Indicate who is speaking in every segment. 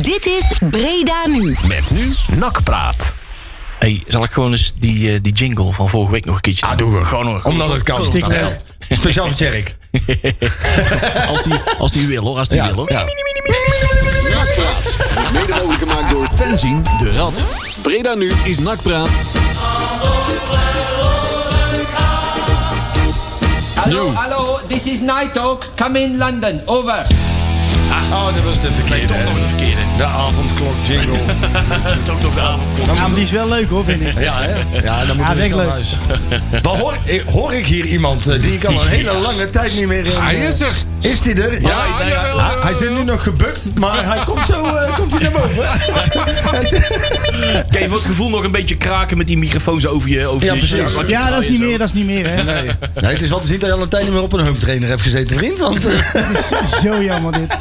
Speaker 1: Dit is Breda Nu.
Speaker 2: Met nu Nakpraat.
Speaker 3: Hey, zal ik gewoon eens die, eh, die jingle van vorige week nog een keertje
Speaker 2: Ah,
Speaker 3: doen?
Speaker 2: doen we gewoon nog.
Speaker 4: Omdat het kan.
Speaker 2: Cool.
Speaker 4: Stiekem. Speciaal voor Tjerk.
Speaker 3: Als die, als die wil hoor, als die wil hoor.
Speaker 5: Nakpraat. Mede mogelijk gemaakt door fanzine De Rad. Breda nu is Nakpraat.
Speaker 6: Hello, hello, this is Night Talk. Come in London. Over.
Speaker 4: Oh, dat was de verkeerde.
Speaker 3: Toch nog de verkeerde.
Speaker 4: De avondklok jingle.
Speaker 3: Toch nog de avondklok.
Speaker 7: Ja, maar die is wel leuk hoor, vind ik.
Speaker 4: Ja, hè? Ja, dan
Speaker 7: Ja,
Speaker 4: moeten we
Speaker 7: vind
Speaker 4: snel
Speaker 7: ik
Speaker 4: naar huis. Dan hoor, eh, hoor ik hier iemand eh, die ik al een hele lange tijd niet meer... in,
Speaker 8: Hij
Speaker 4: eh,
Speaker 8: is er.
Speaker 4: Is hij er? Ja,
Speaker 8: Ah, jawel,
Speaker 4: hij,
Speaker 8: jawel,
Speaker 4: hij zit nu nog gebukt, maar hij komt zo eh, komt hij naar boven.
Speaker 3: Kan je voor Ah, het gevoel nog een beetje kraken met die microfoons over je over
Speaker 4: Ja,
Speaker 3: je-
Speaker 4: precies.
Speaker 3: wat je
Speaker 7: Ja, dat is
Speaker 3: draait
Speaker 7: niet
Speaker 3: en zo.
Speaker 7: meer, dat is niet meer hè.
Speaker 4: nee. nee, het is wel te zien dat je al een tijd niet meer op een home trainer hebt gezeten, vriend. Want eh,
Speaker 7: Zo jammer dit.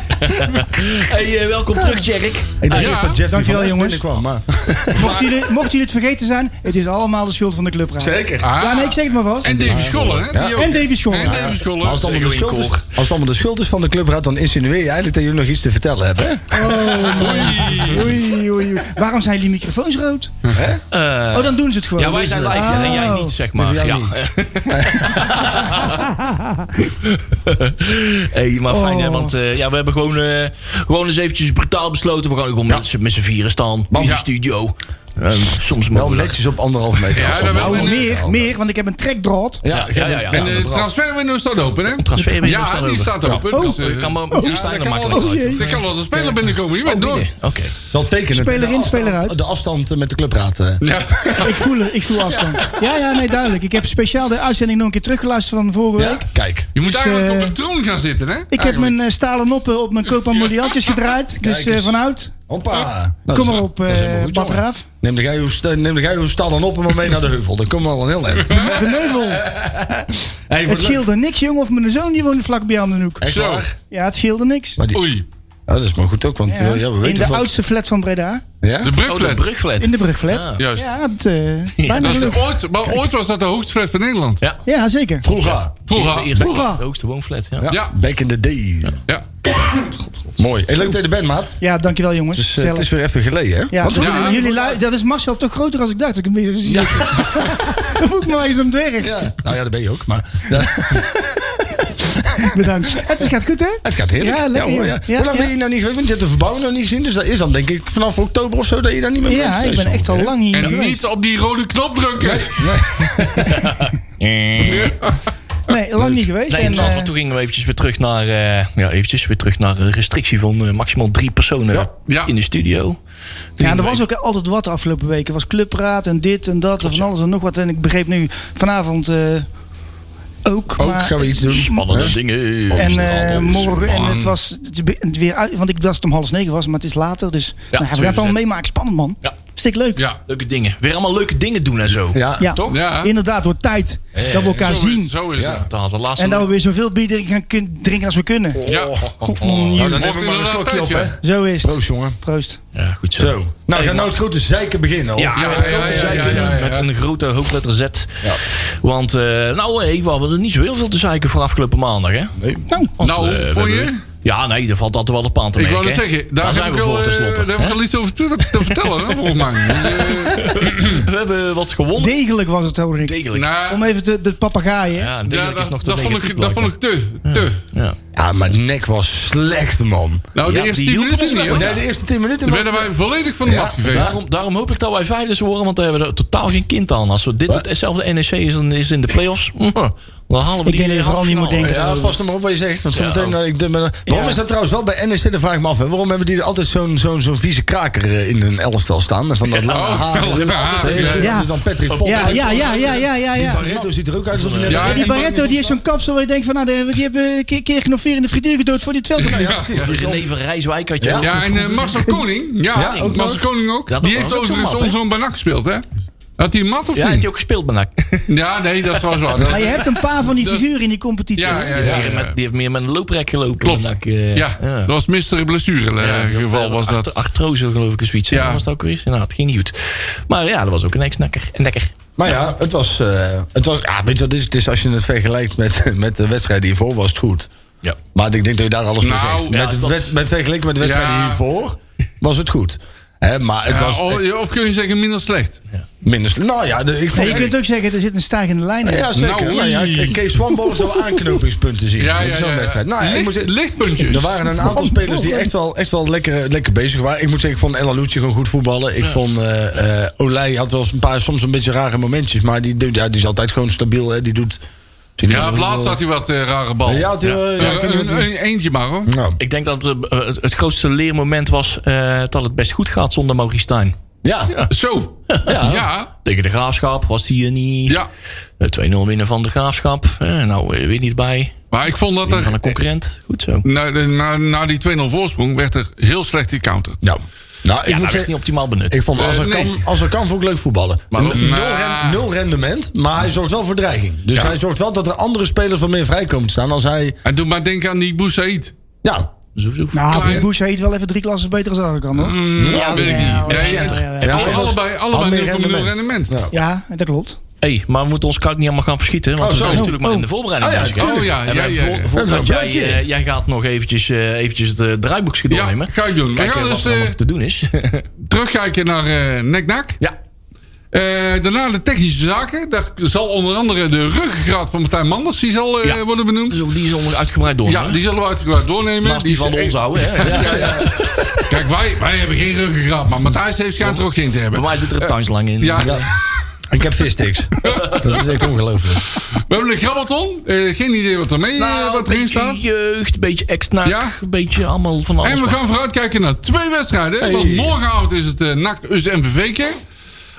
Speaker 3: Hey, eh, welkom terug, Jerk.
Speaker 4: ik dacht
Speaker 8: ja.
Speaker 4: eerst dat Jeffy
Speaker 7: Dankjewel,
Speaker 4: van Nes
Speaker 7: jongens. Ah.
Speaker 4: binnenkwam. Maar...
Speaker 7: Mocht jullie, mocht jullie het vergeten zijn, het is allemaal de schuld van de clubraad.
Speaker 4: Zeker.
Speaker 8: Ah.
Speaker 7: Ja, nee, ik zeg het maar vast.
Speaker 8: En Davy Scholle, hè? die ook.
Speaker 7: En Davy Scholle.
Speaker 8: En Davy Scholle.
Speaker 4: Maar als het, allemaal de
Speaker 3: Theo
Speaker 4: schuld is,
Speaker 3: Inkoor.
Speaker 4: als het allemaal de schuld is van de clubraad, dan insinueer je eigenlijk dat jullie nog iets te vertellen hebben. hè?
Speaker 7: Oh, Oei, oei, oei. Waarom zijn die microfoons rood? oh, dan doen ze het gewoon.
Speaker 3: Ja, wij zijn live ja, en jij
Speaker 7: Oh.
Speaker 3: niet, zeg maar.
Speaker 4: Nee, voor
Speaker 3: Ja.
Speaker 4: jou
Speaker 3: hey, maar fijn, hè,
Speaker 7: Oh.
Speaker 3: want eh, ja, we hebben gewoon, eh, gewoon eens eventjes brutaal besloten. We gaan ook gewoon met z'n- met z'n vieren staan in de
Speaker 8: Ja.
Speaker 3: studio. Ehm, soms
Speaker 4: Wel
Speaker 3: mogelijk.
Speaker 4: netjes op anderhalf meter.
Speaker 8: Ja,
Speaker 4: afstand.
Speaker 8: dat wel.
Speaker 7: Oh,
Speaker 8: En, eh,
Speaker 7: meer, meer, want ik heb een trekdraad.
Speaker 3: Ja, ja, ja. ja. eh,
Speaker 8: En de transferwindow staat open, hè?
Speaker 3: transferwindow
Speaker 8: ja,
Speaker 3: staat
Speaker 8: die
Speaker 3: open.
Speaker 8: staat open.
Speaker 7: Oh.
Speaker 8: eh,
Speaker 3: Kan maar- die
Speaker 8: ja,
Speaker 3: staan er
Speaker 8: daar kan
Speaker 3: makkelijk
Speaker 8: wel- Oh,
Speaker 7: uit.
Speaker 8: daar kan wel een speler binnenkomen. Je bent door.
Speaker 3: Binnen. Oké.
Speaker 4: Wel tekenen.
Speaker 7: Speler in,
Speaker 4: De afstand-
Speaker 7: speler uit.
Speaker 4: De afstand eh, met de clubraad. eh.
Speaker 8: Ja.
Speaker 7: Ik voel, er- ik voel afstand. Ja, ja, nee, duidelijk. Ik heb speciaal de uitzending nog een keer teruggeluisterd van vorige
Speaker 4: Ja,
Speaker 7: week.
Speaker 4: kijk.
Speaker 8: Je moet
Speaker 7: Dus,
Speaker 8: eigenlijk op
Speaker 7: eh,
Speaker 8: een troon gaan zitten, hè?
Speaker 7: Ik heb mijn eh, stalen noppen op mijn Copa Mondialtjes gedraaid. Dus eh
Speaker 4: eens.
Speaker 7: vanuit,
Speaker 4: Hoppa. Nou,
Speaker 7: kom maar op,
Speaker 4: dat is helemaal
Speaker 7: eh
Speaker 4: goed,
Speaker 7: Bad
Speaker 4: jongen.
Speaker 7: Raaf.
Speaker 4: Neem de geil- st- neem de geil staan dan op en maar mee naar de heuvel. Dan komen we al heel net.
Speaker 7: De neuvel.
Speaker 4: Hey,
Speaker 7: Het scheelde niks, jongen. Of mijn zoon die woonde vlak bij aan de hoek.
Speaker 4: Echt
Speaker 8: Zo.
Speaker 4: waar?
Speaker 7: Ja, het scheelde niks.
Speaker 4: Maar die-
Speaker 8: Oei,
Speaker 4: Oh, dat is maar goed ook, want
Speaker 7: Ja,
Speaker 4: ja. ja, we
Speaker 7: in
Speaker 4: weten
Speaker 7: de
Speaker 4: van-
Speaker 7: oudste flat van Breda.
Speaker 4: Ja?
Speaker 8: de
Speaker 3: Oh, de
Speaker 8: brugflat.
Speaker 3: brugflat.
Speaker 7: In de brugflat.
Speaker 4: Ah,
Speaker 8: Juist.
Speaker 7: Ja, het, eh, bijna
Speaker 8: Dat is
Speaker 7: gelukt.
Speaker 8: de- ooit, maar ooit was dat de hoogste flat van Nederland.
Speaker 7: Ja, zeker.
Speaker 4: Vroeger.
Speaker 3: De
Speaker 8: Vroeger.
Speaker 3: eerste,
Speaker 7: Vroeger.
Speaker 3: de hoogste woonflat. Ja.
Speaker 4: Ja.
Speaker 8: Ja.
Speaker 4: Back in the day.
Speaker 8: Ja.
Speaker 4: Mooi. Hey, leuk dat je er bent, maat.
Speaker 7: Ja, dankjewel jongens.
Speaker 4: Dus, eh, het
Speaker 7: Gezellig.
Speaker 4: is weer even geleden, hè?
Speaker 7: ja,
Speaker 4: Want we-
Speaker 7: jullie-
Speaker 8: Ja.
Speaker 7: jullie lui- dat is Marcel toch groter als ik dacht. Ik hem weer gezien. Dan voel ik me wel eens om het werk.
Speaker 4: ja. Nou ja, dat ben je ook, maar... Ja,
Speaker 7: Bedankt. Het is, gaat goed hè?
Speaker 4: het gaat heerlijk.
Speaker 7: Ja, lekker,
Speaker 4: hoor,
Speaker 7: ja.
Speaker 4: Hoe lang
Speaker 7: Ja,
Speaker 4: ben je nou niet geweest? Want je hebt de verbouwing nog niet gezien. Dus dat is dan denk ik vanaf oktober of zo dat je daar niet meer bent
Speaker 7: Ja, ik
Speaker 4: geweest,
Speaker 7: ben echt al
Speaker 4: ongeveer.
Speaker 7: lang niet meer
Speaker 8: En
Speaker 7: geweest.
Speaker 8: niet op die rode knop drukken.
Speaker 7: Nee, lang niet geweest.
Speaker 3: Nee,
Speaker 7: en,
Speaker 3: in Zandvoort.
Speaker 7: eh,
Speaker 3: toen gingen we eventjes weer terug naar, eh, ja, eventjes weer terug naar een restrictie van eh, maximaal drie personen
Speaker 8: Ja.
Speaker 3: in de studio.
Speaker 7: ja, en er was ook altijd wat de afgelopen weken. Er was clubraad en dit en dat en van alles en nog wat. En ik begreep nu vanavond eh, ook.
Speaker 4: Ook
Speaker 7: maar-
Speaker 4: gaan we iets doen.
Speaker 3: spannende
Speaker 4: Hè?
Speaker 3: dingen.
Speaker 7: En eh,
Speaker 3: Alles
Speaker 7: morgen, en
Speaker 3: spannend.
Speaker 7: het was het is be- het weer uit, want ik dacht dat het om half negen was, maar het is later. Dus nou ja, we gaan
Speaker 3: twee
Speaker 7: het allemaal
Speaker 3: uur zet.
Speaker 7: meemaken. Spannend man.
Speaker 3: Ja.
Speaker 7: Stik leuk.
Speaker 8: Ja.
Speaker 3: Leuke dingen. Weer allemaal leuke dingen doen en zo.
Speaker 4: Ja.
Speaker 7: Ja.
Speaker 3: Toch?
Speaker 8: Ja.
Speaker 7: Inderdaad, door tijd. dat we elkaar
Speaker 8: Zo
Speaker 7: zien.
Speaker 8: is, zo is het.
Speaker 3: Dan had de laatste
Speaker 7: en dat we weer zoveel bier drinken, gaan kun- drinken als we kunnen.
Speaker 4: Oh.
Speaker 8: Ja.
Speaker 3: oh.
Speaker 4: Nou, dan
Speaker 8: Mocht
Speaker 4: hebben we maar een
Speaker 8: inderdaad
Speaker 4: slokje op,
Speaker 8: tijdje.
Speaker 4: hè?
Speaker 7: Zo is het.
Speaker 4: Proost, jongen.
Speaker 7: Proost.
Speaker 3: Ja, goed zo.
Speaker 4: Zo. Nou, ga nou het grote zeiken beginnen. of?
Speaker 3: Ja,
Speaker 8: Ja,
Speaker 3: met, grote
Speaker 8: ja, ja, ja,
Speaker 3: zeiken,
Speaker 8: ja, ja.
Speaker 3: met een grote hoofdletter Z. Want, eh, nou, hey, we hadden niet zo heel veel te zeiken voor afgelopen maandag, hè? Nee.
Speaker 7: Nou,
Speaker 8: Nou,
Speaker 3: eh,
Speaker 8: vond je?
Speaker 3: Ja, nee, daar valt altijd wel een paan te
Speaker 8: Ik
Speaker 3: merken.
Speaker 8: wou net
Speaker 3: hè.
Speaker 8: zeggen,
Speaker 3: daar
Speaker 8: daar,
Speaker 3: zijn
Speaker 8: heb
Speaker 3: we
Speaker 8: ik al,
Speaker 3: voor
Speaker 8: eh,
Speaker 3: tenslotte.
Speaker 8: daar heb ik
Speaker 3: hè?
Speaker 8: al iets over te, te vertellen, hè, volgens mij. Dus, eh,
Speaker 3: We hebben wat gewonnen.
Speaker 7: degelijk was het, hoor ik.
Speaker 3: Degelijk.
Speaker 8: nou,
Speaker 7: Om even de, de papegaaien.
Speaker 3: Ja,
Speaker 8: ja,
Speaker 3: degelijk is
Speaker 8: dat,
Speaker 3: nog te
Speaker 8: dat, vond
Speaker 3: negatief
Speaker 8: ik, dat vond
Speaker 3: blijkbaar.
Speaker 8: ik te. te.
Speaker 3: Ja.
Speaker 4: Ja, maar nek was slecht, man.
Speaker 8: Nou, de
Speaker 3: Ja,
Speaker 8: eerste
Speaker 3: die
Speaker 8: 10
Speaker 3: hielpen ons
Speaker 8: minuten niet,
Speaker 3: wel.
Speaker 8: hoor.
Speaker 4: Nee, de eerste 10 minuten
Speaker 8: Dan
Speaker 4: was...
Speaker 8: werden wij volledig van de mat geveegd.
Speaker 3: Daarom, daarom hoop ik dat wij vijfdes worden, want daar hebben we er totaal geen kind aan. Als we dit
Speaker 4: Wat?
Speaker 3: hetzelfde NEC is, dan is het in de play-offs. mm, Dan halen we die
Speaker 7: Ik denk dat je vooral niet moet denken.
Speaker 4: Ja, pas nog maar op wat je zegt. Want zometeen,
Speaker 3: Ja.
Speaker 4: eh, ik denk, maar- waarom
Speaker 7: Ja.
Speaker 4: is dat trouwens wel bij NEC, de vraag ik me af. Hè? Waarom hebben die er altijd zo'n zo'n zo'n vieze kraker eh, in hun elftal staan? Van dat lange
Speaker 8: Oh,
Speaker 4: haar.
Speaker 8: lange
Speaker 4: Ze hebben altijd
Speaker 8: haar,
Speaker 4: heel
Speaker 8: ja.
Speaker 4: veel- dat is Dan Patrick Pot.
Speaker 7: Ja, ja, ja, ja, ja, ja.
Speaker 4: Die
Speaker 7: ja.
Speaker 4: Barretto ziet er ook uit alsof hij net...
Speaker 8: Ja,
Speaker 7: Ja, die
Speaker 8: en-
Speaker 7: Barretto die heeft zo'n kapsel waar je denkt van, nou, die die hebben een keer, keer genoeg veer in de frituur gedood voor dit veld.
Speaker 4: Ja, precies.
Speaker 3: Dus René van Rijswijk had je
Speaker 4: Ja.
Speaker 3: ook.
Speaker 8: Ja, en eh, Marcel Koning. Ja,
Speaker 4: Ja, ook
Speaker 8: Marcel
Speaker 4: nog.
Speaker 8: Koning ook.
Speaker 3: Ja, dat
Speaker 8: die
Speaker 3: was
Speaker 8: heeft
Speaker 3: ook zo'n
Speaker 8: overigens
Speaker 3: mat,
Speaker 8: onze zo'n banak gespeeld, hè? Had hij een mat of
Speaker 3: Ja, heeft
Speaker 8: niet?
Speaker 3: hij ook gespeeld, nou, Benak.
Speaker 8: Ja, nee, dat is wel waar.
Speaker 7: Maar
Speaker 8: Dat-
Speaker 7: je hebt een paar van die figuren in die competitie.
Speaker 8: Ja,
Speaker 7: hoor.
Speaker 8: ja, ja,
Speaker 3: Die
Speaker 8: ja.
Speaker 3: met- Die heeft meer met een looprek gelopen.
Speaker 8: Klopt.
Speaker 3: Benak, eh,
Speaker 8: Ja, dat was Mr. Blessure eh, geval was dat.
Speaker 3: Art- Artrose, geloof ik, is zoiets.
Speaker 8: Ja.
Speaker 3: Ja. Was dat ook weer? Nou, het ging niet goed. Maar ja, dat was ook een ex-nekker. Nekker.
Speaker 4: Maar ja, het was... eh, het was ah, weet je wat het is? Het is als je het vergelijkt met, met de wedstrijd die hiervoor was het goed.
Speaker 3: Ja.
Speaker 4: Maar ik denk dat je daar alles mee
Speaker 8: Nou,
Speaker 4: zegt.
Speaker 8: ja,
Speaker 4: Met, het
Speaker 3: dat-
Speaker 4: wed- met vergeleken met de wedstrijden
Speaker 8: Ja. oh.
Speaker 4: hiervoor... was het goed. Hè, maar het was eh,
Speaker 8: of, kun je zeggen minder slecht?
Speaker 4: minder... sle- Nou ja, de- ik
Speaker 7: Nee,
Speaker 4: vond...
Speaker 7: je kunt ook zeggen, er zit een stijgende lijn in.
Speaker 4: Ja, zeker.
Speaker 8: Nou,
Speaker 4: Nou, ja,
Speaker 8: oei.
Speaker 4: Kees Swanboom zou aanknopingspunten zien
Speaker 8: Ja,
Speaker 4: in
Speaker 8: ja,
Speaker 4: zo'n
Speaker 8: ja.
Speaker 4: wedstrijd. Nou, ik
Speaker 8: Licht-
Speaker 4: moet zeggen-
Speaker 8: lichtpuntjes.
Speaker 4: Er waren een aantal spelers die echt wel, echt wel lekker, lekker bezig waren. Ik moet zeggen, ik vond El Alouche gewoon goed voetballen. Ik vond eh eh, Olij had wel eens een paar soms een beetje rare momentjes. Maar die, doet- ja, die is altijd gewoon stabiel. Hè. Die doet...
Speaker 8: Ja, laatst had hij wat eh, rare bal.
Speaker 4: Ja, had hij, eh, ja,
Speaker 8: Eh,
Speaker 4: ik weet niet
Speaker 8: een-
Speaker 4: wat hij-
Speaker 8: een- eentje maar hoor.
Speaker 4: Nou,
Speaker 3: Ik denk dat het, eh, het- het grootste leermoment was eh, dat het best goed gaat zonder Maurice Stijn.
Speaker 4: ja.
Speaker 8: Zo. Ja. Ja.
Speaker 3: Tegen de Graafschap was hij er niet. Eh, 2-0 winnen van de Graafschap. Eh, nou, eh, weer niet bij.
Speaker 8: Maar ik vond dat
Speaker 3: Winnen van een
Speaker 8: er...
Speaker 3: concurrent. Goed zo.
Speaker 8: Na, de- na, na die 2-0 voorsprong werd er heel slecht gecounterd.
Speaker 4: Ja. Nou, ik
Speaker 3: Ja,
Speaker 4: moet
Speaker 3: dat werd
Speaker 4: zeggen,
Speaker 3: niet optimaal benut.
Speaker 4: ik vond als er,
Speaker 8: Eh,
Speaker 4: kan,
Speaker 8: nee.
Speaker 4: als er kan, vond ik leuk voetballen. Maar, nul,
Speaker 8: Maar-
Speaker 4: ren- nul rendement, maar hij zorgt wel voor dreiging. Dus hij zorgt wel dat er andere spelers wat meer vrij komen te staan als hij...
Speaker 8: En doe maar denken aan die Boussaïd.
Speaker 4: Ja,
Speaker 8: Dus
Speaker 3: Zo, zo.
Speaker 7: Nou,
Speaker 8: Klein.
Speaker 7: Klein. Boes heet wel even drie klassen beter als Arkan, hoor.
Speaker 8: Ja, Mm, weet ik niet. Nee,
Speaker 7: ja, ja, ja.
Speaker 8: ja,
Speaker 4: Ja, dat was-
Speaker 8: allebei
Speaker 4: had meer
Speaker 8: allebei 0,0 rendement.
Speaker 4: rendement.
Speaker 7: Ja, dat klopt.
Speaker 3: hey, maar we moeten ons koud niet allemaal gaan verschieten. Want
Speaker 4: Oh,
Speaker 3: we
Speaker 4: zo.
Speaker 3: zijn natuurlijk maar
Speaker 7: Oh.
Speaker 3: in de voorbereiding.
Speaker 4: Oh, ja,
Speaker 3: bezig.
Speaker 8: Oh ja,
Speaker 3: En
Speaker 8: ja,
Speaker 3: wij-
Speaker 8: ja, ja.
Speaker 3: voor- voordat
Speaker 4: We hebben een
Speaker 3: jij,
Speaker 4: plaatje.
Speaker 3: eh, jij gaat nog eventjes, eh, eventjes het eh, draaiboekje doornemen.
Speaker 8: ga ik doen. We
Speaker 3: Kijken
Speaker 8: gaan
Speaker 3: wat
Speaker 8: dus,
Speaker 3: er allemaal
Speaker 8: eh,
Speaker 3: te doen is.
Speaker 8: Terugkijken naar eh Nek Nak.
Speaker 3: ja.
Speaker 8: Eh, daarna de technische zaken. Daar zal onder andere de ruggengraat van Martijn Manders die zal, eh,
Speaker 3: Ja.
Speaker 8: worden benoemd.
Speaker 3: Dus ook die is onder uitgebreid door.
Speaker 8: Ja,
Speaker 3: hè?
Speaker 8: die zullen we uitgebreid doornemen.
Speaker 3: Naast die van
Speaker 8: is-
Speaker 3: ons houden. hè. Ja.
Speaker 8: Kijk, wij, wij hebben geen ruggengraat, maar Matthijs heeft schijnt er ook geen te
Speaker 3: Bij
Speaker 8: hebben.
Speaker 3: mij zit er een tuinslang in.
Speaker 8: Ja,
Speaker 4: Ik heb vissticks. dat is echt ongelooflijk.
Speaker 8: we hebben een grabbelton. Eh, geen idee wat er mee
Speaker 3: Nou,
Speaker 8: eh, wat
Speaker 3: een
Speaker 8: erin
Speaker 3: beetje
Speaker 8: staat.
Speaker 3: jeugd, een beetje extra,
Speaker 8: Ja.
Speaker 3: een beetje allemaal van alles.
Speaker 8: En we
Speaker 3: wat.
Speaker 8: gaan vooruitkijken naar twee wedstrijden. Want morgenavond is het eh NAC US MVV keer.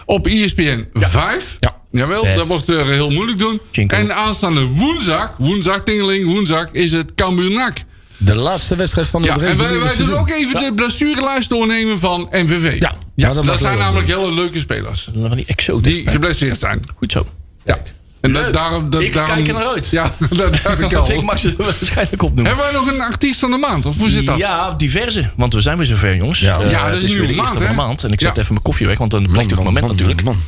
Speaker 8: Op E ESPN 5.
Speaker 3: Ja.
Speaker 8: Jawel,
Speaker 3: Vijf.
Speaker 8: dat wordt er heel moeilijk doen.
Speaker 3: Cinco.
Speaker 8: En aanstaande woensdag, woensdag tingeling, woensdag is het Cambuur NAC.
Speaker 4: De laatste wedstrijd van het
Speaker 8: Ja, en wij,
Speaker 4: reguliere
Speaker 8: wij doen
Speaker 4: seizoen.
Speaker 8: ook even de blessurelijst doornemen van MVV.
Speaker 4: Ja,
Speaker 8: ja
Speaker 4: ja, dat
Speaker 8: dat,
Speaker 4: mag
Speaker 8: zijn
Speaker 4: wel
Speaker 8: namelijk hele leuke spelers.
Speaker 3: Van die exoten.
Speaker 8: Die geblesseerd zijn.
Speaker 3: Goed zo.
Speaker 8: Ja. En dat,
Speaker 3: Leuk.
Speaker 8: daarom, dat,
Speaker 3: Ik
Speaker 8: daarom,
Speaker 3: kijk er naar uit.
Speaker 8: Ja, dat dacht ik
Speaker 3: Dat ik
Speaker 8: al.
Speaker 3: mag ze waarschijnlijk opnoemen.
Speaker 8: Hebben wij nog een artiest van de maand? Of hoe zit dat?
Speaker 3: Ja, diverse. Want we zijn weer zover, jongens.
Speaker 4: Ja.
Speaker 3: Eh,
Speaker 8: Ja, dat
Speaker 3: het
Speaker 8: is
Speaker 3: is
Speaker 8: nu
Speaker 3: weer de eerste
Speaker 8: een maand,
Speaker 3: van
Speaker 8: hè?
Speaker 3: de maand. En ik zet
Speaker 8: Ja.
Speaker 3: even mijn koffie weg, want dan blijkt het
Speaker 4: Man,
Speaker 3: moment
Speaker 4: man,
Speaker 3: natuurlijk.
Speaker 4: man, man.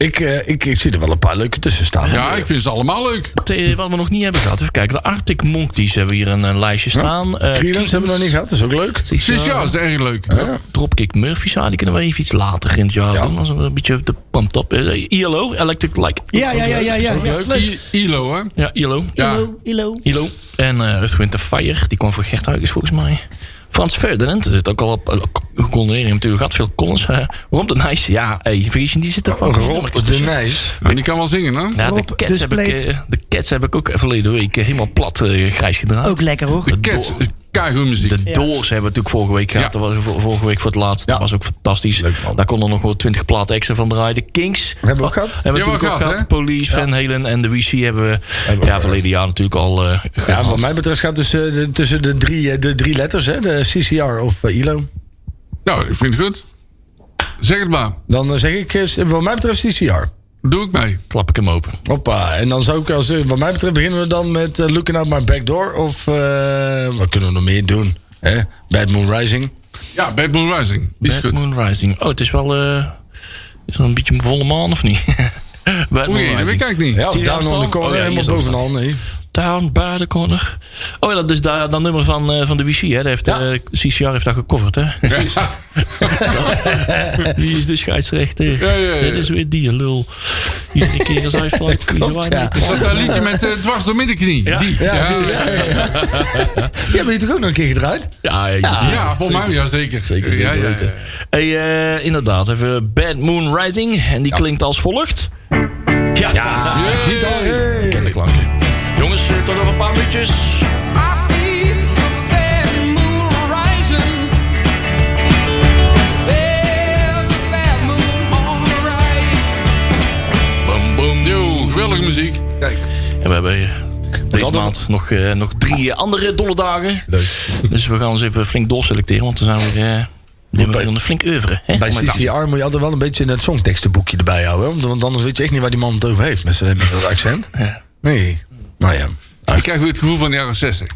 Speaker 4: Ik, eh, ik, ik zie er wel een paar leuke tussen staan. Eh,
Speaker 8: Ja, ik vind ze allemaal leuk.
Speaker 3: Het, eh, Wat we nog niet hebben gehad. Even kijken. De Arctic Monkeys hebben hier een, een lijstje staan. Eh,
Speaker 4: Creedence hebben we nog niet gehad, dat is ook leuk.
Speaker 8: Sinds ja, is erg leuk.
Speaker 3: Dropkick Murphys. Ah, die kunnen we even iets later in het jaar
Speaker 4: Ja.
Speaker 3: doen. Als we een beetje de pumped up. Eh, ILO, Electric Like.
Speaker 7: Ja, ja, ja, ja. ja, ja. Leuk.
Speaker 8: I- ILO, hè?
Speaker 3: Ja, ILO.
Speaker 8: Ja.
Speaker 7: Ilo, Ilo.
Speaker 3: ILO. En eh Earth, Wind and Fire. Die kwam voor Gert Huygens volgens mij. Frans Ferdinand er zit ook al op. eh, Gecondoneerd natuurlijk. Gaat veel Collins. eh Rob de Nice. Ja, hey, vergis je, die zit ook wel. goed
Speaker 4: Rob
Speaker 3: nummertjes
Speaker 4: de
Speaker 3: tussen.
Speaker 4: Nijs.
Speaker 8: En die kan wel zingen, hè?
Speaker 3: Ja, de
Speaker 7: Rob,
Speaker 3: cats,
Speaker 7: dus
Speaker 3: heb ik,
Speaker 7: pleit.
Speaker 3: eh, de cats heb ik ook verleden week eh, helemaal plat eh, grijs gedraaid.
Speaker 7: Ook lekker, hoor.
Speaker 8: De Cats,
Speaker 3: door-
Speaker 8: keigoed muziek.
Speaker 3: De Doors hebben we natuurlijk vorige week gehad.
Speaker 8: Ja.
Speaker 3: Dat was vo- vorige week voor het laatst. Dat was ook fantastisch. Daar konden nog wel 20 platen extra van draaien. De Kings.
Speaker 4: Hebben we ook gehad.
Speaker 3: Hebben we
Speaker 8: Ja,
Speaker 3: natuurlijk ook
Speaker 8: gehad,
Speaker 3: gehad.
Speaker 8: hè?
Speaker 3: Police, Van Halen en de WC hebben we ja, verleden jaar natuurlijk al eh,
Speaker 4: Ja,
Speaker 3: gehad.
Speaker 4: wat mij betreft gaat dus, eh, de- tussen de drie, eh, de drie letters, hè, de CCR of eh, ILO.
Speaker 8: Nou, ik vind het goed. Zeg het maar.
Speaker 4: Dan eh, zeg ik, eh, wat mij betreft CCR.
Speaker 8: Doe ik mee.
Speaker 3: Klap ik hem open.
Speaker 4: Hoppa, en dan zou ik als, eh, wat mij betreft beginnen we dan met eh, Looking Out My Back Door. Of eh, wat kunnen we nog meer doen? Hè? Bad Moon Rising.
Speaker 8: Ja, Bad Moon Rising. Is
Speaker 3: Bad
Speaker 8: goed.
Speaker 3: Moon Rising. Oh, het is wel eh, is wel een beetje een volle maan of niet? Bad Moon
Speaker 8: Oei, dat weet ik
Speaker 3: Rising.
Speaker 8: eigenlijk niet.
Speaker 4: Ja,
Speaker 3: Zie je
Speaker 4: Down on the
Speaker 3: afstand?
Speaker 4: Corner,
Speaker 3: Oh ja, hier
Speaker 4: helemaal
Speaker 3: is afstand.
Speaker 4: bovenal. Nee.
Speaker 3: Down by the corner. Oh ja, dat is daar, dat nummer van, eh, van de WC. Hè? Dat heeft,
Speaker 4: Ja.
Speaker 3: eh, CCR heeft dat gecoverd, hè?
Speaker 8: Ja.
Speaker 3: Wie is de scheidsrechter?
Speaker 8: Ja, ja, ja.
Speaker 3: Dit is weer die lul. Iedere keer als hij fluit, kiezen wij
Speaker 4: ja.
Speaker 3: niet.
Speaker 8: Dat, dat liedje met eh, dwars door middenknie.
Speaker 3: Ja.
Speaker 8: Die. Ja, ja, ja,
Speaker 4: Die hebben je toch ook nog een keer gedraaid?
Speaker 3: Ja, ja,
Speaker 8: voor mij, ja, zeker.
Speaker 4: Zeker, zeker
Speaker 8: ja, ja,
Speaker 4: weten.
Speaker 8: ja.
Speaker 3: Hey, eh, inderdaad, even Bad Moon Rising. En die klinkt als volgt. Ja, ja.
Speaker 8: Hey.
Speaker 3: ken de klanken. Jongens, eh, tot over een paar minuutjes.
Speaker 9: I see the bad moon rising. There's a bad moon on the rise.
Speaker 8: Boom, boom, yo. Geweldige muziek.
Speaker 3: En we hebben eh, deze maand nog, eh, nog drie eh, andere dolle dagen.
Speaker 4: Leuk.
Speaker 3: Dus we gaan eens even flink doorselecteren, want dan zijn we... eh nemen we weer een flink oeuvre. Hè?
Speaker 4: Bij
Speaker 3: Om het-
Speaker 4: CCR moet je altijd wel een beetje het songtekstenboekje erbij houden. hè? Want- Want anders weet je echt niet waar die man het over heeft met, zijn- met dat accent. Nee. Nou ja.
Speaker 8: Ah. Ik krijg weer het gevoel van de jaren 60.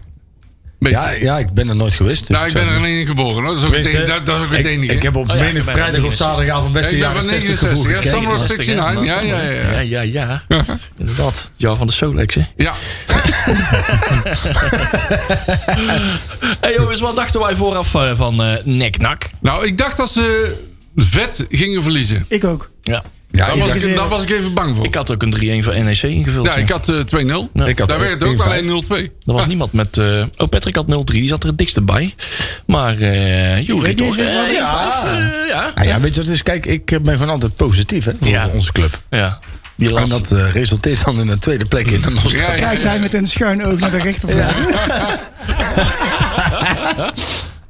Speaker 8: Beetje.
Speaker 4: Ja, ja, ik ben er nooit geweest. Dus
Speaker 8: nou, ik ben er alleen in geboren. Hoor. Dat is ook het
Speaker 4: Tenminste,
Speaker 8: enige. Dat, dat is ook het
Speaker 4: ik,
Speaker 8: enige.
Speaker 4: ik heb op
Speaker 3: Oh ja,
Speaker 4: menig
Speaker 3: ik ben
Speaker 4: vrijdag of
Speaker 3: van
Speaker 4: zaterdagavond best
Speaker 8: Ik
Speaker 4: de
Speaker 8: ben
Speaker 4: jaren
Speaker 8: van
Speaker 4: 60
Speaker 8: 69,
Speaker 4: gevoel
Speaker 8: ja,
Speaker 4: gekeken.
Speaker 8: Summer of
Speaker 4: maar-
Speaker 8: 69. Oh, Ja, ja, ja.
Speaker 3: ja, ja, ja. Inderdaad. Het jaar van de Solex, hè.
Speaker 8: Ja.
Speaker 3: hey, jongens, wat dachten wij vooraf eh, van eh Nek-Nak?
Speaker 8: Nou, ik dacht dat ze vet gingen verliezen.
Speaker 7: Ik ook.
Speaker 3: Ja.
Speaker 4: Ja,
Speaker 8: Daar
Speaker 4: ik
Speaker 8: was,
Speaker 4: dacht-
Speaker 8: ik, daar was ik even bang voor.
Speaker 3: Ik had ook een 3-1 van NEC E ingevuld.
Speaker 8: ja, ik had eh, 2-0.
Speaker 3: Ja.
Speaker 4: Ik had
Speaker 8: Daar
Speaker 4: ook
Speaker 8: werd het ook
Speaker 4: 1-5.
Speaker 8: alleen 0-2.
Speaker 3: Er was niemand met... eh, oh, Patrick had 0-3. Die zat er het dikste bij. Maar eh Jury
Speaker 7: Weet je,
Speaker 3: toch?
Speaker 7: zeg maar,
Speaker 3: eh,
Speaker 4: ja.
Speaker 3: eh, ja.
Speaker 4: Ah, ja, weet je wat het is? Kijk, ik eh, ben van altijd positief hè, voor
Speaker 3: Ja.
Speaker 4: voor onze club.
Speaker 3: Ja. Die
Speaker 4: En
Speaker 3: laatste.
Speaker 4: dat eh, resulteert dan in een tweede plek in de nostalgie.
Speaker 8: Ja, ja.
Speaker 7: Kijkt hij met een schuin oog naar de rechterzijde.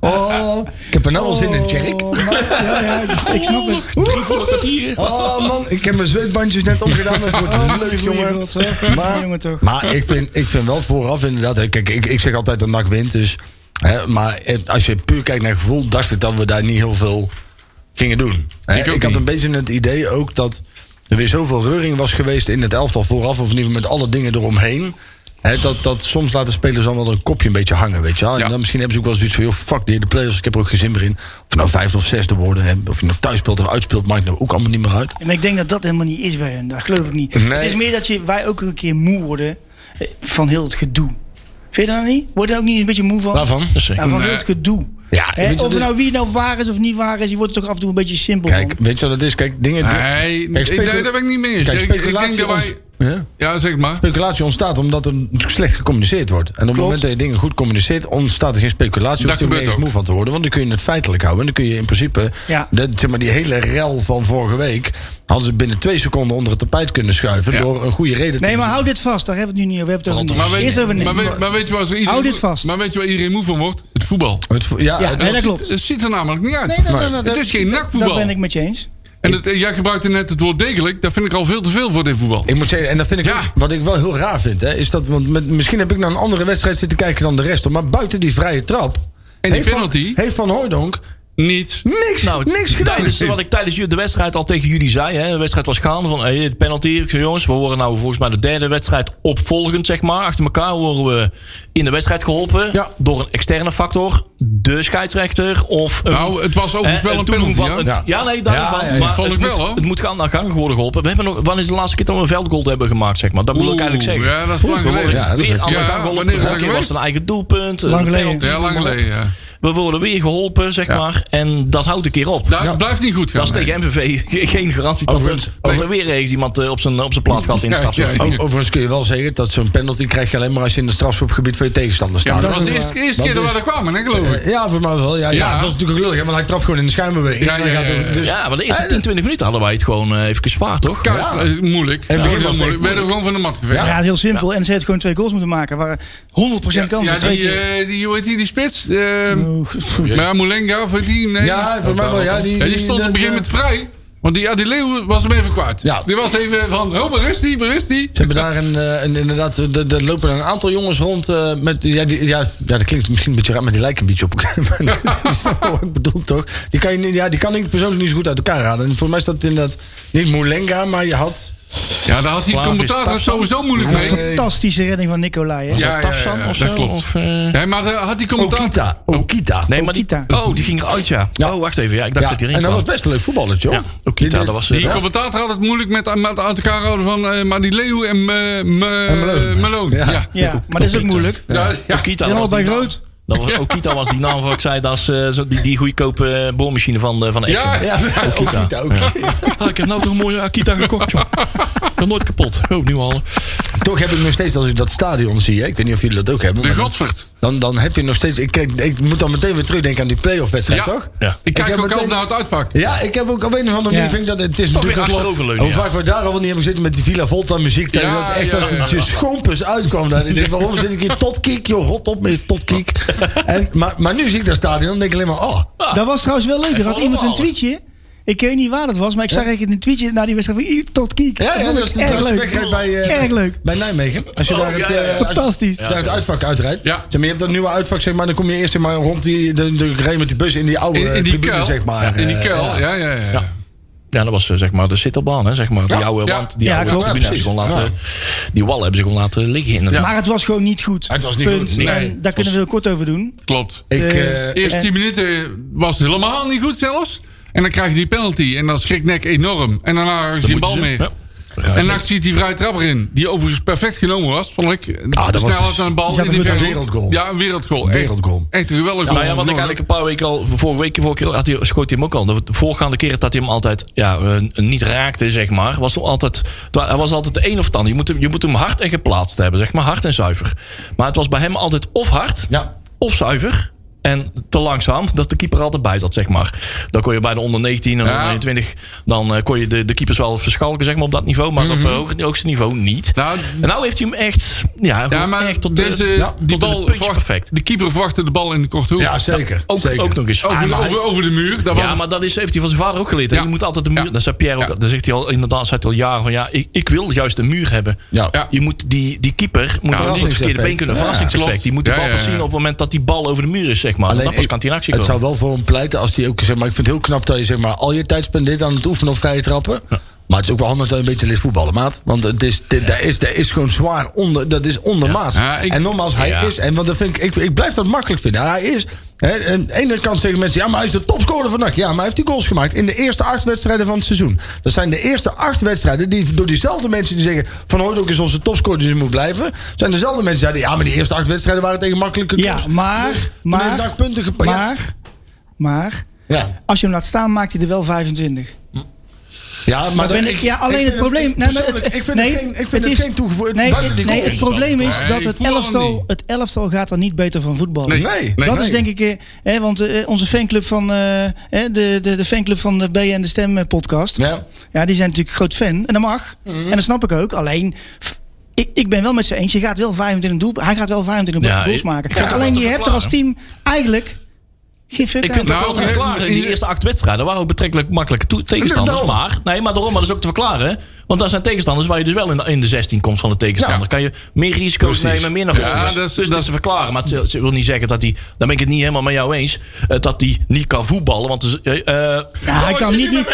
Speaker 4: Oh, ik heb er nou al zin in, Tjerk.
Speaker 7: Oh, maar- ja, ja, ik snap het.
Speaker 3: Drie voor het kwartier.
Speaker 4: Oh man, ik heb mijn zweetbandjes net omgedaan. Dat wordt
Speaker 8: Oh,
Speaker 4: leuk,
Speaker 7: Oh, Goeie
Speaker 4: jongen.
Speaker 7: God, hè.
Speaker 4: Maar-
Speaker 7: Jongen, toch.
Speaker 4: Maar ik vind, ik vind wel vooraf inderdaad... hè, Kijk, ik, ik zeg altijd dat NAC wint, dus... Hè, maar eh, als je puur kijkt naar gevoel... dacht ik dat we daar niet heel veel gingen doen. Hè,
Speaker 8: Ik
Speaker 4: ik
Speaker 8: ook
Speaker 4: had
Speaker 8: niet.
Speaker 4: een beetje het idee ook dat... er weer zoveel reuring was geweest in het elftal vooraf... of in ieder geval met alle dingen eromheen... hè, dat, dat soms laten spelers dan wel een kopje een beetje hangen, weet je wel. En
Speaker 8: Ja.
Speaker 4: dan misschien hebben ze ook wel zoiets van... joh, fuck die de players, ik heb er ook geen zin meer in. Of nou vijfde of zesde worden, hè, of je nou thuis speelt of uit speelt... maakt nou ook allemaal niet meer uit.
Speaker 7: Ja, Maar ik denk dat dat helemaal niet is bij hen. Dat geloof ik niet.
Speaker 4: Nee.
Speaker 7: Het is meer dat je, wij ook een keer moe worden eh, van heel het gedoe. Vind je dat niet? Word je daar ook niet een beetje moe van?
Speaker 4: Waarvan?
Speaker 7: Ja, van
Speaker 8: Nee.
Speaker 7: heel het gedoe.
Speaker 4: Ja,
Speaker 7: Hè,
Speaker 4: weet je,
Speaker 7: of
Speaker 4: dat is-
Speaker 7: nou wie nou waar is of niet waar is, je wordt er toch af en toe een beetje simpel
Speaker 4: Kijk,
Speaker 7: van.
Speaker 4: weet je wat het is? Kijk, dingen...
Speaker 8: Nee,
Speaker 4: Kijk,
Speaker 8: ik-
Speaker 4: specu-
Speaker 8: nee, daar ben ik niet mee eens.
Speaker 4: Kijk,
Speaker 8: Ik- ik denk
Speaker 4: speculatie
Speaker 8: dat wij...
Speaker 4: ons- Ja?
Speaker 8: Ja, zeg maar.
Speaker 4: Speculatie ontstaat omdat er natuurlijk slecht gecommuniceerd wordt. En op het moment dat je dingen goed communiceert, ontstaat er geen speculatie. hoef
Speaker 8: Dat
Speaker 4: je er
Speaker 8: gebeurt
Speaker 4: nergens
Speaker 8: ook.
Speaker 4: moe van te worden. Want dan kun je het feitelijk houden. En dan kun je in principe.
Speaker 7: Ja.
Speaker 4: Dat, zeg maar, die hele rel van vorige week. hadden ze binnen twee seconden onder het tapijt kunnen schuiven.
Speaker 8: Ja.
Speaker 4: door een goede reden
Speaker 7: Nee,
Speaker 4: te
Speaker 7: maar hou dit vast. Daar hebben we het nu niet over. We hebben het over
Speaker 8: Maar
Speaker 7: niks.
Speaker 8: weet,
Speaker 7: Eerst over niks.
Speaker 8: maar, weet, maar weet je waar iedereen,
Speaker 7: Hou dit
Speaker 8: moe-
Speaker 7: vast.
Speaker 8: Maar weet je waar iedereen moe van wordt? Het voetbal.
Speaker 4: Het vo- ja,
Speaker 7: Ja,
Speaker 4: het-
Speaker 7: nee, dat
Speaker 8: ziet-
Speaker 7: klopt.
Speaker 8: Het ziet er namelijk niet uit.
Speaker 7: nee, nee, nee,
Speaker 8: het is geen
Speaker 7: Dat
Speaker 8: nakvoetbal.
Speaker 7: ben ik met je eens.
Speaker 8: En het, eh, jij gebruikte net het woord degelijk. Dat vind ik al veel te veel voor dit voetbal.
Speaker 4: Ik moet zeggen, en dat vind ik
Speaker 8: Ja.
Speaker 4: ook- wat ik wel heel raar vind, hè, is dat want met, misschien heb ik naar een andere wedstrijd zitten kijken dan de rest, hoor, maar buiten die vrije trap
Speaker 8: die
Speaker 4: heeft
Speaker 8: penalty?
Speaker 4: van, heeft van Hooydonk
Speaker 8: Niet.
Speaker 4: niks,
Speaker 3: Nou,
Speaker 4: niks gedaan.
Speaker 3: Tijdens, wat ik tijdens jullie- de wedstrijd al tegen jullie zei. Hè, de wedstrijd was gaande van hey, de penalty. Ik zei, jongens, we worden nou volgens mij de derde wedstrijd opvolgend, zeg maar. Achter elkaar worden we in de wedstrijd geholpen.
Speaker 4: Ja.
Speaker 3: Door een externe factor. De scheidsrechter of... Een,
Speaker 8: Nou, het was
Speaker 3: hè,
Speaker 4: Eh,
Speaker 8: overigens wel een
Speaker 3: toedoen
Speaker 8: penalty.
Speaker 3: van
Speaker 8: ja.
Speaker 3: het-
Speaker 4: Ja.
Speaker 3: ja. nee, daarvan.
Speaker 4: Ja, ja, ja.
Speaker 3: Maar
Speaker 8: Vond
Speaker 3: het,
Speaker 8: ik wel,
Speaker 3: moet,
Speaker 8: hoor.
Speaker 3: het moet gaan, naar gang worden geholpen. We hebben nog, wanneer is de laatste keer dat we een veldgoal hebben gemaakt, zeg maar? Dat moet ik
Speaker 8: Oeh,
Speaker 3: eigenlijk zeggen.
Speaker 8: Ja, dat is lang
Speaker 4: We worden-
Speaker 8: geleden.
Speaker 4: ja, dat is
Speaker 3: Weer
Speaker 4: echt-
Speaker 3: aan de
Speaker 8: Ja,
Speaker 3: gang geholpen.
Speaker 8: wanneer is dat
Speaker 3: Vorige keer was
Speaker 8: geweest?
Speaker 3: het een eigen doelpunt. een
Speaker 7: Lang geleden.
Speaker 3: penalty,
Speaker 8: Ja, lang
Speaker 3: noem maar op.
Speaker 8: geleden. Ja.
Speaker 3: We worden weer geholpen, zeg
Speaker 8: Ja.
Speaker 3: maar. En dat houdt een keer op.
Speaker 8: Dat blijft niet goed gaan.
Speaker 3: Dat is
Speaker 8: nee.
Speaker 3: tegen MVV ge- geen garantie dat
Speaker 4: Overigens-
Speaker 3: er, dat er weer ergens iemand eh, op zijn, op zijn plaat gaat in de
Speaker 8: Ja,
Speaker 3: strafschop.
Speaker 8: ja,
Speaker 4: Over- Overigens kun je wel zeggen dat zo'n penalty krijg je alleen maar als je in het strafschopgebied van je tegenstander
Speaker 8: Ja,
Speaker 4: staat.
Speaker 8: dat was de
Speaker 7: is
Speaker 8: eerste, eerste
Speaker 4: Dat
Speaker 8: keer dat we
Speaker 4: is- eh,
Speaker 8: er kwamen, hè, geloof ik.
Speaker 4: Ja, voor mij wel. Ja, ja.
Speaker 8: Ja.
Speaker 4: het was natuurlijk ook lullig, hè, want hij trapt gewoon in de schuimbeweging.
Speaker 8: Ja, ja, ja, ja, ja.
Speaker 4: Dus,
Speaker 3: Ja, maar de eerste 10, 20 minuten hadden wij het gewoon eh, even gespaard, toch?
Speaker 8: Kuis, eh, moeilijk.
Speaker 4: het
Speaker 8: Ja,
Speaker 4: begin
Speaker 8: heel
Speaker 4: was echt
Speaker 8: moeilijk. We werden gewoon van de mat geveegd.
Speaker 7: Ja, heel simpel. En ze heeft gewoon twee goals moeten maken. Waar 100% kans
Speaker 8: Ja,
Speaker 7: is. Twee
Speaker 8: die,
Speaker 7: keer.
Speaker 8: eh, die, hoe heet die, die spits? Eh, maar Moulenga, of heet die? Nee.
Speaker 4: Nou, Ja, voor mij wel, ja, die-
Speaker 8: die
Speaker 4: die-
Speaker 8: stond op
Speaker 4: dat, eh,
Speaker 8: een gegeven moment vrij. Want die Adileeuw was hem even kwaad.
Speaker 4: Ja.
Speaker 8: Die was even van, oh, waar is die, waar is die?
Speaker 4: Ze hebben daar een, eh, een- inderdaad, eh, er er lopen een aantal jongens rond. eh, met, ja, die, ja, ja, dat klinkt misschien een beetje raar, maar die lijken een beetje op elkaar. Maar die snap wat ik bedoel toch? Die kan, je, niet- ja, die kan ik persoonlijk niet zo goed uit elkaar raden. En voor mij is dat inderdaad niet Moulenga, maar je had.
Speaker 8: Ja, daar had die
Speaker 3: Slavisch
Speaker 8: commentator
Speaker 3: Tarzan.
Speaker 8: sowieso moeilijk
Speaker 4: Ja,
Speaker 8: mee.
Speaker 4: eh,
Speaker 7: Fantastische redding van Nicolai. hè.
Speaker 8: Ja,
Speaker 3: dat Tafsan of
Speaker 8: dat
Speaker 3: zo?
Speaker 8: klopt.
Speaker 3: Of, eh,
Speaker 8: Ja, maar daar had die commentator...
Speaker 4: Okita. Okita.
Speaker 3: Oh. Nee, maar die,
Speaker 7: Okita.
Speaker 3: oh, die ging eruit, ja. Oh, wacht even. Ja, ik dacht
Speaker 4: Ja,
Speaker 3: dat die
Speaker 4: en
Speaker 3: erin
Speaker 4: dat was
Speaker 3: kwam.
Speaker 4: best een leuk voetballertje, hoor.
Speaker 3: Ja, Okita,
Speaker 4: Die-
Speaker 3: dat was... eh,
Speaker 8: Die commentator had het moeilijk met, eh, met uit elkaar houden van eh maar die Leeuw en, eh, me-
Speaker 4: En Malone.
Speaker 8: Malone. Ja.
Speaker 4: Ja.
Speaker 8: Ja.
Speaker 7: Ja, maar dat is ook moeilijk.
Speaker 8: Ja.
Speaker 3: Okita,
Speaker 7: Die
Speaker 3: dat
Speaker 7: zijn
Speaker 3: was
Speaker 7: allebei
Speaker 3: die naam.
Speaker 7: groot.
Speaker 3: Dat was, Okita was die naam van ik zei, dat is eh, zo die, die goedkope eh, boormachine van, eh, van Action.
Speaker 8: Ja.
Speaker 4: Ja,
Speaker 3: Okita.
Speaker 4: Okita. Okita.
Speaker 3: Ah, ik heb nou toch een mooie Akita gekocht, joh. Ik ben nooit kapot. Oh, nu al.
Speaker 4: Toch heb ik nog steeds, als ik dat stadion zie, hè, ik weet niet of jullie dat ook hebben.
Speaker 8: De
Speaker 4: maar dan-
Speaker 8: Godvert.
Speaker 4: dan, dan heb je nog steeds. Ik, kijk, ik moet dan meteen weer terugdenken aan die playoff-wedstrijd, toch?
Speaker 3: Ja.
Speaker 8: Ik kijk
Speaker 4: heb
Speaker 8: ook altijd
Speaker 4: meteen-
Speaker 8: naar het uitpak.
Speaker 4: Ja, ik heb ook op een of andere manier.
Speaker 7: Ja.
Speaker 4: Vind ik dat, het is
Speaker 3: Toch weer
Speaker 4: natuurlijk ook-
Speaker 3: achteroverleunen,
Speaker 4: Hoe
Speaker 3: ja.
Speaker 4: vaak we daar al niet hebben gezeten met die Villa Volta muziek.
Speaker 8: Ja,
Speaker 4: Ja, dat echt
Speaker 8: ja,
Speaker 4: dat
Speaker 8: ja,
Speaker 4: het je schompus uitkwam. Daar. Ik denk, waarom zit ik hier tot kiek? Joh, rot op met je tot kiek. En, maar, maar nu zie ik dat stadion en denk ik alleen maar, oh.
Speaker 7: Dat was trouwens wel leuk. Er had
Speaker 3: allemaal
Speaker 7: iemand een
Speaker 3: alles.
Speaker 7: tweetje. Ik weet niet waar dat was, maar ik zag eigenlijk een tweetje naar die wedstrijd van I- tot Kiek.
Speaker 4: Ja, ja,
Speaker 7: vond
Speaker 4: dat
Speaker 7: ik
Speaker 4: is
Speaker 7: erg
Speaker 4: dat is
Speaker 7: leuk.
Speaker 4: weg bij, eh,
Speaker 7: erg leuk.
Speaker 4: bij Nijmegen. Als je
Speaker 3: Oh,
Speaker 4: daar het,
Speaker 3: ja, ja,
Speaker 4: eh,
Speaker 3: ja.
Speaker 4: als je
Speaker 7: Fantastisch.
Speaker 4: daar het uitvak uitrijdt.
Speaker 8: Ja.
Speaker 4: Zeg maar, je hebt dat nieuwe uitvak, zeg maar. Dan kom je eerst maar rond die, de, de, rij met die bus in die oude
Speaker 8: In, in die
Speaker 4: eh, tribune,
Speaker 8: kuil.
Speaker 4: zeg maar.
Speaker 8: in die
Speaker 4: Eh,
Speaker 8: kuil, ja, ja, ja.
Speaker 3: Ja, dat was eh, zeg maar de sittelbaan, hè, zeg maar. Die oude,
Speaker 8: Ja.
Speaker 3: wand, die
Speaker 7: Ja,
Speaker 3: oude
Speaker 7: klopt.
Speaker 3: tribune hebben ze gewoon laten... Die wal hebben ze gewoon laten liggen, inderdaad.
Speaker 7: Maar het was gewoon niet goed.
Speaker 4: Het was niet
Speaker 7: Punt.
Speaker 4: goed,
Speaker 3: nee.
Speaker 7: En daar kunnen we heel kort over doen.
Speaker 8: Klopt.
Speaker 4: Ik,
Speaker 7: Eh,
Speaker 4: eh,
Speaker 8: Eerst 10 minuten was het helemaal niet goed zelfs. En dan krijg je die penalty. En dan schrikt Nek enorm. En daarna raakt die
Speaker 3: moeten
Speaker 8: bal
Speaker 3: ze-
Speaker 8: meer.
Speaker 3: ja. Raak
Speaker 8: En
Speaker 3: je-
Speaker 8: dan ziet die vrije trap erin. Die overigens perfect genomen was, vond ik.
Speaker 4: Ah, dat was
Speaker 8: Snelheid
Speaker 4: dus-
Speaker 8: aan de bal.
Speaker 4: ja,
Speaker 8: in
Speaker 4: dat
Speaker 8: die
Speaker 4: was een
Speaker 8: verre hoek.
Speaker 4: wereldgoal.
Speaker 8: Ja, een wereldgoal. Echt-
Speaker 4: Wereldgoal.
Speaker 8: Echt, een geweldig goal.
Speaker 3: Nou ja, wat ik
Speaker 8: Enorm.
Speaker 3: eigenlijk een paar weken al, vorige week, vorige keer had hij, schoot hij hem ook al. De voorgaande keer dat hij hem altijd ja, eh, niet raakte, zeg maar, was hem altijd, hij was altijd de een of het ander. Je moet, hem, je moet hem hard en geplaatst hebben, zeg maar, hard en zuiver. Maar het was bij hem altijd of hard,
Speaker 4: Ja.
Speaker 3: of zuiver. En te langzaam, dat de keeper altijd bij zat, zeg maar. Dan kon je bij de onder 19 en
Speaker 8: Ja.
Speaker 3: onder 21... dan eh, kon je de, de keepers wel verschalken, zeg maar, op dat niveau. Maar op het hoog- hoogste niveau niet.
Speaker 8: Mhm. Nou,
Speaker 3: en nou heeft hij hem echt... Ja,
Speaker 8: Ja, maar
Speaker 3: echt tot
Speaker 8: deze,
Speaker 3: de, ja,
Speaker 8: die
Speaker 3: tot de
Speaker 8: bal
Speaker 3: puntje
Speaker 8: verwacht-
Speaker 3: perfect.
Speaker 8: De keeper verwachtte de bal in de korte hoek.
Speaker 4: ja, zeker.
Speaker 3: Ook,
Speaker 4: zeker.
Speaker 3: ook nog eens.
Speaker 8: Over,
Speaker 3: Ah, maar-
Speaker 8: over, over de muur. Dat was
Speaker 3: ja, maar dat is, heeft hij van zijn vader ook geleerd. hè?
Speaker 8: Ja.
Speaker 3: Je moet altijd de muur.
Speaker 8: Ja.
Speaker 3: Dat zei Pierre ook.
Speaker 8: Ja.
Speaker 3: Dat zegt hij al inderdaad zei hij al jaren van ja, ik, ik wil juist een muur hebben.
Speaker 4: Ja.
Speaker 8: Ja.
Speaker 3: Je moet die, die keeper moet wel niet op het verkeerde
Speaker 4: verrassingseffect.
Speaker 3: been kunnen.
Speaker 4: Ja,
Speaker 3: verrassingseffect. Die moet de
Speaker 8: Ja,
Speaker 3: bal
Speaker 8: ja, ja.
Speaker 3: zien op het moment dat die bal over de muur is, zeg maar. Alleen, dan pas
Speaker 4: ik-
Speaker 3: kan hij in actie
Speaker 4: het
Speaker 3: komen.
Speaker 4: zou wel voor hem pleiten als hij ook... Zeg maar, ik vind het heel knap dat je zeg maar, al je tijd spendeert aan het oefenen op vrije trappen. Maar het is ook wel handig dat je een beetje leert voetballen, maat. Want het is, dit, daar, is, daar is gewoon zwaar onder... Dat is ondermaats.
Speaker 8: Ja, ik-
Speaker 4: en nogmaals, hij
Speaker 3: Ja.
Speaker 4: is... En want dat vind ik, ik, ik blijf dat makkelijk vinden. Hij is... Hè, en aan de ene kant zeggen mensen... Ja, maar hij is de topscorer vandaag. Ja, maar hij heeft die goals gemaakt in de eerste acht wedstrijden van het seizoen. Dat zijn de eerste acht wedstrijden die door diezelfde mensen die zeggen... Van Hooydonk is onze topscorer, dus hij moet blijven. Zijn dezelfde mensen die zeggen... Ja, maar die eerste acht wedstrijden waren tegen makkelijke
Speaker 7: Ja,
Speaker 4: clubs.
Speaker 7: maar-
Speaker 4: Dus toen
Speaker 7: maar-
Speaker 4: heeft hij punten gepakt. Ja,
Speaker 7: Maar, maar,
Speaker 4: ja.
Speaker 7: als je hem laat staan, maakt hij er wel 25.
Speaker 4: Ja, maar
Speaker 7: ben
Speaker 4: dat-
Speaker 7: ik- ja, alleen
Speaker 4: vind
Speaker 7: het probleem- nee, maar het-
Speaker 4: persoonlijk, ik vind
Speaker 7: nee,
Speaker 4: het geen, ik vind
Speaker 7: het
Speaker 4: het
Speaker 7: is-
Speaker 4: geen toegevoegde.
Speaker 7: Nee,
Speaker 4: buiten die
Speaker 7: nee,
Speaker 4: goal.
Speaker 7: het probleem is
Speaker 8: Nee,
Speaker 7: dat het
Speaker 8: voel aan
Speaker 7: elftal,
Speaker 8: die.
Speaker 7: het elftal gaat er niet beter van voetballen.
Speaker 8: Nee.
Speaker 4: Nee.
Speaker 8: Nee.
Speaker 7: dat is denk ik, eh, hè, want eh, onze fanclub van eh, hè, de, de, de fanclub van de B en de Stem eh, podcast, ja.
Speaker 4: Ja. Mhm.
Speaker 7: die zijn natuurlijk groot fan en dat mag. En dat snap ik ook. Alleen, f- ik, ik ben wel met ze eens. Je gaat wel 25 doel, hij gaat wel 25
Speaker 3: Ja,
Speaker 7: goals
Speaker 3: ik-
Speaker 7: maken.
Speaker 3: ik vind het
Speaker 7: alleen
Speaker 3: wel te
Speaker 7: je hebt er als team eigenlijk geen fuck
Speaker 3: Ik
Speaker 7: aan.
Speaker 3: vind het ook wel
Speaker 8: Nou,
Speaker 3: te verklaren.
Speaker 8: eh,
Speaker 3: Die eerste acht wedstrijden waren ook betrekkelijk makkelijke toe- tegenstanders.
Speaker 4: daarom.
Speaker 3: Maar, nee, maar daarom, maar dat is ook te verklaren. hè. Want daar zijn tegenstanders waar je dus wel in de, in de 16 komt van de tegenstander.
Speaker 8: Ja.
Speaker 3: Kan je meer risico's
Speaker 4: Precies.
Speaker 3: nemen, meer naar
Speaker 8: Ja,
Speaker 3: voren.
Speaker 8: dat
Speaker 3: Dus
Speaker 8: is-
Speaker 3: dat
Speaker 8: dat-
Speaker 3: is te verklaren. Maar het ze wil niet zeggen dat hij, daar ben ik het niet helemaal met jou eens, eh, dat hij niet kan voetballen. Want dus, eh, eh,
Speaker 7: Ja, hij kan niet, niet,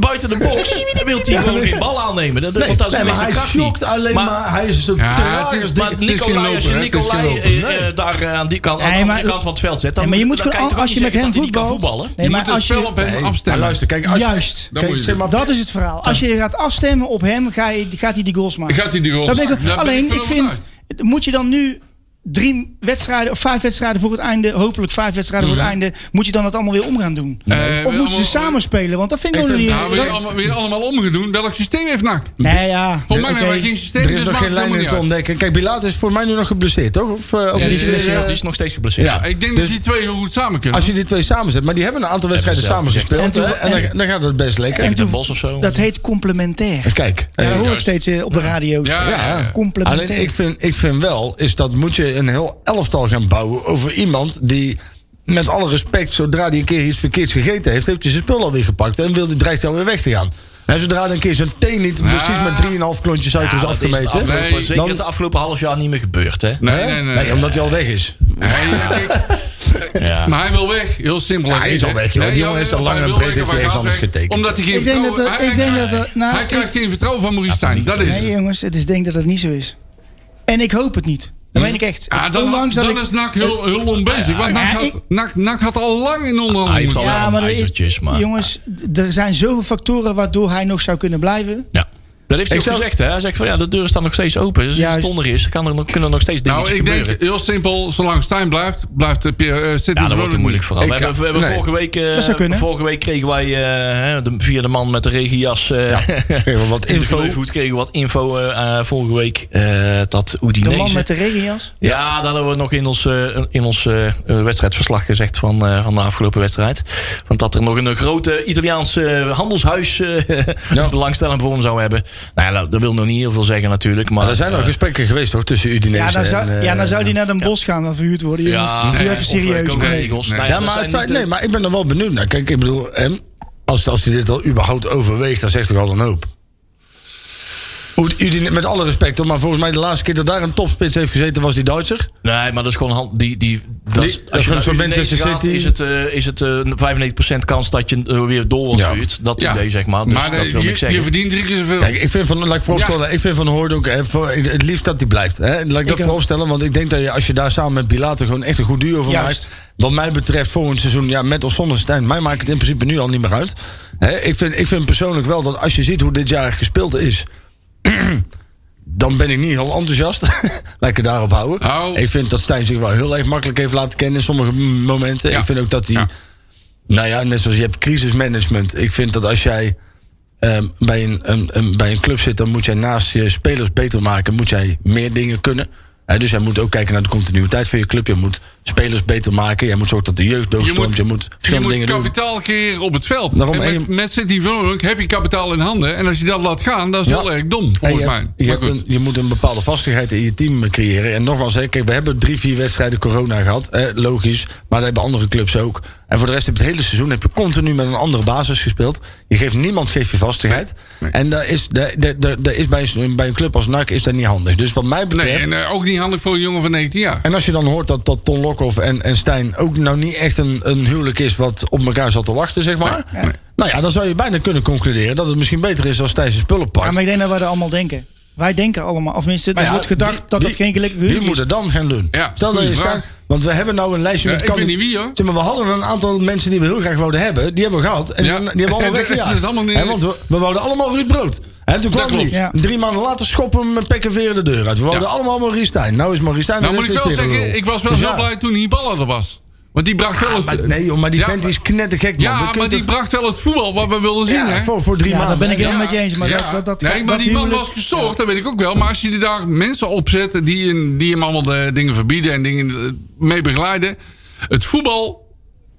Speaker 3: buiten de box wil hij gewoon geen bal aannemen. Dat, want dat is
Speaker 4: Nee, maar
Speaker 3: meestal
Speaker 4: hij
Speaker 3: kracht niet.
Speaker 4: schokt alleen maar, Hij is zo
Speaker 8: Ja,
Speaker 4: ja,
Speaker 8: het is-
Speaker 3: Maar
Speaker 8: Het is geen
Speaker 3: Nicolai, als je
Speaker 8: lopen, hè? Het is geen
Speaker 3: Nicolai
Speaker 8: lopen.
Speaker 3: eh, eh, daar eh, aan die kant, aan
Speaker 7: Nee,
Speaker 3: de
Speaker 7: maar-
Speaker 3: andere kant van het veld zet, dan,
Speaker 7: Nee, maar je moet
Speaker 3: dan kan
Speaker 7: gewoon,
Speaker 3: toch
Speaker 7: als
Speaker 3: niet
Speaker 7: je met
Speaker 3: zeggen
Speaker 7: hem
Speaker 3: dat hij niet kan
Speaker 7: voetbalt.
Speaker 3: voetballen.
Speaker 7: Nee,
Speaker 8: je
Speaker 7: maar
Speaker 8: moet het
Speaker 7: als
Speaker 8: spel
Speaker 7: je,
Speaker 8: op hem
Speaker 4: Maar
Speaker 8: afstemmen.
Speaker 4: luister, kijk, als je-
Speaker 7: Juist.
Speaker 8: Dan moet
Speaker 4: Kijk,
Speaker 8: je-
Speaker 4: zeg maar,
Speaker 7: dat is het verhaal. Als je gaat afstemmen op hem, ga je, gaat hij die goals maken.
Speaker 8: Gaat hij die goals
Speaker 7: Daar ben ik-
Speaker 8: maken? Daar ben ik
Speaker 7: alleen,
Speaker 8: van
Speaker 7: ik vind, moet je dan nu drie wedstrijden of vijf wedstrijden voor het einde, hopelijk vijf wedstrijden voor het einde, moet je dan het allemaal weer om gaan doen?
Speaker 8: Mhm. Eh,
Speaker 7: of moeten
Speaker 8: allemaal-
Speaker 7: ze samen spelen? Want dat vind ik
Speaker 4: Ik
Speaker 7: ook nog niet.
Speaker 4: vind-
Speaker 8: Nou, weer, allemaal, weer allemaal omgedoen. Welk systeem heeft NAC?
Speaker 7: nee, ja.
Speaker 8: Volgens mij
Speaker 7: oké.
Speaker 8: hebben wij geen systeem,
Speaker 4: er is
Speaker 8: dus
Speaker 4: nog
Speaker 8: maakt
Speaker 4: geen
Speaker 8: het
Speaker 4: lijn in te
Speaker 8: helemaal niet uit.
Speaker 4: ontdekken. Kijk, Bilaat is voor mij nu nog geblesseerd, toch? Of, eh, of
Speaker 8: Ja,
Speaker 4: is
Speaker 8: die
Speaker 4: hij-
Speaker 8: is-
Speaker 3: Dat is nog steeds geblesseerd.
Speaker 4: Ja.
Speaker 8: Ik denk
Speaker 4: Dus-
Speaker 8: dat die twee heel goed samen kunnen.
Speaker 4: Als je die twee samenzet, maar die hebben een aantal wedstrijden
Speaker 3: zelf
Speaker 4: samen
Speaker 3: gezegd.
Speaker 4: gespeeld.
Speaker 7: En
Speaker 4: hè, En
Speaker 7: toen-
Speaker 4: dan- dan gaat het best lekker.
Speaker 3: Tegen Den Bosch of zo.
Speaker 7: Dat heet complementair.
Speaker 4: Kijk,
Speaker 7: Ja, dat
Speaker 4: eh,
Speaker 7: hoor ik
Speaker 8: juist.
Speaker 7: steeds eh, op de radio.
Speaker 8: Ja, ja, ja.
Speaker 7: Complementair.
Speaker 4: Alleen ik vind, ik vind wel, is dat moet je een heel elftal gaan bouwen over iemand die. Met alle respect, zodra hij een keer iets verkeerds gegeten heeft, heeft hij zijn spul alweer gepakt en wil, dreigt hij alweer weg te gaan. En zodra hij een keer zijn thee niet precies met 3,5 klontjes suiker is
Speaker 3: Ja, dat is het
Speaker 4: dus afgemeten.
Speaker 3: afgelopen-
Speaker 8: Nee.
Speaker 3: Zeker
Speaker 4: Dan-
Speaker 3: het afgelopen half jaar niet meer gebeurd, hè?
Speaker 8: nee,
Speaker 4: Hè?
Speaker 8: nee, nee.
Speaker 4: Nee, omdat hij al weg is.
Speaker 8: Hij- kijk,
Speaker 3: Ja.
Speaker 8: Maar hij wil weg. Heel simpel.
Speaker 4: hij is al weg, joh.
Speaker 8: Nee,
Speaker 4: Die jongen
Speaker 8: ja,
Speaker 4: is al lang
Speaker 8: hij
Speaker 4: en
Speaker 8: wil
Speaker 4: breed
Speaker 8: weg,
Speaker 4: heeft hij
Speaker 8: maar
Speaker 4: ergens
Speaker 8: gaat
Speaker 4: anders
Speaker 8: weg.
Speaker 4: getekend.
Speaker 8: Omdat hij geen
Speaker 7: Ik denk dat-
Speaker 8: vertrouwen... hij-
Speaker 7: ik denk dat-
Speaker 8: hij-
Speaker 7: nou,
Speaker 8: Hij
Speaker 7: ik-
Speaker 8: krijgt geen vertrouwen van Maurice Stijn. Dat is
Speaker 7: Nee,
Speaker 8: het.
Speaker 7: jongens, het is denk dat het niet zo is. En ik hoop het niet. Dat meen ik echt.
Speaker 8: Ja, dan,
Speaker 7: Ondanks
Speaker 8: dan
Speaker 7: dat ik-
Speaker 8: is NAC heel, heel onbezig. Want
Speaker 7: ja,
Speaker 8: NAC
Speaker 7: ik-
Speaker 8: had, NAC, NAC had al lang in
Speaker 3: Hij
Speaker 8: onderhandeling
Speaker 3: heeft al
Speaker 8: moeten
Speaker 3: wel
Speaker 7: Ja, maar er-
Speaker 3: ijzertjes, maar...
Speaker 7: Jongens, d- er zijn zoveel factoren waardoor hij nog zou kunnen blijven.
Speaker 3: Ja. Dat heeft hij
Speaker 4: Ik
Speaker 3: ook
Speaker 4: zou-
Speaker 3: gezegd, hè? Hij zegt van ja, de deuren staan nog steeds open. Dus als
Speaker 7: Juist.
Speaker 3: het onder is, kan er nog, kunnen er nog steeds dingen
Speaker 8: Nou, ik
Speaker 3: gebeuren.
Speaker 8: denk heel simpel. Zolang Stijn blijft, blijft de Pierre, eh, Sidney
Speaker 3: ja, dat wordt
Speaker 8: Broden
Speaker 3: het moeilijk
Speaker 8: niet.
Speaker 3: vooral. We
Speaker 4: Ik-
Speaker 3: hebben, we hebben
Speaker 4: nee.
Speaker 3: vorige, week, eh,
Speaker 7: Dat zou kunnen.
Speaker 3: vorige week kregen wij eh, hè, de, via de man met de regenjas eh
Speaker 4: Kregen we wat
Speaker 3: in de
Speaker 4: info.
Speaker 3: Vleuvoet kregen we wat info eh, eh, vorige week. eh, dat Udinese...
Speaker 7: De man met de regenjas.
Speaker 3: Ja, dat hadden we nog in ons, eh, in ons eh, eh, wedstrijdverslag gezegd van, eh, van de afgelopen wedstrijd. Want dat er nog een grote Italiaanse eh, handelshuis eh belangstelling voor hem zou hebben. Nou ja, dat, dat wil nog niet heel veel zeggen natuurlijk. Maar
Speaker 4: Maar er zijn nog
Speaker 3: eh,
Speaker 4: gesprekken geweest hoor, tussen Udinese
Speaker 7: Ja, dan zou,
Speaker 4: en... eh,
Speaker 7: ja, dan zou die naar Den Bos gaan en verhuurd worden. Jongens.
Speaker 3: ja,
Speaker 7: Doe
Speaker 3: nee,
Speaker 7: even
Speaker 3: of, eh,
Speaker 7: serieus.
Speaker 3: Coca
Speaker 8: nee.
Speaker 3: Eagles. Nou
Speaker 4: Ja,
Speaker 3: dat
Speaker 4: maar,
Speaker 3: zijn
Speaker 4: het feit,
Speaker 3: niet, eh,
Speaker 4: nee, maar ik ben er wel benieuwd naar. Kijk, ik bedoel, hem, als, als hij dit al überhaupt overweegt, dan zegt hij al een hoop. Hoe, Udine- met alle respect, hoor, maar volgens mij de laatste keer dat daar een topspits heeft gezeten was die Duitser.
Speaker 3: Nee, maar dat is gewoon hand, die, die, dat,
Speaker 4: Die-
Speaker 3: is-
Speaker 4: dat is
Speaker 3: naar
Speaker 4: een soort
Speaker 3: Udinese
Speaker 4: Manchester
Speaker 3: gaat,
Speaker 4: City.
Speaker 3: Is het, eh, is het eh 95% kans dat je eh, weer door wordt
Speaker 4: Ja.
Speaker 3: gehuurd. Dat
Speaker 8: Ja.
Speaker 3: idee, zeg maar. Dus
Speaker 8: maar
Speaker 3: dat
Speaker 8: eh,
Speaker 3: wil
Speaker 8: je,
Speaker 3: ik zeggen.
Speaker 8: je verdient drie keer zoveel.
Speaker 4: Kijk, ik vind van, laat ik vooropstellen, ik vind van Hoordonk hè, voor- ik- het liefst dat die blijft. Hè. Laat ik, dat
Speaker 7: ook.
Speaker 4: vooropstellen, want ik denk dat je als je daar samen met Bilater gewoon echt een goed duo van
Speaker 7: Juist.
Speaker 4: maakt. Wat mij betreft volgend seizoen, ja, met of zonder Stijn, mij maakt het in principe nu al niet meer uit. Hè, ik, vind, ik vind persoonlijk wel dat als je ziet hoe dit jaar gespeeld is, dan ben ik niet heel enthousiast. laat ik het daarop houden.
Speaker 8: Hou.
Speaker 4: Ik vind dat Stijn zich wel heel erg makkelijk heeft laten kennen in sommige momenten.
Speaker 8: Ja.
Speaker 4: Ik vind ook dat hij...
Speaker 8: Ja.
Speaker 4: Nou ja, net zoals je hebt crisismanagement. Ik vind dat als jij ehm, bij, een, een, een- bij een club zit, dan moet jij naast je spelers beter maken, moet jij meer dingen kunnen. Hè, dus jij moet ook kijken naar de continuïteit van je club. Je moet spelers beter maken. Jij moet zorgen dat de jeugd doorstroomt. Je moet,
Speaker 8: Je
Speaker 4: verschillende
Speaker 8: moet
Speaker 4: dingen doen.
Speaker 8: kapitaal creëren op het veld.
Speaker 4: Daarom
Speaker 8: en
Speaker 4: en
Speaker 8: met,
Speaker 4: je-
Speaker 8: met City Vulnerlijk heb je kapitaal in handen. En als je dat laat gaan, dat is heel
Speaker 4: Ja.
Speaker 8: erg dom,
Speaker 4: En
Speaker 8: volgens
Speaker 4: je,
Speaker 8: mij.
Speaker 4: hebt- je,
Speaker 8: Maar
Speaker 4: hebt
Speaker 8: goed.
Speaker 4: een, je moet een bepaalde vastigheid in je team eh, creëren. En nogmaals, hè, kijk, we hebben drie, vier wedstrijden corona gehad. eh, logisch. Maar dat hebben andere clubs ook. En voor de rest heb je het hele seizoen heb je continu met een andere basis gespeeld. Je geeft, niemand geeft je vastigheid.
Speaker 8: Nee.
Speaker 4: En daar is, daar, daar, daar- daar is bij, een, bij een club als NAC is dat niet handig. Dus wat mij betreft...
Speaker 8: Nee, en eh, ook niet handig voor een jongen van 19 jaar.
Speaker 4: En als je dan hoort dat, dat Ton Lokhoff en, en Stijn ook nou niet echt een, een huwelijk is wat op elkaar zat te wachten, zeg maar. Nou ja, dan zou je bijna kunnen concluderen dat het misschien beter is als Stijn zijn spullen pakt.
Speaker 7: Ja, maar ik denk dat wij dat allemaal denken. Wij denken allemaal, of tenminste, er
Speaker 4: Maar ja,
Speaker 7: wordt gedacht
Speaker 4: wie-
Speaker 7: dat dat
Speaker 4: wie-
Speaker 7: geen gelukkig
Speaker 4: Wie
Speaker 7: huwelijk
Speaker 4: moet
Speaker 7: is.
Speaker 4: het dan gaan doen?
Speaker 8: Ja,
Speaker 4: Stel dat
Speaker 8: goeie
Speaker 4: je
Speaker 8: vraag.
Speaker 4: staat, want we hebben nou een lijstje
Speaker 8: Ja,
Speaker 4: met
Speaker 8: ik weet
Speaker 4: kandid-
Speaker 8: niet wie, hoor.
Speaker 4: Zeg maar, we hadden een aantal mensen die we heel graag wouden hebben, die hebben we gehad. En
Speaker 8: Ja.
Speaker 4: die hebben we allemaal weggejaagd.
Speaker 8: Het is allemaal niet-
Speaker 4: Hè, want we, we wouden allemaal Ruud Brood. En toen
Speaker 8: Dat
Speaker 4: kwam die.
Speaker 8: klopt.
Speaker 7: Ja.
Speaker 4: Drie maanden later schoppen we hem met pek en veren de deur uit. We wouden
Speaker 8: Ja.
Speaker 4: allemaal Maurice Stijn. Nou is Maurice Stijn
Speaker 8: Nou
Speaker 4: en
Speaker 8: moet ik
Speaker 4: is
Speaker 8: wel
Speaker 4: is tegen de
Speaker 8: zeggen,
Speaker 4: lul.
Speaker 8: ik was wel
Speaker 4: Dus
Speaker 8: zo
Speaker 4: ja. Ah,
Speaker 8: blij toen Hiballa er was. Want die bracht wel
Speaker 4: Maar
Speaker 8: het...
Speaker 4: nee joh, maar die
Speaker 8: Ja,
Speaker 4: vent
Speaker 8: maar-
Speaker 4: is knettergek man.
Speaker 8: Ja,
Speaker 4: Dat
Speaker 8: maar
Speaker 4: kunt
Speaker 8: die
Speaker 4: toch-
Speaker 8: bracht wel het voetbal wat we wilden zien,
Speaker 4: ja,
Speaker 8: hè?
Speaker 4: voor, voor drie
Speaker 7: Ja, dat
Speaker 4: maanden.
Speaker 7: ben ik
Speaker 4: hè.
Speaker 7: helemaal met je eens, maar dat- dat- dat-
Speaker 8: nee, maar
Speaker 7: dat
Speaker 8: die man
Speaker 7: huwelijk-
Speaker 8: was gestoord, dat weet ik ook wel. Maar als je daar mensen op zet die, in- die hem allemaal de dingen verbieden en dingen eh, mee begeleiden. Het voetbal,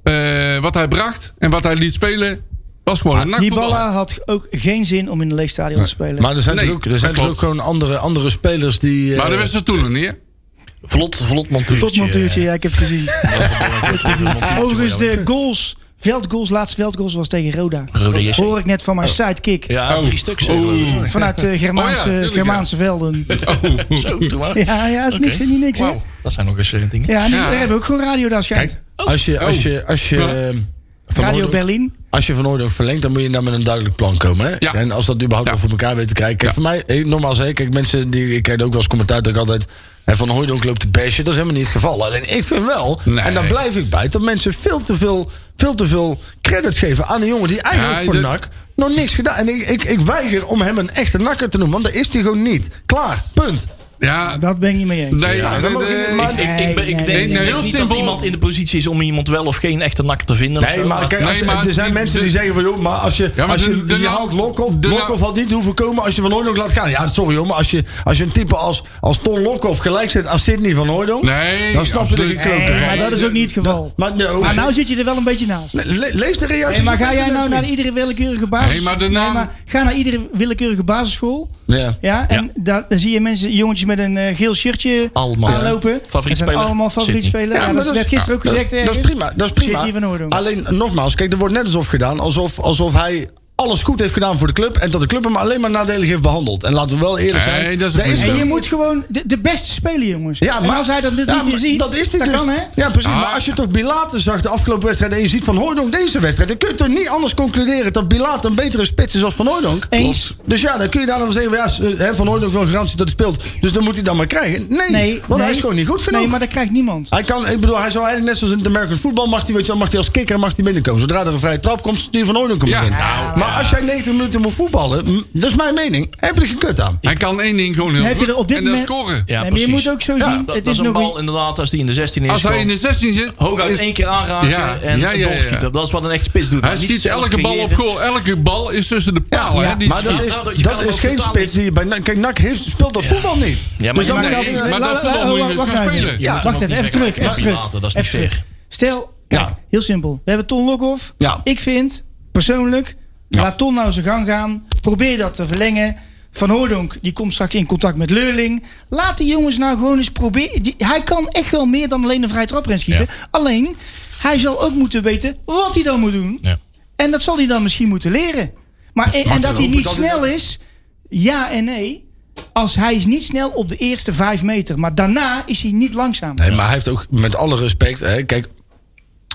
Speaker 8: eh, wat hij bracht en wat hij liet spelen, was gewoon
Speaker 7: Ah,
Speaker 8: een nakvoetbal.
Speaker 7: Hiballa had ook geen zin om in een leeg stadion te spelen.
Speaker 4: Maar er zijn
Speaker 8: Nee,
Speaker 4: toch ook, er
Speaker 8: dat
Speaker 4: zijn toch
Speaker 8: klopt.
Speaker 4: ook gewoon andere, andere spelers die... eh,
Speaker 8: Maar dat wist ze toen nog niet, hè?
Speaker 3: Vlot, vlot montuurtje. eh,
Speaker 7: Tot montuurtje, ja, ik heb het gezien. Overigens, de goals, veldgoals, laatste veldgoals was tegen Roda.
Speaker 3: Roda JC.
Speaker 7: Hoor ik net van mijn sidekick.
Speaker 3: Ja,
Speaker 8: Oh.
Speaker 3: drie stuks. eh,
Speaker 8: Oeh.
Speaker 7: Vanuit eh, Germaanse,
Speaker 8: tuurlijk, ja.
Speaker 7: Germaanse velden.
Speaker 8: Oh.
Speaker 3: Zo, doe maar.
Speaker 7: Ja, ja, het is niks
Speaker 3: Oké.
Speaker 7: en niet niks, hè?
Speaker 3: Wauw, dat zijn nog eens eh, dingen.
Speaker 7: Ja, nee,
Speaker 8: Ja.
Speaker 7: daar hebben we ook gewoon radio daar schijnt.
Speaker 4: Kijk, als je... Als je, als je,
Speaker 8: Oh. Ja.
Speaker 4: eh, van
Speaker 7: radio
Speaker 4: Hoordonk-
Speaker 7: Berlin.
Speaker 4: Als je van Hoordonk verlengt, dan moet je daar met een duidelijk plan komen. Hè?
Speaker 8: Ja.
Speaker 4: En als dat überhaupt
Speaker 8: Ja.
Speaker 4: wel voor elkaar weet te krijgen. Kijk,
Speaker 8: Ja.
Speaker 4: voor mij, eh, normaal zeg ik, kijk, mensen die, ik krijg ook wel eens commentaar dat ik altijd... hè, van Hooydonk loopt te bashen, dat is helemaal niet het geval. Alleen ik vind wel,
Speaker 8: Nee.
Speaker 4: en daar blijf ik bij... dat mensen veel te veel, veel, te veel credits geven aan een jongen... die eigenlijk
Speaker 8: Ja,
Speaker 4: voor
Speaker 8: dat-
Speaker 4: NAC nog niks gedaan... en ik, ik, ik weiger om hem een echte nakker te noemen... want dat is hij gewoon niet. Klaar, punt.
Speaker 8: Ja,
Speaker 7: Dat ben ik niet mee eens.
Speaker 8: nee,
Speaker 4: Ja,
Speaker 8: eh,
Speaker 4: dan mogen
Speaker 8: eh,
Speaker 4: jullie- maar-
Speaker 3: Ik, ik, ben- ik denk,
Speaker 7: Nee,
Speaker 8: nee,
Speaker 3: ik denk
Speaker 8: heel
Speaker 3: niet
Speaker 8: simpel.
Speaker 3: dat iemand in de positie is om iemand wel of geen echte nak te vinden. of
Speaker 4: Nee,
Speaker 3: zo,
Speaker 4: maar kijk, als,
Speaker 8: Nee, maar
Speaker 4: er zijn
Speaker 8: die-
Speaker 4: mensen
Speaker 8: de-
Speaker 4: die zeggen van... joh, maar als je,
Speaker 8: Ja, maar
Speaker 4: als
Speaker 8: de-
Speaker 4: je,
Speaker 8: de
Speaker 4: je
Speaker 8: nou-
Speaker 4: haalt Lokhoff...
Speaker 8: de
Speaker 4: Lokhoff
Speaker 8: nou-
Speaker 4: had niet hoeven komen als je Van Hooydonk laat gaan. Ja, sorry joh, maar als je, als je een type als, als Ton Lokhoff gelijk zet aan Sidney Van Hooydonk...
Speaker 8: Nee,
Speaker 4: dan snap je er geen
Speaker 8: absoluut.
Speaker 4: klote
Speaker 7: Nee,
Speaker 4: van.
Speaker 7: maar dat is ook niet het geval.
Speaker 4: Maar nee,
Speaker 7: Maar nou zit je er wel een beetje naast.
Speaker 4: Le- le- lees de reacties.
Speaker 7: Hey, maar
Speaker 4: op
Speaker 7: ga jij
Speaker 4: internet,
Speaker 7: nou naar
Speaker 4: vriend.
Speaker 7: iedere willekeurige basis?
Speaker 8: Nee, maar de naam-
Speaker 7: ga naar iedere willekeurige basisschool.
Speaker 4: Ja.
Speaker 7: Ja, en daar dan zie je mensen, jongetjes met een eh, geel shirtje
Speaker 3: Allemaal.
Speaker 7: aanlopen.
Speaker 3: Ja. Favoriet
Speaker 7: Dat zijn
Speaker 3: speler?
Speaker 7: Allemaal favoriet
Speaker 3: Sydney.
Speaker 7: spelen.
Speaker 4: Ja,
Speaker 7: en
Speaker 4: maar
Speaker 7: dat werd gisteren ook
Speaker 4: ja,
Speaker 7: gezegd.
Speaker 4: Dat, dat is
Speaker 7: ergens.
Speaker 4: prima, dat is prima.
Speaker 7: Sydney van Hoordonk.
Speaker 4: Alleen, nogmaals, kijk, er wordt net alsof gedaan... alsof, alsof hij alles goed heeft gedaan voor de club... en dat de club hem alleen maar nadelig heeft behandeld. En laten we wel eerlijk
Speaker 8: Nee,
Speaker 4: zijn...
Speaker 8: dat is ook niet
Speaker 7: En
Speaker 8: zo.
Speaker 7: je moet gewoon de, de beste spelen, jongens.
Speaker 4: Ja, maar,
Speaker 7: en als hij dat dit
Speaker 4: ja,
Speaker 7: niet
Speaker 4: maar
Speaker 7: ziet,
Speaker 4: dat is hij dus.
Speaker 7: kan hè.
Speaker 4: Ja, precies.
Speaker 8: Ah.
Speaker 4: Maar als je toch Bilater zag de afgelopen wedstrijd en je ziet van Hooydonk deze wedstrijd, dan kun je toch niet anders concluderen dat Bilater een betere spits is als van Hooydonk.
Speaker 7: Eens. Klopt.
Speaker 4: Dus ja, dan kun je daar dan zeggen, ja, s- eh, hè, van Hooydonk wil garantie dat hij speelt, dus dan moet hij dan maar krijgen. Nee,
Speaker 7: Nee,
Speaker 4: want hij is gewoon niet goed genoeg.
Speaker 7: Nee, maar dat krijgt niemand.
Speaker 4: Hij kan, ik bedoel, hij zou eigenlijk net zoals in het American voetbal, mag hij, weet je, wel, mag hij als kikker mag hij binnenkomen. Zodra er een vrije trap komt, stuur van Hooydonk hem
Speaker 8: Ja.
Speaker 4: erin.
Speaker 8: Nou.
Speaker 4: Maar als jij 90 minuten moet voetballen, m, dat is mijn mening, heb je er geen kut aan.
Speaker 8: Hij kan één ding gewoon heel
Speaker 7: Heb je
Speaker 8: goed.
Speaker 7: er op dit
Speaker 8: en dat is
Speaker 7: moment-
Speaker 8: scoren.
Speaker 3: Ja,
Speaker 7: Nee, maar
Speaker 3: precies.
Speaker 7: je moet ook zo zien,
Speaker 3: dat, dat
Speaker 7: het is
Speaker 3: is een
Speaker 7: nog
Speaker 3: bal
Speaker 7: een-
Speaker 3: inderdaad als die in de 16 is.
Speaker 8: Als hij
Speaker 3: gewoon
Speaker 8: in de 16 zit...
Speaker 3: Hooguit
Speaker 8: is-
Speaker 3: één keer aanraken
Speaker 8: Ja,
Speaker 3: en
Speaker 8: ja, ja,
Speaker 3: een doel
Speaker 8: ja.
Speaker 3: schieten. Dat is wat een echt spits doet.
Speaker 8: Hij
Speaker 3: Maar niet
Speaker 8: schiet
Speaker 3: zelf
Speaker 8: elke bal op
Speaker 3: creëren.
Speaker 8: goal. Elke bal is tussen de palen.
Speaker 4: Ja,
Speaker 8: hè, die
Speaker 4: maar dat
Speaker 8: staat-
Speaker 4: is,
Speaker 3: Nou, dat- je kan
Speaker 4: dat
Speaker 3: hem
Speaker 4: is
Speaker 3: ook
Speaker 4: geen
Speaker 3: totaal
Speaker 4: spits die je bij NAC... Kijk, NAC heeft, speelt dat voetbal niet.
Speaker 3: maar
Speaker 4: dus
Speaker 3: je
Speaker 4: dan
Speaker 3: mag-
Speaker 4: moet je-
Speaker 8: Nee, maar
Speaker 7: la-
Speaker 8: dat
Speaker 7: eh, la-
Speaker 8: voetbal
Speaker 7: la-
Speaker 8: moet je
Speaker 7: la-
Speaker 8: dus
Speaker 7: wacht
Speaker 8: gaan
Speaker 7: nou even.
Speaker 8: spelen. Je
Speaker 3: moet
Speaker 7: wacht
Speaker 3: hem ook
Speaker 7: even, even
Speaker 3: niet
Speaker 7: terug, even
Speaker 3: vergelijken
Speaker 7: terug.
Speaker 3: met Later, dat is niet
Speaker 7: Even terug.
Speaker 3: fair.
Speaker 7: Stel, kijk,
Speaker 3: Ja.
Speaker 7: heel simpel. We hebben Ton Lokhoff.
Speaker 4: Ja.
Speaker 7: Ik vind, persoonlijk, laat Ton nou zijn gang gaan. Probeer dat te verlengen. Van Hoordonk, die komt straks in contact met Leurling. Laat die jongens nou gewoon eens proberen. Die- hij kan echt wel meer dan alleen een vrije trap erin schieten. Alleen, hij zal ook moeten weten wat hij dan moet doen.
Speaker 3: Ja.
Speaker 7: En dat zal hij dan misschien moeten leren. Maar, en, en dat hij niet snel is, ja en nee. als hij is niet snel op de eerste vijf meter. Maar daarna is hij niet langzaam.
Speaker 4: Nee, maar hij heeft ook met alle respect. Hè, kijk,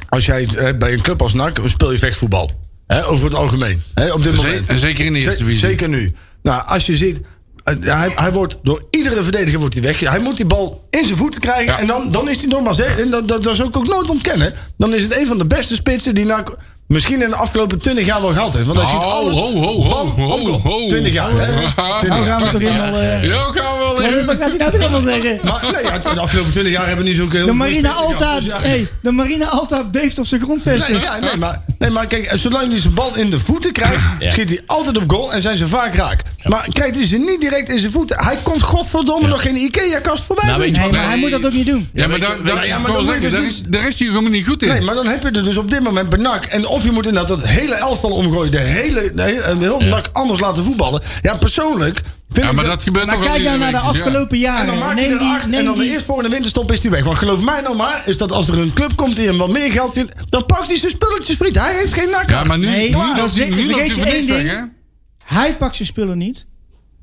Speaker 4: als jij hè, bij een club als NAC speel je vechtvoetbal. Hè, over het algemeen. Hè, op dit
Speaker 8: Ze-
Speaker 4: moment.
Speaker 8: en zeker in de eerste
Speaker 4: Ze-
Speaker 8: divisie.
Speaker 4: Zeker nu. Nou, als je ziet. eh, ja, hij, hij wordt door iedere verdediger wordt hij weg. Hij moet die bal in zijn voeten krijgen. En dan, dan is hij nogmaals. Hè, en dat, dat, dat zou ik ook nooit ontkennen. Dan is het een van de beste spitsen die NAC misschien in de afgelopen 20 jaar wel gehad heeft. Want hij ziet
Speaker 8: Ho,
Speaker 4: alles.
Speaker 8: ho, ho, ho,
Speaker 4: Bam,
Speaker 8: ho,
Speaker 4: omkoop.
Speaker 8: ho.
Speaker 4: 20 jaar. Hè?
Speaker 8: Ja.
Speaker 4: 20
Speaker 7: Nou
Speaker 4: jaar.
Speaker 7: gaan we toch helemaal... eh,
Speaker 8: Ja, gaan we wel
Speaker 7: Wat
Speaker 8: in.
Speaker 7: gaat hij nou toch allemaal zeggen?
Speaker 4: Maar nee, ja, de afgelopen 20 jaar hebben we niet zo'n heel
Speaker 7: De
Speaker 4: veel
Speaker 7: Marina
Speaker 4: spitsen gehad,
Speaker 7: Alta,
Speaker 4: dus ja.
Speaker 7: hey, de Marina Alta beeft op zijn grondvesten.
Speaker 4: Nee, ja, nee, maar, nee, maar kijk, zolang hij zijn bal in de voeten krijgt,
Speaker 3: Ja.
Speaker 4: schiet hij altijd op goal en zijn ze vaak raak. Maar krijgt hij ze niet direct in zijn voeten. Hij komt godverdomme nog geen IKEA-kast voorbij.
Speaker 3: Nou, weet je
Speaker 7: Nee,
Speaker 3: wat-
Speaker 7: maar hij moet dat ook niet doen.
Speaker 8: Ja, maar
Speaker 3: weet je-
Speaker 8: daar- daar-
Speaker 4: ja, maar
Speaker 8: ik
Speaker 4: dat moet
Speaker 8: wou
Speaker 4: je
Speaker 8: zeggen,
Speaker 4: dus
Speaker 8: daar
Speaker 4: niet-
Speaker 8: is- daar is hij helemaal niet goed in.
Speaker 4: Nee, maar dan heb je er dus op dit moment benak. En of je moet inderdaad dat hele elftal omgooien. De hele, de hele een heel nak anders laten voetballen. Ja, persoonlijk vind
Speaker 8: ja,
Speaker 4: ik
Speaker 8: maar
Speaker 4: dat-
Speaker 8: dat gebeurt
Speaker 7: Maar
Speaker 8: toch al
Speaker 7: kijk nou naar de
Speaker 8: iedere week, dus ja.
Speaker 7: afgelopen
Speaker 4: En dan
Speaker 7: jaren.
Speaker 4: maakt hij
Speaker 7: Neem
Speaker 4: er acht.
Speaker 7: die,
Speaker 4: En
Speaker 7: neem
Speaker 4: dan de
Speaker 7: die,
Speaker 4: eerst volgende winterstop is hij weg. Want geloof mij nou maar, is dat als er een club komt die hem wat meer geld vindt... dan pakt hij zijn spulletjes, vriend. Hij heeft geen nak.
Speaker 8: Ja, maar nu,
Speaker 7: Nee,
Speaker 8: nu
Speaker 7: maar
Speaker 8: loopt hij
Speaker 7: vergeet-
Speaker 8: nu loopt hij
Speaker 7: vergeet je
Speaker 8: voor niks
Speaker 7: één
Speaker 8: weg,
Speaker 7: ding.
Speaker 8: hè?
Speaker 7: hij pakt zijn spullen niet.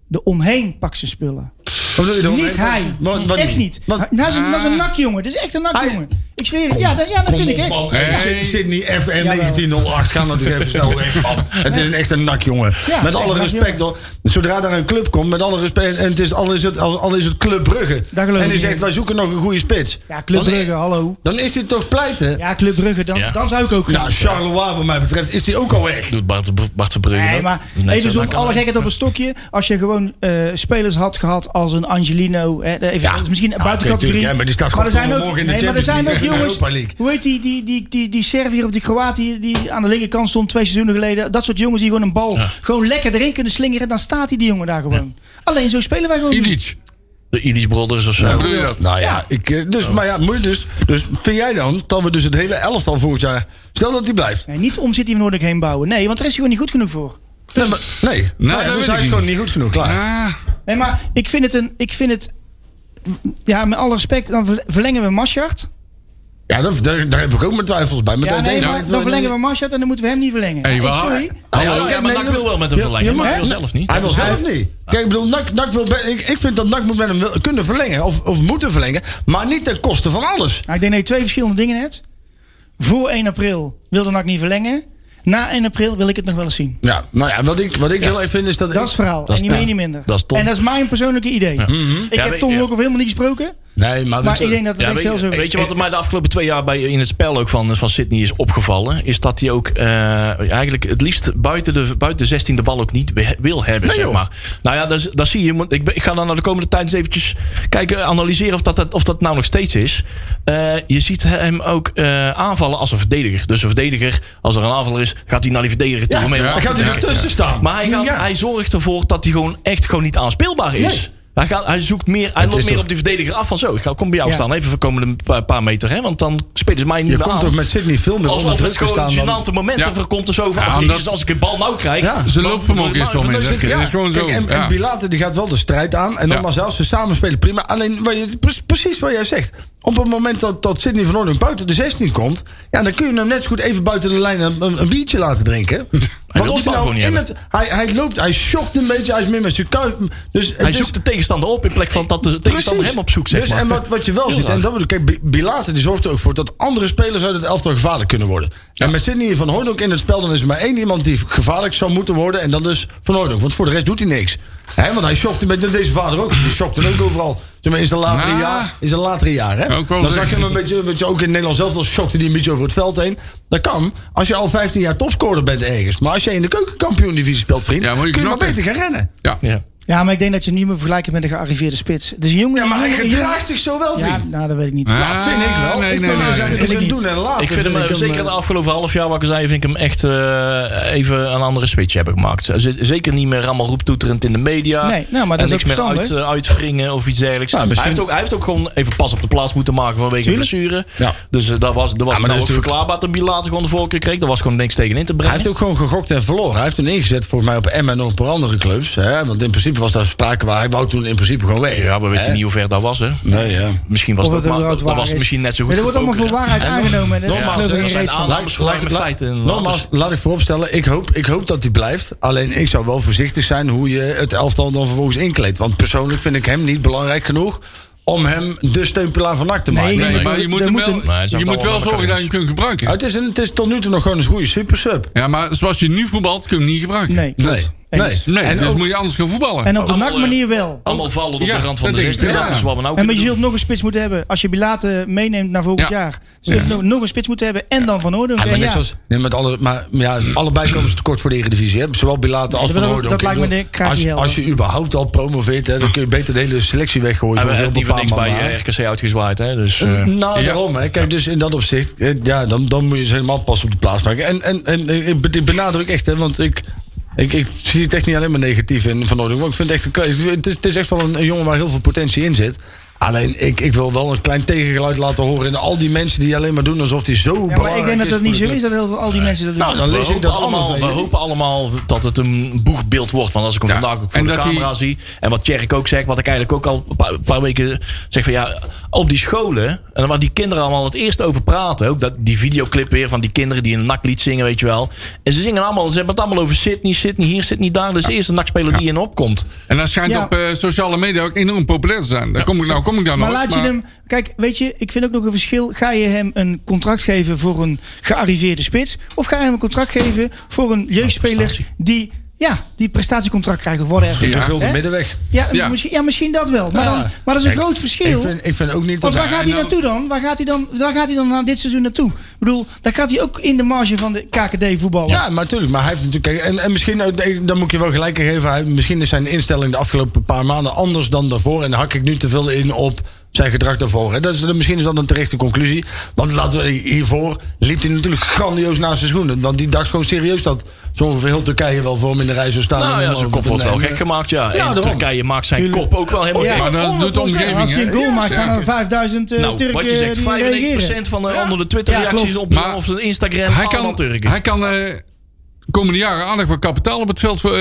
Speaker 7: De omheen pakt zijn spullen.
Speaker 4: Wat bedoel je dan?
Speaker 7: Niet hij.
Speaker 4: Wat- wat
Speaker 7: echt niet.
Speaker 4: Wat-
Speaker 7: Nou, is een, dat is een
Speaker 8: Ah.
Speaker 7: nakjongen. Dat is echt een nakjongen.
Speaker 4: Hij-
Speaker 7: Ik zweer het. Ja, dat, ja, dat
Speaker 4: Kom
Speaker 7: vind ik
Speaker 4: op,
Speaker 7: echt.
Speaker 4: man.
Speaker 8: echt.
Speaker 4: Hey,
Speaker 8: Hey.
Speaker 4: Syd- Sydney FN
Speaker 7: Jawel.
Speaker 4: 1908. Ga natuurlijk even snel weg, man. Het is een echt een nak, jongen.
Speaker 7: Ja,
Speaker 4: met
Speaker 7: echt
Speaker 4: alle
Speaker 7: een
Speaker 4: respect,
Speaker 7: nakjongen.
Speaker 4: hoor. Zodra daar een club komt, met alle respect... en het is, al, is het, al, al is het Club Brugge...
Speaker 7: Daar
Speaker 4: en
Speaker 7: geloof ik
Speaker 4: die
Speaker 7: niet
Speaker 4: zegt,
Speaker 7: in.
Speaker 4: wij zoeken nog een goede spits.
Speaker 7: Ja, Club
Speaker 4: Dan-
Speaker 7: Brugge, hallo.
Speaker 4: Dan is hij toch pleiten?
Speaker 7: Ja, Club Brugge, dan,
Speaker 3: Ja.
Speaker 7: dan zou ik ook gaan.
Speaker 4: Nou, Charleroi, wat mij betreft, is hij ook al weg.
Speaker 3: Doet Bart, Bart Verbrugge
Speaker 7: Nee,
Speaker 3: ook.
Speaker 7: maar
Speaker 3: Net zo
Speaker 7: even zo
Speaker 3: lekker.
Speaker 7: alle gekheid op een stokje. Als je gewoon eh, spelers had gehad als een Angelino. Hè, de- even,
Speaker 4: Ja.
Speaker 7: dat is misschien een
Speaker 4: Ja,
Speaker 7: buiten
Speaker 4: oké,
Speaker 7: categorie.
Speaker 4: tuurlijk, hè, maar die staat
Speaker 7: er
Speaker 4: gewoon
Speaker 7: zijn ook,
Speaker 4: morgen in de
Speaker 7: nee, maar er zijn
Speaker 4: Champions
Speaker 7: ook
Speaker 4: League en Europa
Speaker 7: jongens.
Speaker 4: League.
Speaker 7: Hoe heet die, die, die, die, die Serviër of die Kroatië die aan de linkerkant stond twee seizoenen geleden. Dat soort jongens die gewoon een bal gewoon lekker erin kunnen slingeren. Dan staat die, die jongen daar gewoon. Alleen zo spelen wij gewoon niet.
Speaker 8: Idic.
Speaker 3: De Idis Brothers of zo.
Speaker 8: Bedoel je dat?
Speaker 4: Nou ja, ik, eh, dus, maar ja, moet je dus, dus vind jij dan dat we dus het hele elftal volgend jaar... Stel dat hij blijft.
Speaker 7: Nee, niet om City van Noordelijk heen bouwen. Nee, want daar is hij gewoon niet goed genoeg voor.
Speaker 4: Nee, maar, nee. Nou ja,
Speaker 8: dat
Speaker 4: dus
Speaker 8: weet
Speaker 4: hij
Speaker 8: ik
Speaker 4: is
Speaker 8: niet.
Speaker 4: gewoon niet goed genoeg, klaar.
Speaker 8: Ah,
Speaker 7: Nee, maar ik vind het een... Ik vind het, ja, met alle respect, dan verle- verlengen we Maschart.
Speaker 4: Ja, dat, daar, daar heb ik ook mijn twijfels bij. Maar
Speaker 7: Ja,
Speaker 4: dat
Speaker 7: nee,
Speaker 4: denk ik
Speaker 7: maar
Speaker 4: dat
Speaker 7: dan verlengen we Marshall en dan moeten we hem niet verlengen.
Speaker 8: Hey, waar-
Speaker 7: Sorry.
Speaker 3: Hallo,
Speaker 4: Ah, ja,
Speaker 3: ja,
Speaker 4: ja,
Speaker 3: maar
Speaker 4: nee,
Speaker 3: NAC wil wel met hem
Speaker 4: je- je
Speaker 3: verlengen.
Speaker 4: mag-
Speaker 3: NAC wil zelf niet.
Speaker 4: Hij wil zelf niet. Kijk, ik bedoel, NAC, NAC wil, be- ik, ik vind dat NAC moet met hem wil- kunnen verlengen. Of, of moeten verlengen. Maar niet ten koste van alles.
Speaker 7: Nou, ik denk dat je twee verschillende dingen hebt. Voor 1 april wilde NAC niet verlengen. Na 1 april wil ik het nog wel eens zien.
Speaker 4: Ja, nou ja, wat ik, wat ik heel erg vind is dat...
Speaker 7: Dat is het verhaal.
Speaker 3: is
Speaker 7: en niet
Speaker 3: Tom.
Speaker 7: meer, niet minder.
Speaker 3: Dat is Tom.
Speaker 7: En dat is mijn persoonlijke idee.
Speaker 4: Mhm.
Speaker 7: Ik
Speaker 3: Ja,
Speaker 7: heb
Speaker 3: weet-
Speaker 7: Tom
Speaker 3: ja.
Speaker 7: ook helemaal niet gesproken.
Speaker 4: nee, maar,
Speaker 7: Maar ik denk dat het
Speaker 3: Ja,
Speaker 7: echt
Speaker 3: weet,
Speaker 7: zelfs
Speaker 3: je,
Speaker 7: ook...
Speaker 3: weet je wat er mij de afgelopen twee jaar bij, in het spel ook van, van Sydney is opgevallen? Is dat hij ook eh, eigenlijk het liefst buiten de, buiten de 16 de bal ook niet we- wil hebben, zeg
Speaker 4: joh.
Speaker 3: maar. Nou ja, dat, is- dat zie je. Je moet- Ik, ben- ik ga dan naar de komende tijd eens eventjes kijken, analyseren of dat, dat- of dat nou nog steeds is. Eh, je ziet hem ook eh, aanvallen als een verdediger. Dus een verdediger, als er een aanvaller is, gaat hij naar die verdediger toe. om hem af
Speaker 4: dan
Speaker 3: te
Speaker 4: gaat hij
Speaker 3: trekken.
Speaker 4: ertussen staan.
Speaker 3: Maar hij, gaat,
Speaker 4: Ja.
Speaker 3: hij zorgt ervoor dat hij gewoon echt gewoon niet aanspeelbaar is. Hij, gaat, hij zoekt meer, hij loopt
Speaker 4: is
Speaker 3: meer
Speaker 4: toch-
Speaker 3: op die verdediger af van zo. Ik ga, kom bij jou
Speaker 7: Ja.
Speaker 3: staan, even voor de komende pa- paar meter. Hè, want dan spelen ze mij niet
Speaker 4: Je
Speaker 3: meer
Speaker 4: komt
Speaker 3: aan.
Speaker 4: toch met Sydney veel meer onder
Speaker 3: Alsof
Speaker 4: druk
Speaker 3: het
Speaker 4: te
Speaker 3: gewoon
Speaker 4: staan. dan-
Speaker 3: gênante momenten
Speaker 8: Ja.
Speaker 3: voorkomt. Of zo van,
Speaker 8: Ja,
Speaker 3: ach,
Speaker 8: omdat-
Speaker 3: jezus, als ik een bal nou krijg...
Speaker 4: Ja.
Speaker 8: Zijn
Speaker 3: dan-
Speaker 8: loopvermogen is
Speaker 3: dan-
Speaker 8: veel
Speaker 3: dan-
Speaker 8: minder.
Speaker 3: ja.
Speaker 8: Het is gewoon zo.
Speaker 4: Kijk, en,
Speaker 8: ja.
Speaker 4: en Pilate die gaat wel de strijd aan. En
Speaker 8: Ja.
Speaker 4: nogmaals, zelfs ze samen spelen prima. Alleen wat je- pre- precies wat jij zegt. Op het moment dat, dat Sidney van Oordunk buiten de 16 komt. Ja, dan kun je hem net zo goed even buiten de lijn een, een, een biertje laten drinken. Want
Speaker 3: wil
Speaker 4: of
Speaker 3: die bal gewoon niet
Speaker 4: in het, hij, hij loopt, hij shockt een beetje. Hij is meer met zijn kuif. Dus het
Speaker 3: Hij
Speaker 4: is-
Speaker 3: zoekt de tegenstander op in plek van dat de tegenstander hem op zoek zet.
Speaker 4: Dus, en wat, wat je wel ziet, en dat bedoel ik, kijk, Bi- Bilate die zorgt er ook voor dat andere spelers uit het elftal gevaarlijk kunnen worden. En met Sidney van Hooydonk in het spel, dan is er maar één iemand die gevaarlijk zou moeten worden. En dat is van Hooydonk. Want voor de rest doet hij niks. Hè, want hij shockte met deze vader ook. Die shockte ook overal. Zeg maar, in zijn latere
Speaker 8: Ja.
Speaker 4: jaar. In zijn latere jaar hè?
Speaker 8: Ook wel
Speaker 4: dan zag
Speaker 8: zeggen.
Speaker 4: je hem een beetje, weet je, ook in Nederland zelf, dan shockte die een beetje over het veld heen. Dat kan, als je al 15 jaar topscorer bent ergens. Maar als je in de keukenkampioen-divisie speelt, vriend,
Speaker 8: Ja, moet je
Speaker 4: kun je maar
Speaker 8: knokken.
Speaker 4: beter gaan rennen.
Speaker 8: Ja.
Speaker 3: Ja.
Speaker 7: Ja, maar ik denk dat je hem niet meer vergelijkt met een gearriveerde spits. Dus jongen,
Speaker 4: Ja, maar hij
Speaker 7: jongen-
Speaker 4: gedraagt zich zo wel,
Speaker 7: Ja,
Speaker 4: vriend.
Speaker 7: nou, dat weet ik niet.
Speaker 8: Ah,
Speaker 4: vind ik wel.
Speaker 8: Nee,
Speaker 4: ik
Speaker 8: nee,
Speaker 4: vind
Speaker 8: nee,
Speaker 4: hem
Speaker 8: nee.
Speaker 4: zeggen,
Speaker 7: nee.
Speaker 4: is een
Speaker 7: Vind ik
Speaker 4: doen en laten.
Speaker 3: Ik vind hem, eh,
Speaker 4: een,
Speaker 3: zeker de afgelopen half jaar, wat ik al zei, vind ik hem echt eh, even een andere switch heb ik gemaakt. Z- Zeker niet meer allemaal roeptoeterend in de media.
Speaker 7: Nee, nou, maar dat
Speaker 3: en
Speaker 7: is
Speaker 3: niks
Speaker 7: ook
Speaker 3: meer uit,
Speaker 7: verstandig.
Speaker 3: eh, uitwringen of iets dergelijks.
Speaker 4: Ja, misschien-
Speaker 3: hij, heeft ook, hij heeft ook gewoon even pas op de plaats moeten maken vanwege
Speaker 7: Tuurlijk.
Speaker 3: blessure.
Speaker 4: Ja.
Speaker 3: Dus eh, dat was, dat was
Speaker 4: maar dat is
Speaker 3: nou ook
Speaker 4: natuurlijk-
Speaker 3: verklaarbaar dat hij later gewoon de voorkeur kreeg. Daar was gewoon niks tegen in te
Speaker 4: hij
Speaker 3: brengen.
Speaker 4: heeft ook gewoon gegokt en verloren. Hij heeft hem ingezet volgens mij op Emmen en op een paar andere clubs. Hè? Want in principe principe was daar sprake waar. Hij wou toen in principe gewoon weg.
Speaker 3: Ja, we weten
Speaker 4: Hè?
Speaker 3: niet hoe ver dat was, hè?
Speaker 4: Nee, ja.
Speaker 3: Misschien was
Speaker 7: Of
Speaker 3: dat,
Speaker 7: het
Speaker 3: maar,
Speaker 7: überhaupt
Speaker 3: dat
Speaker 7: waar
Speaker 3: was
Speaker 7: is.
Speaker 3: misschien net zo
Speaker 7: Maar
Speaker 3: goed.
Speaker 7: dat wordt allemaal voor
Speaker 3: gekroken.
Speaker 7: waarheid aangenomen. en Dat
Speaker 4: nogmaals, eh,
Speaker 7: geloof ik
Speaker 4: hè,
Speaker 7: geen
Speaker 4: er
Speaker 3: zijn
Speaker 7: reet van.
Speaker 3: aandacht- Laat- laat- laat- feiten en
Speaker 4: Nogmaals,
Speaker 3: laten
Speaker 4: laat ik vooropstellen, ik hoop, ik hoop dat hij blijft. Alleen ik zou wel voorzichtig zijn hoe je het elftal dan vervolgens inkleedt. Want persoonlijk vind ik hem niet belangrijk genoeg om hem de steunpilaar van NAC te maken. Oh,
Speaker 7: Nee,
Speaker 8: Nee, maar je
Speaker 7: er
Speaker 8: moet, hem
Speaker 7: moet
Speaker 8: wel,
Speaker 7: een-
Speaker 3: Nee, het zijn
Speaker 8: je moet
Speaker 3: allemaal
Speaker 8: wel zorgen dat je
Speaker 3: elkaar
Speaker 8: hem kunt gebruiken.
Speaker 4: Het, is een, het is tot nu toe nog gewoon een goede super sub.
Speaker 8: Ja, maar zoals je nu voetbalt, kun je hem niet gebruiken.
Speaker 7: Nee.
Speaker 4: Nee, nee.
Speaker 7: Eens.
Speaker 8: Nee,
Speaker 4: en
Speaker 8: dus
Speaker 4: ook-
Speaker 8: moet je anders gaan voetballen.
Speaker 7: En op de
Speaker 3: Allemaal,
Speaker 7: NAC-manier wel.
Speaker 3: Allemaal vallen op
Speaker 8: Ja,
Speaker 3: de rand van
Speaker 8: dat
Speaker 3: de
Speaker 8: denk ik,
Speaker 3: 16.
Speaker 8: ja.
Speaker 3: Dat is wat we nou
Speaker 7: En
Speaker 3: kunnen
Speaker 7: maar je
Speaker 3: doen.
Speaker 7: zult nog een spits moeten hebben. Als je Bilate meeneemt naar volgend
Speaker 8: Ja.
Speaker 7: jaar. Zul je nog- nog een spits moeten hebben. En dan Van Oordonk.
Speaker 4: Ja, maar
Speaker 7: En
Speaker 4: net
Speaker 7: ja,
Speaker 4: zoals- nee, met alle, maar maar ja, allebei komen ze tekort voor de Eredivisie. Hè? Zowel Bilater als
Speaker 7: dat-
Speaker 4: Van
Speaker 7: dat
Speaker 4: Hooydonk.
Speaker 7: lijkt me
Speaker 4: Ik bedoel,
Speaker 7: de kraak
Speaker 4: als,
Speaker 7: niet
Speaker 4: als je überhaupt al promoveert, hè, dan kun je beter de hele selectie weggooien.
Speaker 3: hebben
Speaker 4: zoals
Speaker 3: we hebben
Speaker 4: heel
Speaker 3: niet voor
Speaker 4: veel
Speaker 3: niks bij
Speaker 4: Paarman
Speaker 3: eh,
Speaker 4: maken.
Speaker 3: RKC uitgezwaaid, hè? Dus, eh,
Speaker 4: Eh, nou,
Speaker 8: ja.
Speaker 4: daarom. Hè. Kijk, dus in dat opzicht, eh, ja, dan, dan moet je ze helemaal pas op de plaats maken. En, en, en eh, ik be- ik benadruk echt, hè, want ik, ik, ik zie het echt niet alleen maar negatief in Van Noordhoek. Want ik vind het echt, een kle- het is, het is echt wel een, een jongen waar heel veel potentie in zit. Alleen, ik, ik wil wel een klein tegengeluid laten horen. En al die mensen die alleen maar doen alsof die zo
Speaker 7: ja, maar ik
Speaker 4: belangrijk
Speaker 7: denk dat
Speaker 4: is
Speaker 7: dat
Speaker 4: voor
Speaker 7: niet
Speaker 4: de
Speaker 7: zo
Speaker 4: club.
Speaker 7: is. Dat heel veel- al die mensen dat
Speaker 4: Nou,
Speaker 7: doen.
Speaker 4: dan
Speaker 3: we
Speaker 4: lees ik
Speaker 3: hopen,
Speaker 4: dat allemaal.
Speaker 3: allemaal, we hopen allemaal dat het een boegbeeld wordt. Want als ik hem
Speaker 8: Ja,
Speaker 3: vandaag ook
Speaker 8: en
Speaker 3: voor de
Speaker 8: dat
Speaker 3: camera
Speaker 8: die-
Speaker 3: zie. En wat Tjerk ook zegt, wat ik eigenlijk ook al een paar, een paar weken zeg van ja, op die scholen. En waar die kinderen allemaal het eerst over praten. Ook dat, die videoclip weer van die kinderen die een naklied zingen, weet je wel. En ze zingen allemaal, ze hebben het allemaal over Sydney, Sydney hier, Sydney daar. Dat is de eerste nakspeler die in opkomt.
Speaker 8: En dat schijnt
Speaker 7: Ja.
Speaker 8: op eh, sociale media ook enorm populair te zijn. Daar kom ik, nou kom ik daar
Speaker 7: Maar
Speaker 8: nog.
Speaker 7: laat je hem. Kijk, weet je, ik vind ook nog een verschil. Ga je hem een contract geven voor een gearriveerde spits? Of ga je hem een contract geven voor een jeugdspeler
Speaker 3: prestatie.
Speaker 7: die. Ja, die prestatiecontract krijgt of whatever.
Speaker 8: Ja.
Speaker 4: De gulden
Speaker 7: Hè?
Speaker 4: middenweg.
Speaker 7: Ja,
Speaker 8: Ja.
Speaker 7: Misschien, ja, misschien dat wel. Maar, dan, maar dat is een groot verschil.
Speaker 4: Ik vind, ik vind ook niet
Speaker 7: Want
Speaker 4: dat...
Speaker 7: waar gaat hij
Speaker 8: en dan-
Speaker 7: naartoe dan? Waar gaat hij dan, waar gaat hij dan na dit seizoen naartoe? Ik bedoel, daar gaat hij ook in de marge van de KKD voetballen.
Speaker 4: Ja, maar natuurlijk. Maar hij heeft natuurlijk. kijk, En, en misschien, ook- eh, dan moet ik je wel gelijk in geven. Hij, misschien is zijn instelling de afgelopen paar maanden anders dan daarvoor. En daar hak ik nu te veel in op zijn gedrag daarvoor. hè. Dat is, dat- misschien is dat een terechte conclusie. Want laten we hiervoor liep hij natuurlijk grandioos naast zijn schoenen. Want die dacht gewoon serieus dat zo ongeveer heel Turkije wel voor hem in de rij zou staan. om
Speaker 3: Nou ja,
Speaker 4: hem
Speaker 3: zijn
Speaker 4: over
Speaker 3: kop
Speaker 4: te
Speaker 3: wordt wel
Speaker 4: nemen.
Speaker 3: gek gemaakt, ja.
Speaker 4: Ja,
Speaker 3: en
Speaker 4: daarom.
Speaker 3: Turkije maakt zijn
Speaker 7: Tuurlijk.
Speaker 3: kop ook wel helemaal
Speaker 7: Ja,
Speaker 3: gek.
Speaker 8: oh, Maar dat doet de
Speaker 7: 100%.
Speaker 8: omgeving,
Speaker 7: Als hij een
Speaker 8: hè?
Speaker 7: goal
Speaker 8: Ja,
Speaker 7: maakt, zijn
Speaker 8: zeker.
Speaker 7: er 5000 eh,
Speaker 3: Oh, Nou,
Speaker 7: Turken
Speaker 3: wat je zegt,
Speaker 7: die reageren.
Speaker 3: 95% van de, onder de Twitter-reacties
Speaker 7: Ja,
Speaker 3: op, eh,
Speaker 8: Maar
Speaker 3: op zijn Instagram
Speaker 8: hij
Speaker 3: allemaal
Speaker 8: kan,
Speaker 3: Turken.
Speaker 8: hij kan eh, komende jaren aardig wat kapitaal op het veld eh,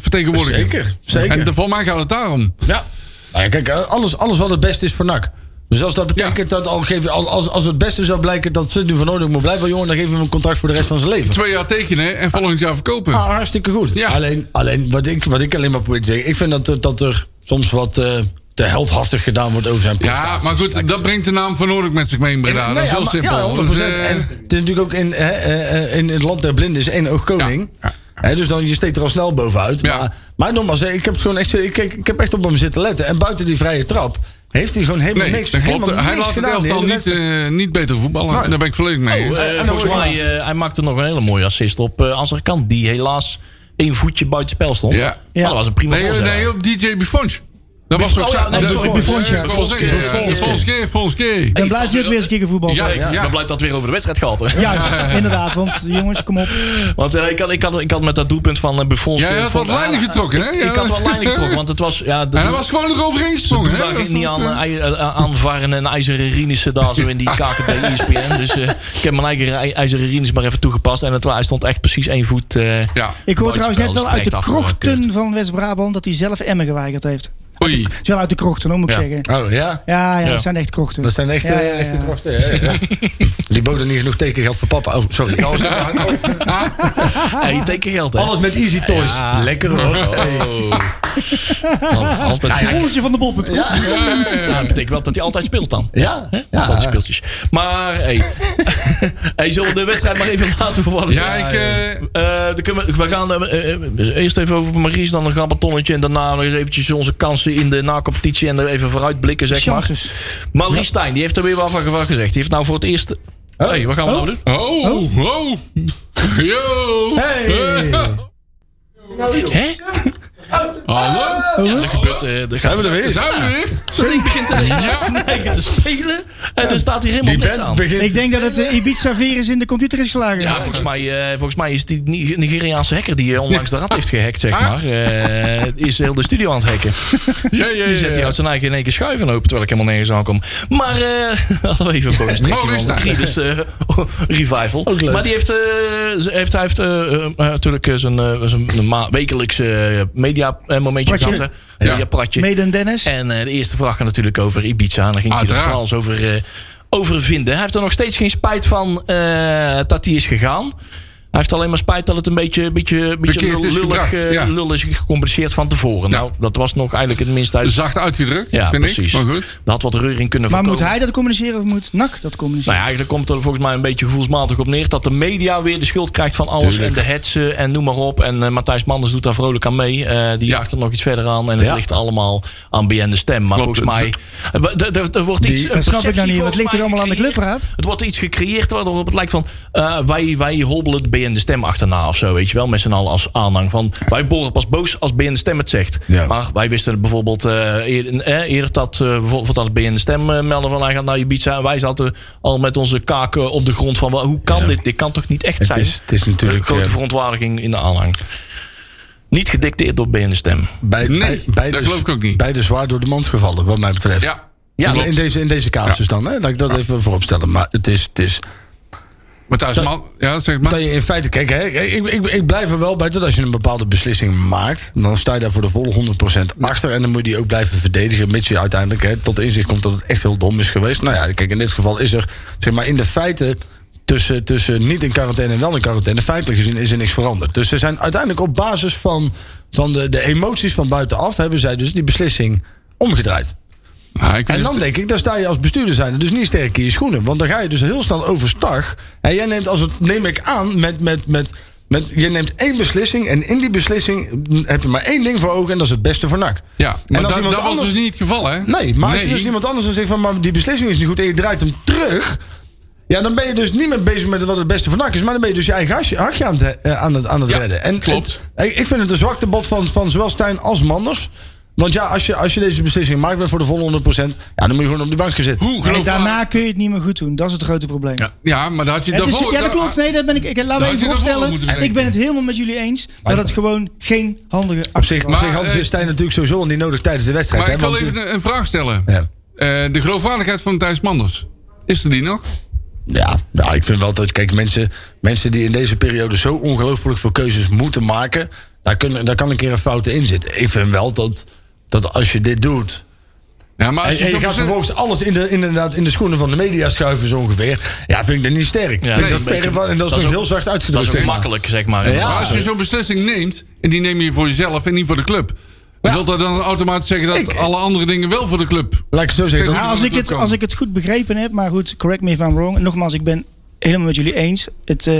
Speaker 8: vertegenwoordigen.
Speaker 4: Zeker, zeker.
Speaker 8: En de- voor mij gaat het daarom.
Speaker 4: Ja. Nou ja, kijk, eh, alles, alles wat het beste is voor NAC. Dus als dat betekent dat al geef, al- als, als het beste zou blijken dat ze nu van nodig moet blijven, jongen, dan geven we hem een contract voor de rest van zijn leven.
Speaker 8: Twee jaar tekenen en volgend jaar verkopen.
Speaker 4: Ah, hartstikke goed.
Speaker 8: Ja.
Speaker 4: Alleen, alleen wat, ik, wat ik alleen maar probeer te zeggen. Ik vind dat, er- dat er soms wat eh, te heldhaftig gedaan wordt over zijn
Speaker 8: ja,
Speaker 4: prestaties.
Speaker 8: maar goed, dat brengt de naam van Noordelijk met zich mee in Breda.
Speaker 4: Nee,
Speaker 8: dat is
Speaker 4: ja,
Speaker 8: heel
Speaker 4: maar-
Speaker 8: simpel.
Speaker 4: ja, 100%.
Speaker 8: Dus, eh,
Speaker 4: en het is natuurlijk ook in, hè, eh, eh, in het land der blinden is één oog koning. Hè, dus dan, je steekt er al snel bovenuit.
Speaker 8: Ja.
Speaker 4: Maar, maar nogmaals, hè, ik heb, het gewoon echt, ik, ik, ik heb echt op hem zitten letten. En buiten die vrije trap heeft hij gewoon helemaal
Speaker 8: nee,
Speaker 4: niks,
Speaker 8: dat klopt.
Speaker 4: helemaal
Speaker 8: Hij
Speaker 4: niks
Speaker 8: laat het
Speaker 4: gedaan. die
Speaker 8: elftal
Speaker 4: hele
Speaker 8: niet,
Speaker 4: wedstrijd.
Speaker 8: eh, niet beter voetballen.
Speaker 4: Nee.
Speaker 8: Daar ben ik volledig mee. eens.
Speaker 3: Eh,
Speaker 4: en dan
Speaker 3: volgens
Speaker 4: wordt-
Speaker 3: mij, eh, hij maakte nog een hele mooie assist op eh Azarkan. Die helaas één voetje buiten spel stond.
Speaker 8: Ja.
Speaker 3: Maar dat was een prima
Speaker 8: Nee,
Speaker 3: voorzet.
Speaker 8: eh, nee, op DJ Buffonch. Dat was
Speaker 3: Buffon-
Speaker 8: ook
Speaker 3: oh,
Speaker 8: zo.
Speaker 3: ja, nee,
Speaker 8: dat-
Speaker 3: sorry,
Speaker 7: Buffonch, ja.
Speaker 8: eh, Buffonski, ja.
Speaker 3: Buffonski.
Speaker 8: Buffonski, Buffonski.
Speaker 7: Dan blijft hij ook weer eens kicken voetbal.
Speaker 8: Ja,
Speaker 7: Ja,
Speaker 3: Ik ben blij dat het weer over de wedstrijd gaat. hè.
Speaker 7: Juist, inderdaad. Want jongens, kom op.
Speaker 3: Want eh, ik, had, ik, had, ik had met dat doelpunt van eh, Buffon...
Speaker 8: Jij had wat lijnen getrokken, hè?
Speaker 3: Ik had wat lijnen getrokken, want het was... Ja, de,
Speaker 8: En hij was gewoon eroverheen
Speaker 3: Toen
Speaker 8: gesprongen, hè?
Speaker 3: dacht
Speaker 8: Dat
Speaker 3: ik niet
Speaker 8: stond,
Speaker 3: aan,
Speaker 8: eh,
Speaker 3: eh, ij- eh, aan Varren en IJzeren Rienissen daar zo in die KKD ESPN. Dus eh, ik heb mijn eigen ij- IJzeren Rienissen maar even toegepast. En het, wa- hij stond echt precies één voet. eh,
Speaker 8: Ja.
Speaker 7: Ik hoor
Speaker 3: buitenspel.
Speaker 7: trouwens net
Speaker 3: Dat
Speaker 7: wel
Speaker 3: is
Speaker 7: uit de
Speaker 3: terecht afgekeurd.
Speaker 7: krochten van West-Brabant dat hij zelf Emmen geweigerd heeft.
Speaker 8: Oei.
Speaker 7: Het is wel uit de krochten, hoor, moet ik
Speaker 3: Ja.
Speaker 7: zeggen.
Speaker 8: eh,
Speaker 4: Oh ja,
Speaker 7: Ja, ja,
Speaker 3: Ja.
Speaker 7: dat zijn echt krochten.
Speaker 4: dat zijn eh, echte,
Speaker 7: Ja,
Speaker 3: eh,
Speaker 7: ja, ja.
Speaker 4: echte krachten. hè, ja. Die boden niet genoeg tekengeld voor papa. Oh, sorry.
Speaker 3: Hey, teken geld, hè?
Speaker 4: Alles met Easy Toys.
Speaker 3: Ja.
Speaker 4: Lekker
Speaker 8: Oh.
Speaker 4: hoor.
Speaker 3: Man, altijd.
Speaker 7: Het bolletje van de bol.
Speaker 3: Ja, dat betekent wel dat hij altijd speelt dan.
Speaker 4: Ja, ja.
Speaker 3: Ja. Altijd speeltjes. Maar, hey. hey, zullen we de wedstrijd maar even laten vervallen?
Speaker 8: Ja, ik... eh,
Speaker 3: Eh, dan kunnen we, we gaan eh, eh, eh, eerst even over Maries, dan een grabatonnetje. En daarna nog eens eventjes onze kansen in de na-competitie. En er even vooruitblikken, zeg maar.
Speaker 7: Chances.
Speaker 3: Maurice Stijn, die heeft er weer wel van gewa- gezegd. Die heeft nou voor het eerst... hey, wat gaan we nou doen?
Speaker 8: Oh, oh. Yo. Eh,
Speaker 4: Hey.
Speaker 3: Hè?
Speaker 8: Hallo.
Speaker 3: Ja, er gebeurt... eh, er gaat
Speaker 4: Hebben we er weer.
Speaker 8: Zijn we weer?
Speaker 3: Hij begint er eigen te spelen. En er staat hier helemaal
Speaker 4: Die
Speaker 3: niks aan.
Speaker 4: band begint.
Speaker 7: Ik denk dat het eh, Ibiza-virus in de computer is geslagen.
Speaker 3: Ja, volgens mij, eh, volgens mij is die Ni- Nigeriaanse hacker die eh, onlangs de rat heeft gehackt, zeg maar, eh, is heel de studio aan het hacken.
Speaker 8: Ja, ja,
Speaker 3: Die
Speaker 8: ja,
Speaker 3: zet hij
Speaker 8: ja.
Speaker 3: uit zijn eigen in één keer schuiven open, terwijl ik helemaal nergens aankom. Maar, eh hadden we even een bonus trekje
Speaker 8: Maurice
Speaker 3: van de
Speaker 8: daar.
Speaker 3: Creedus eh, revival.
Speaker 4: leuk.
Speaker 3: Maar die heeft, eh, ze- heeft hij heeft eh, eh, natuurlijk eh, zijn, eh, zijn ma- wekelijkse media eh, momentje
Speaker 7: Pratje.
Speaker 3: gehad. hè? Een
Speaker 8: Ja.
Speaker 3: ja. pratje.
Speaker 7: Mede en Dennis.
Speaker 3: En eh, de eerste vraag gaat natuurlijk over Ibiza. En dan ging hij er
Speaker 8: Uiteraard.
Speaker 3: vooral eens over, eh, over vinden. Hij heeft er nog steeds geen spijt van eh, dat hij is gegaan. Hij heeft alleen maar spijt dat het een beetje, beetje, beetje
Speaker 8: Verkeerd
Speaker 3: lul-
Speaker 8: is
Speaker 3: lullig,
Speaker 8: gebracht,
Speaker 3: eh,
Speaker 8: ja.
Speaker 3: lul is gecompenseerd van tevoren.
Speaker 8: Ja.
Speaker 3: Nou, dat was nog eigenlijk het minst uit.
Speaker 8: Zacht uitgedrukt,
Speaker 3: Ja,
Speaker 8: vind
Speaker 3: precies.
Speaker 8: ik.
Speaker 3: Dat
Speaker 8: Maar goed.
Speaker 3: had wat reuring kunnen
Speaker 7: Maar moet
Speaker 3: voorkomen.
Speaker 7: hij dat communiceren of moet NAC dat
Speaker 3: Nou ja,
Speaker 7: communiceren?
Speaker 3: eigenlijk komt er volgens mij een beetje gevoelsmatig op neer... dat de media weer de schuld krijgt van alles.
Speaker 5: Tuurlijk.
Speaker 3: En de hetsen en noem maar op. En eh, Matthijs Manders doet daar vrolijk aan mee. Eh, die
Speaker 8: Ja.
Speaker 3: jaagt er nog iets verder aan. En het
Speaker 5: Ja.
Speaker 3: ligt allemaal aan BN de Stem. Maar
Speaker 8: Klopt.
Speaker 3: volgens mij... eh, w- d- d- Er wordt iets...
Speaker 7: Die-
Speaker 3: een
Speaker 7: Dat snap ik nou
Speaker 3: perceptie
Speaker 7: niet, want het
Speaker 3: volgens
Speaker 7: ligt
Speaker 3: mij
Speaker 7: hier allemaal aan de
Speaker 3: gecreëerd.
Speaker 7: clubraad.
Speaker 3: Het wordt iets gecreëerd waarop het lijkt van... eh, wij, wij hobbelen het BN de Stem achterna of zo. Weet je wel, met z'n allen als aanhang. Van, wij boren pas boos als BN de Stem het zegt.
Speaker 5: Ja.
Speaker 3: Maar wij wisten het bijvoorbeeld eh, eer- eh, eerder dat... eh, bijvoorbeeld als BN de Stem eh, melden van... hij gaat naar Ibiza. En wij zaten al met onze kaken op de grond van... hoe kan dit? Dit kan toch niet echt
Speaker 4: Het
Speaker 3: zijn?
Speaker 4: is, het is
Speaker 3: Een
Speaker 4: natuurlijk
Speaker 3: grote
Speaker 4: eh,
Speaker 3: verontwaardiging in de aanhang. Niet gedicteerd door BN de Stem.
Speaker 4: bij,
Speaker 8: Nee,
Speaker 4: bij- bij
Speaker 8: dat
Speaker 4: de-
Speaker 8: geloof ik ook niet.
Speaker 4: Bij de zwaar door de mand gevallen, wat mij betreft.
Speaker 8: Ja.
Speaker 3: Ja,
Speaker 4: in, in deze, in deze casus dus dan, hè? dat ik dat even voorop stellen. Maar het is, het is
Speaker 8: Matthijs Man... Ja, zeg maar.
Speaker 4: dat je in feite, kijk, hè, ik, ik, ik blijf er wel bij dat als je een bepaalde beslissing maakt, dan sta je daar voor de volle 100% achter. En dan moet je die ook blijven verdedigen, mits je uiteindelijk hè, tot inzicht komt dat het echt heel dom is geweest. Nou ja, kijk, in dit geval is er, zeg maar, in de feiten. Tussen, tussen niet in quarantaine en wel in quarantaine. Feitelijk gezien is er niks veranderd. Dus ze zijn uiteindelijk op basis van, van de, de emoties van buitenaf. hebben zij dus die beslissing omgedraaid.
Speaker 8: Ja, ik weet
Speaker 4: En dan
Speaker 8: het-
Speaker 4: denk ik, dan sta je als bestuurder zijn dus niet sterk in je schoenen. Want dan ga je dus heel snel overstag. En jij neemt, als het neem ik aan, met, met, met, met, je neemt één beslissing. En in die beslissing heb je maar één ding voor ogen. En dat is het beste voor NAC.
Speaker 8: Ja, maar
Speaker 4: als
Speaker 8: da- dat
Speaker 4: iemand
Speaker 8: was
Speaker 4: anders-
Speaker 8: dus niet het geval, hè?
Speaker 4: Nee, maar als je
Speaker 8: Nee.
Speaker 4: dus iemand anders dan zegt van... maar die beslissing is niet goed en je draait hem terug... Ja, dan ben je dus niet meer bezig met wat het beste van NAC is... maar dan ben je dus je eigen hasje- hakje aan het, eh, aan het, aan het
Speaker 8: Ja,
Speaker 4: redden. En
Speaker 8: klopt.
Speaker 4: het- ik- ik vind het een zwakte bot van, van zowel Stijn als Manders. Want ja, als je, als je deze beslissing maakt met voor de volle 100%... ja, dan moet je gewoon op de bank gaan zitten.
Speaker 8: Hoe
Speaker 7: Nee,
Speaker 8: geloof
Speaker 7: daarna kun je het niet meer goed doen. Dat is het grote probleem.
Speaker 8: Ja, ja, maar dat had je
Speaker 7: Het is-
Speaker 8: daarvoor...
Speaker 7: ja, dat klopt. Nee, dat ben ik, ik, laat me
Speaker 8: had je
Speaker 7: even
Speaker 8: daarvoor
Speaker 7: voorstellen.
Speaker 8: moeten bedenken.
Speaker 7: Ik ben het helemaal met jullie eens dat het gewoon geen handige
Speaker 4: Op
Speaker 7: actie
Speaker 4: zich, op
Speaker 8: Maar,
Speaker 7: was.
Speaker 4: zich had
Speaker 8: eh,
Speaker 4: je Stijn natuurlijk sowieso al niet nodig tijdens de wedstrijd.
Speaker 8: Maar
Speaker 4: hè,
Speaker 8: ik wil
Speaker 4: want-
Speaker 8: even een, een vraag stellen.
Speaker 4: Ja.
Speaker 8: Eh, de geloofwaardigheid van Thijs Manders. Is er die nog?
Speaker 4: Ja, nou, ik vind wel dat. Kijk, mensen, mensen die in deze periode zo ongelooflijk veel keuzes moeten maken. Daar, kunnen, daar kan een keer een fout in zitten. Ik vind wel dat, dat als je dit doet.
Speaker 8: Ja, maar
Speaker 4: En,
Speaker 8: als je
Speaker 4: en je
Speaker 8: zo
Speaker 4: gaat
Speaker 8: bezet-
Speaker 4: vervolgens alles in de, inderdaad in de schoenen van de media schuiven, zo ongeveer. Ja, vind ik dat niet sterk.
Speaker 3: Ja,
Speaker 4: Vind ik
Speaker 3: nee,
Speaker 4: dat
Speaker 3: een
Speaker 4: verre
Speaker 3: beetje-
Speaker 4: van, en dat is
Speaker 3: dat is
Speaker 4: nog
Speaker 3: ook-
Speaker 4: heel zacht
Speaker 3: dat
Speaker 4: uitgedrukt.
Speaker 3: is ook
Speaker 4: zeg maar.
Speaker 3: makkelijk, zeg maar.
Speaker 8: Maar als je zo'n beslissing neemt, en die neem je voor jezelf en niet voor de club. Wil dat dan automatisch zeggen dat
Speaker 4: Ik-
Speaker 8: alle andere dingen wel voor de club?
Speaker 4: Laat ik het zo zeggen.
Speaker 8: Tegen
Speaker 4: dat-
Speaker 7: Ja, als, ik het, als ik het goed begrepen heb, maar goed, correct me if I'm wrong. En nogmaals, ik ben helemaal met jullie eens. Het, eh,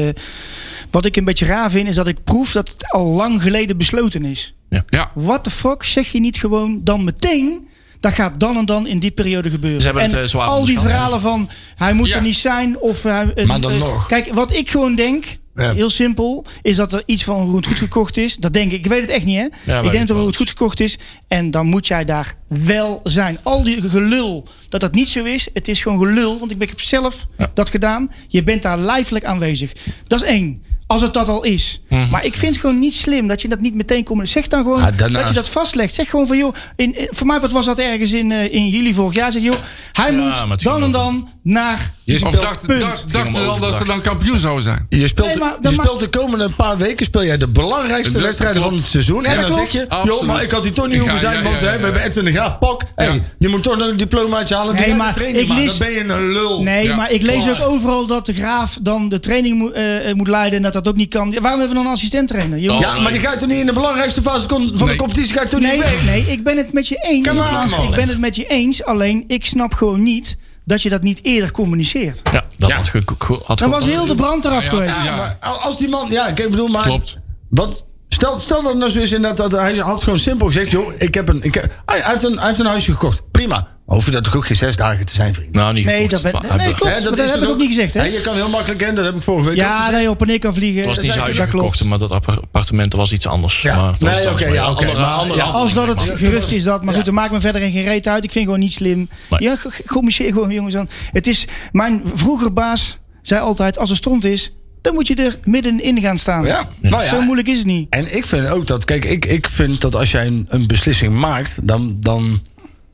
Speaker 7: wat ik een beetje raar vind, is dat ik proef dat het al lang geleden besloten is.
Speaker 8: Ja,
Speaker 7: What the fuck, zeg je niet gewoon dan meteen... Dat gaat dan en dan in die periode gebeuren.
Speaker 3: Ze hebben
Speaker 7: en
Speaker 3: het, eh, zwaar
Speaker 7: al die
Speaker 3: onderschat, hè?
Speaker 7: verhalen van hij moet
Speaker 8: Ja.
Speaker 7: er niet zijn of hij, eh,
Speaker 4: Maar dan
Speaker 7: eh,
Speaker 4: nog.
Speaker 7: Kijk, wat ik gewoon denk,
Speaker 4: Ja.
Speaker 7: heel simpel, is dat er iets van Roet goed gekocht is. Dat denk ik. Ik weet het echt niet, hè?
Speaker 3: wij
Speaker 7: ik
Speaker 3: weten
Speaker 7: denk dat
Speaker 3: wel
Speaker 7: Roet goed gekocht is. En dan moet jij daar wel zijn. Al die gelul dat dat niet zo is. Het is gewoon gelul, want ik, ben- ik heb zelf dat gedaan. Je bent daar lijfelijk aanwezig. Dat is één. Als het dat al is.
Speaker 3: Mhm.
Speaker 7: Maar ik vind het gewoon niet slim dat je dat niet meteen komt. Zeg dan gewoon
Speaker 4: Ah,
Speaker 7: dat
Speaker 4: daarnaast-
Speaker 7: je dat vastlegt. Zeg gewoon van joh, in, in- voor mij wat was dat ergens in, eh, in juli vorig jaar. Zeg joh, hij
Speaker 3: maar
Speaker 7: moet
Speaker 3: het ging
Speaker 7: dan en
Speaker 3: over-
Speaker 7: dan naar
Speaker 4: Je
Speaker 8: of
Speaker 4: speelt,
Speaker 8: dacht,
Speaker 7: punt.
Speaker 8: dacht, dachten ze al dat ze
Speaker 3: overdacht.
Speaker 8: dan kampioen zouden zijn?
Speaker 4: je speelt,
Speaker 7: Nee, maar
Speaker 4: je
Speaker 7: dat
Speaker 4: speelt
Speaker 7: mag-
Speaker 4: de komende paar weken speel jij de belangrijkste
Speaker 8: Dat
Speaker 4: wedstrijden
Speaker 8: klopt.
Speaker 4: van het seizoen.
Speaker 7: Ja,
Speaker 4: en dan
Speaker 7: dat
Speaker 4: zeg
Speaker 7: klopt.
Speaker 4: je, joh,
Speaker 8: Absoluut.
Speaker 4: maar ik had die toch niet
Speaker 8: Ja,
Speaker 4: hoeven zijn,
Speaker 8: ja,
Speaker 4: want
Speaker 8: ja,
Speaker 4: hè,
Speaker 8: ja,
Speaker 4: we hebben
Speaker 8: ja.
Speaker 4: Edwin de Graaf, pak.
Speaker 8: Ja.
Speaker 4: Hey, je moet toch nog een diplomaatje halen.
Speaker 7: Nee,
Speaker 4: Nee,
Speaker 7: maar
Speaker 4: maar, training,
Speaker 7: ik
Speaker 4: maar.
Speaker 7: lees-
Speaker 4: dan ben je een
Speaker 3: Oh,
Speaker 4: lul.
Speaker 7: Nee,
Speaker 8: Ja.
Speaker 7: maar ik lees ook overal dat de graaf dan de training moet, eh, moet leiden en dat dat ook niet kan. Ja, Waarom hebben we dan een assistent trainer? Jongens?
Speaker 4: Ja, maar die gaat toch niet in de belangrijkste fase kon- van
Speaker 8: Nee.
Speaker 4: de competitie, ga je toch
Speaker 7: nee,
Speaker 4: niet weg?
Speaker 7: nee, ik ben het met je eens.
Speaker 4: Come on,
Speaker 7: ik
Speaker 4: man.
Speaker 7: ben het met je eens, alleen ik snap gewoon niet dat je dat niet eerder communiceert.
Speaker 3: Ja, dat had, ge- ge- had
Speaker 7: Dan
Speaker 3: goed-
Speaker 7: was heel de brand eraf
Speaker 8: Ja,
Speaker 7: geweest.
Speaker 8: ja.
Speaker 4: Ja, maar als die man, ja, ik bedoel, maar...
Speaker 8: Klopt.
Speaker 4: Wat, stel, stel dat het nou zo is inderdaad, dat hij had gewoon simpel gezegd, joh, ik heb een, ik heb, hij, hij heeft een, hij heeft een huisje gekocht, prima. Hoef je dat toch ook geen zes dagen te zijn, vriend.
Speaker 3: Nou, niet
Speaker 7: Nee,
Speaker 3: gekocht.
Speaker 7: dat ben-
Speaker 3: Maar-
Speaker 7: nee, klopt.
Speaker 4: Hè,
Speaker 7: maar dat
Speaker 4: is
Speaker 7: heb
Speaker 4: toch
Speaker 7: ik ook niet gezegd, hè?
Speaker 4: Hè, je kan heel makkelijk, hè, dat heb ik vorige week ook
Speaker 7: Ja,
Speaker 4: gezegd.
Speaker 7: dat je op en kan vliegen.
Speaker 3: Het was
Speaker 7: dat
Speaker 3: niet
Speaker 7: is
Speaker 3: zijn huisje
Speaker 7: eigenlijk- dat klopt.
Speaker 3: gekocht, maar dat appar- appartement was iets anders.
Speaker 4: Ja.
Speaker 3: Maar dat
Speaker 4: Nee,
Speaker 3: is dan
Speaker 4: oké,
Speaker 3: zo'n
Speaker 4: ja, oké,
Speaker 3: andere-
Speaker 4: maar-
Speaker 3: andere
Speaker 4: ja,
Speaker 3: handeling,
Speaker 7: Als dat het
Speaker 3: zeg maar.
Speaker 7: gerucht is dat. Maar goed, dan maakt me verder geen reet uit. Ik vind gewoon niet slim.
Speaker 3: Nee.
Speaker 7: Ja, ge- ge- communiceer gewoon jongens aan. Het is, mijn vroeger baas zei altijd, als er stond is, dan moet je er middenin gaan staan.
Speaker 4: Ja, nou ja.
Speaker 7: Zo moeilijk is het niet.
Speaker 4: En ik vind ook dat, kijk, ik, ik vind dat als jij een, een beslissing maakt, dan, dan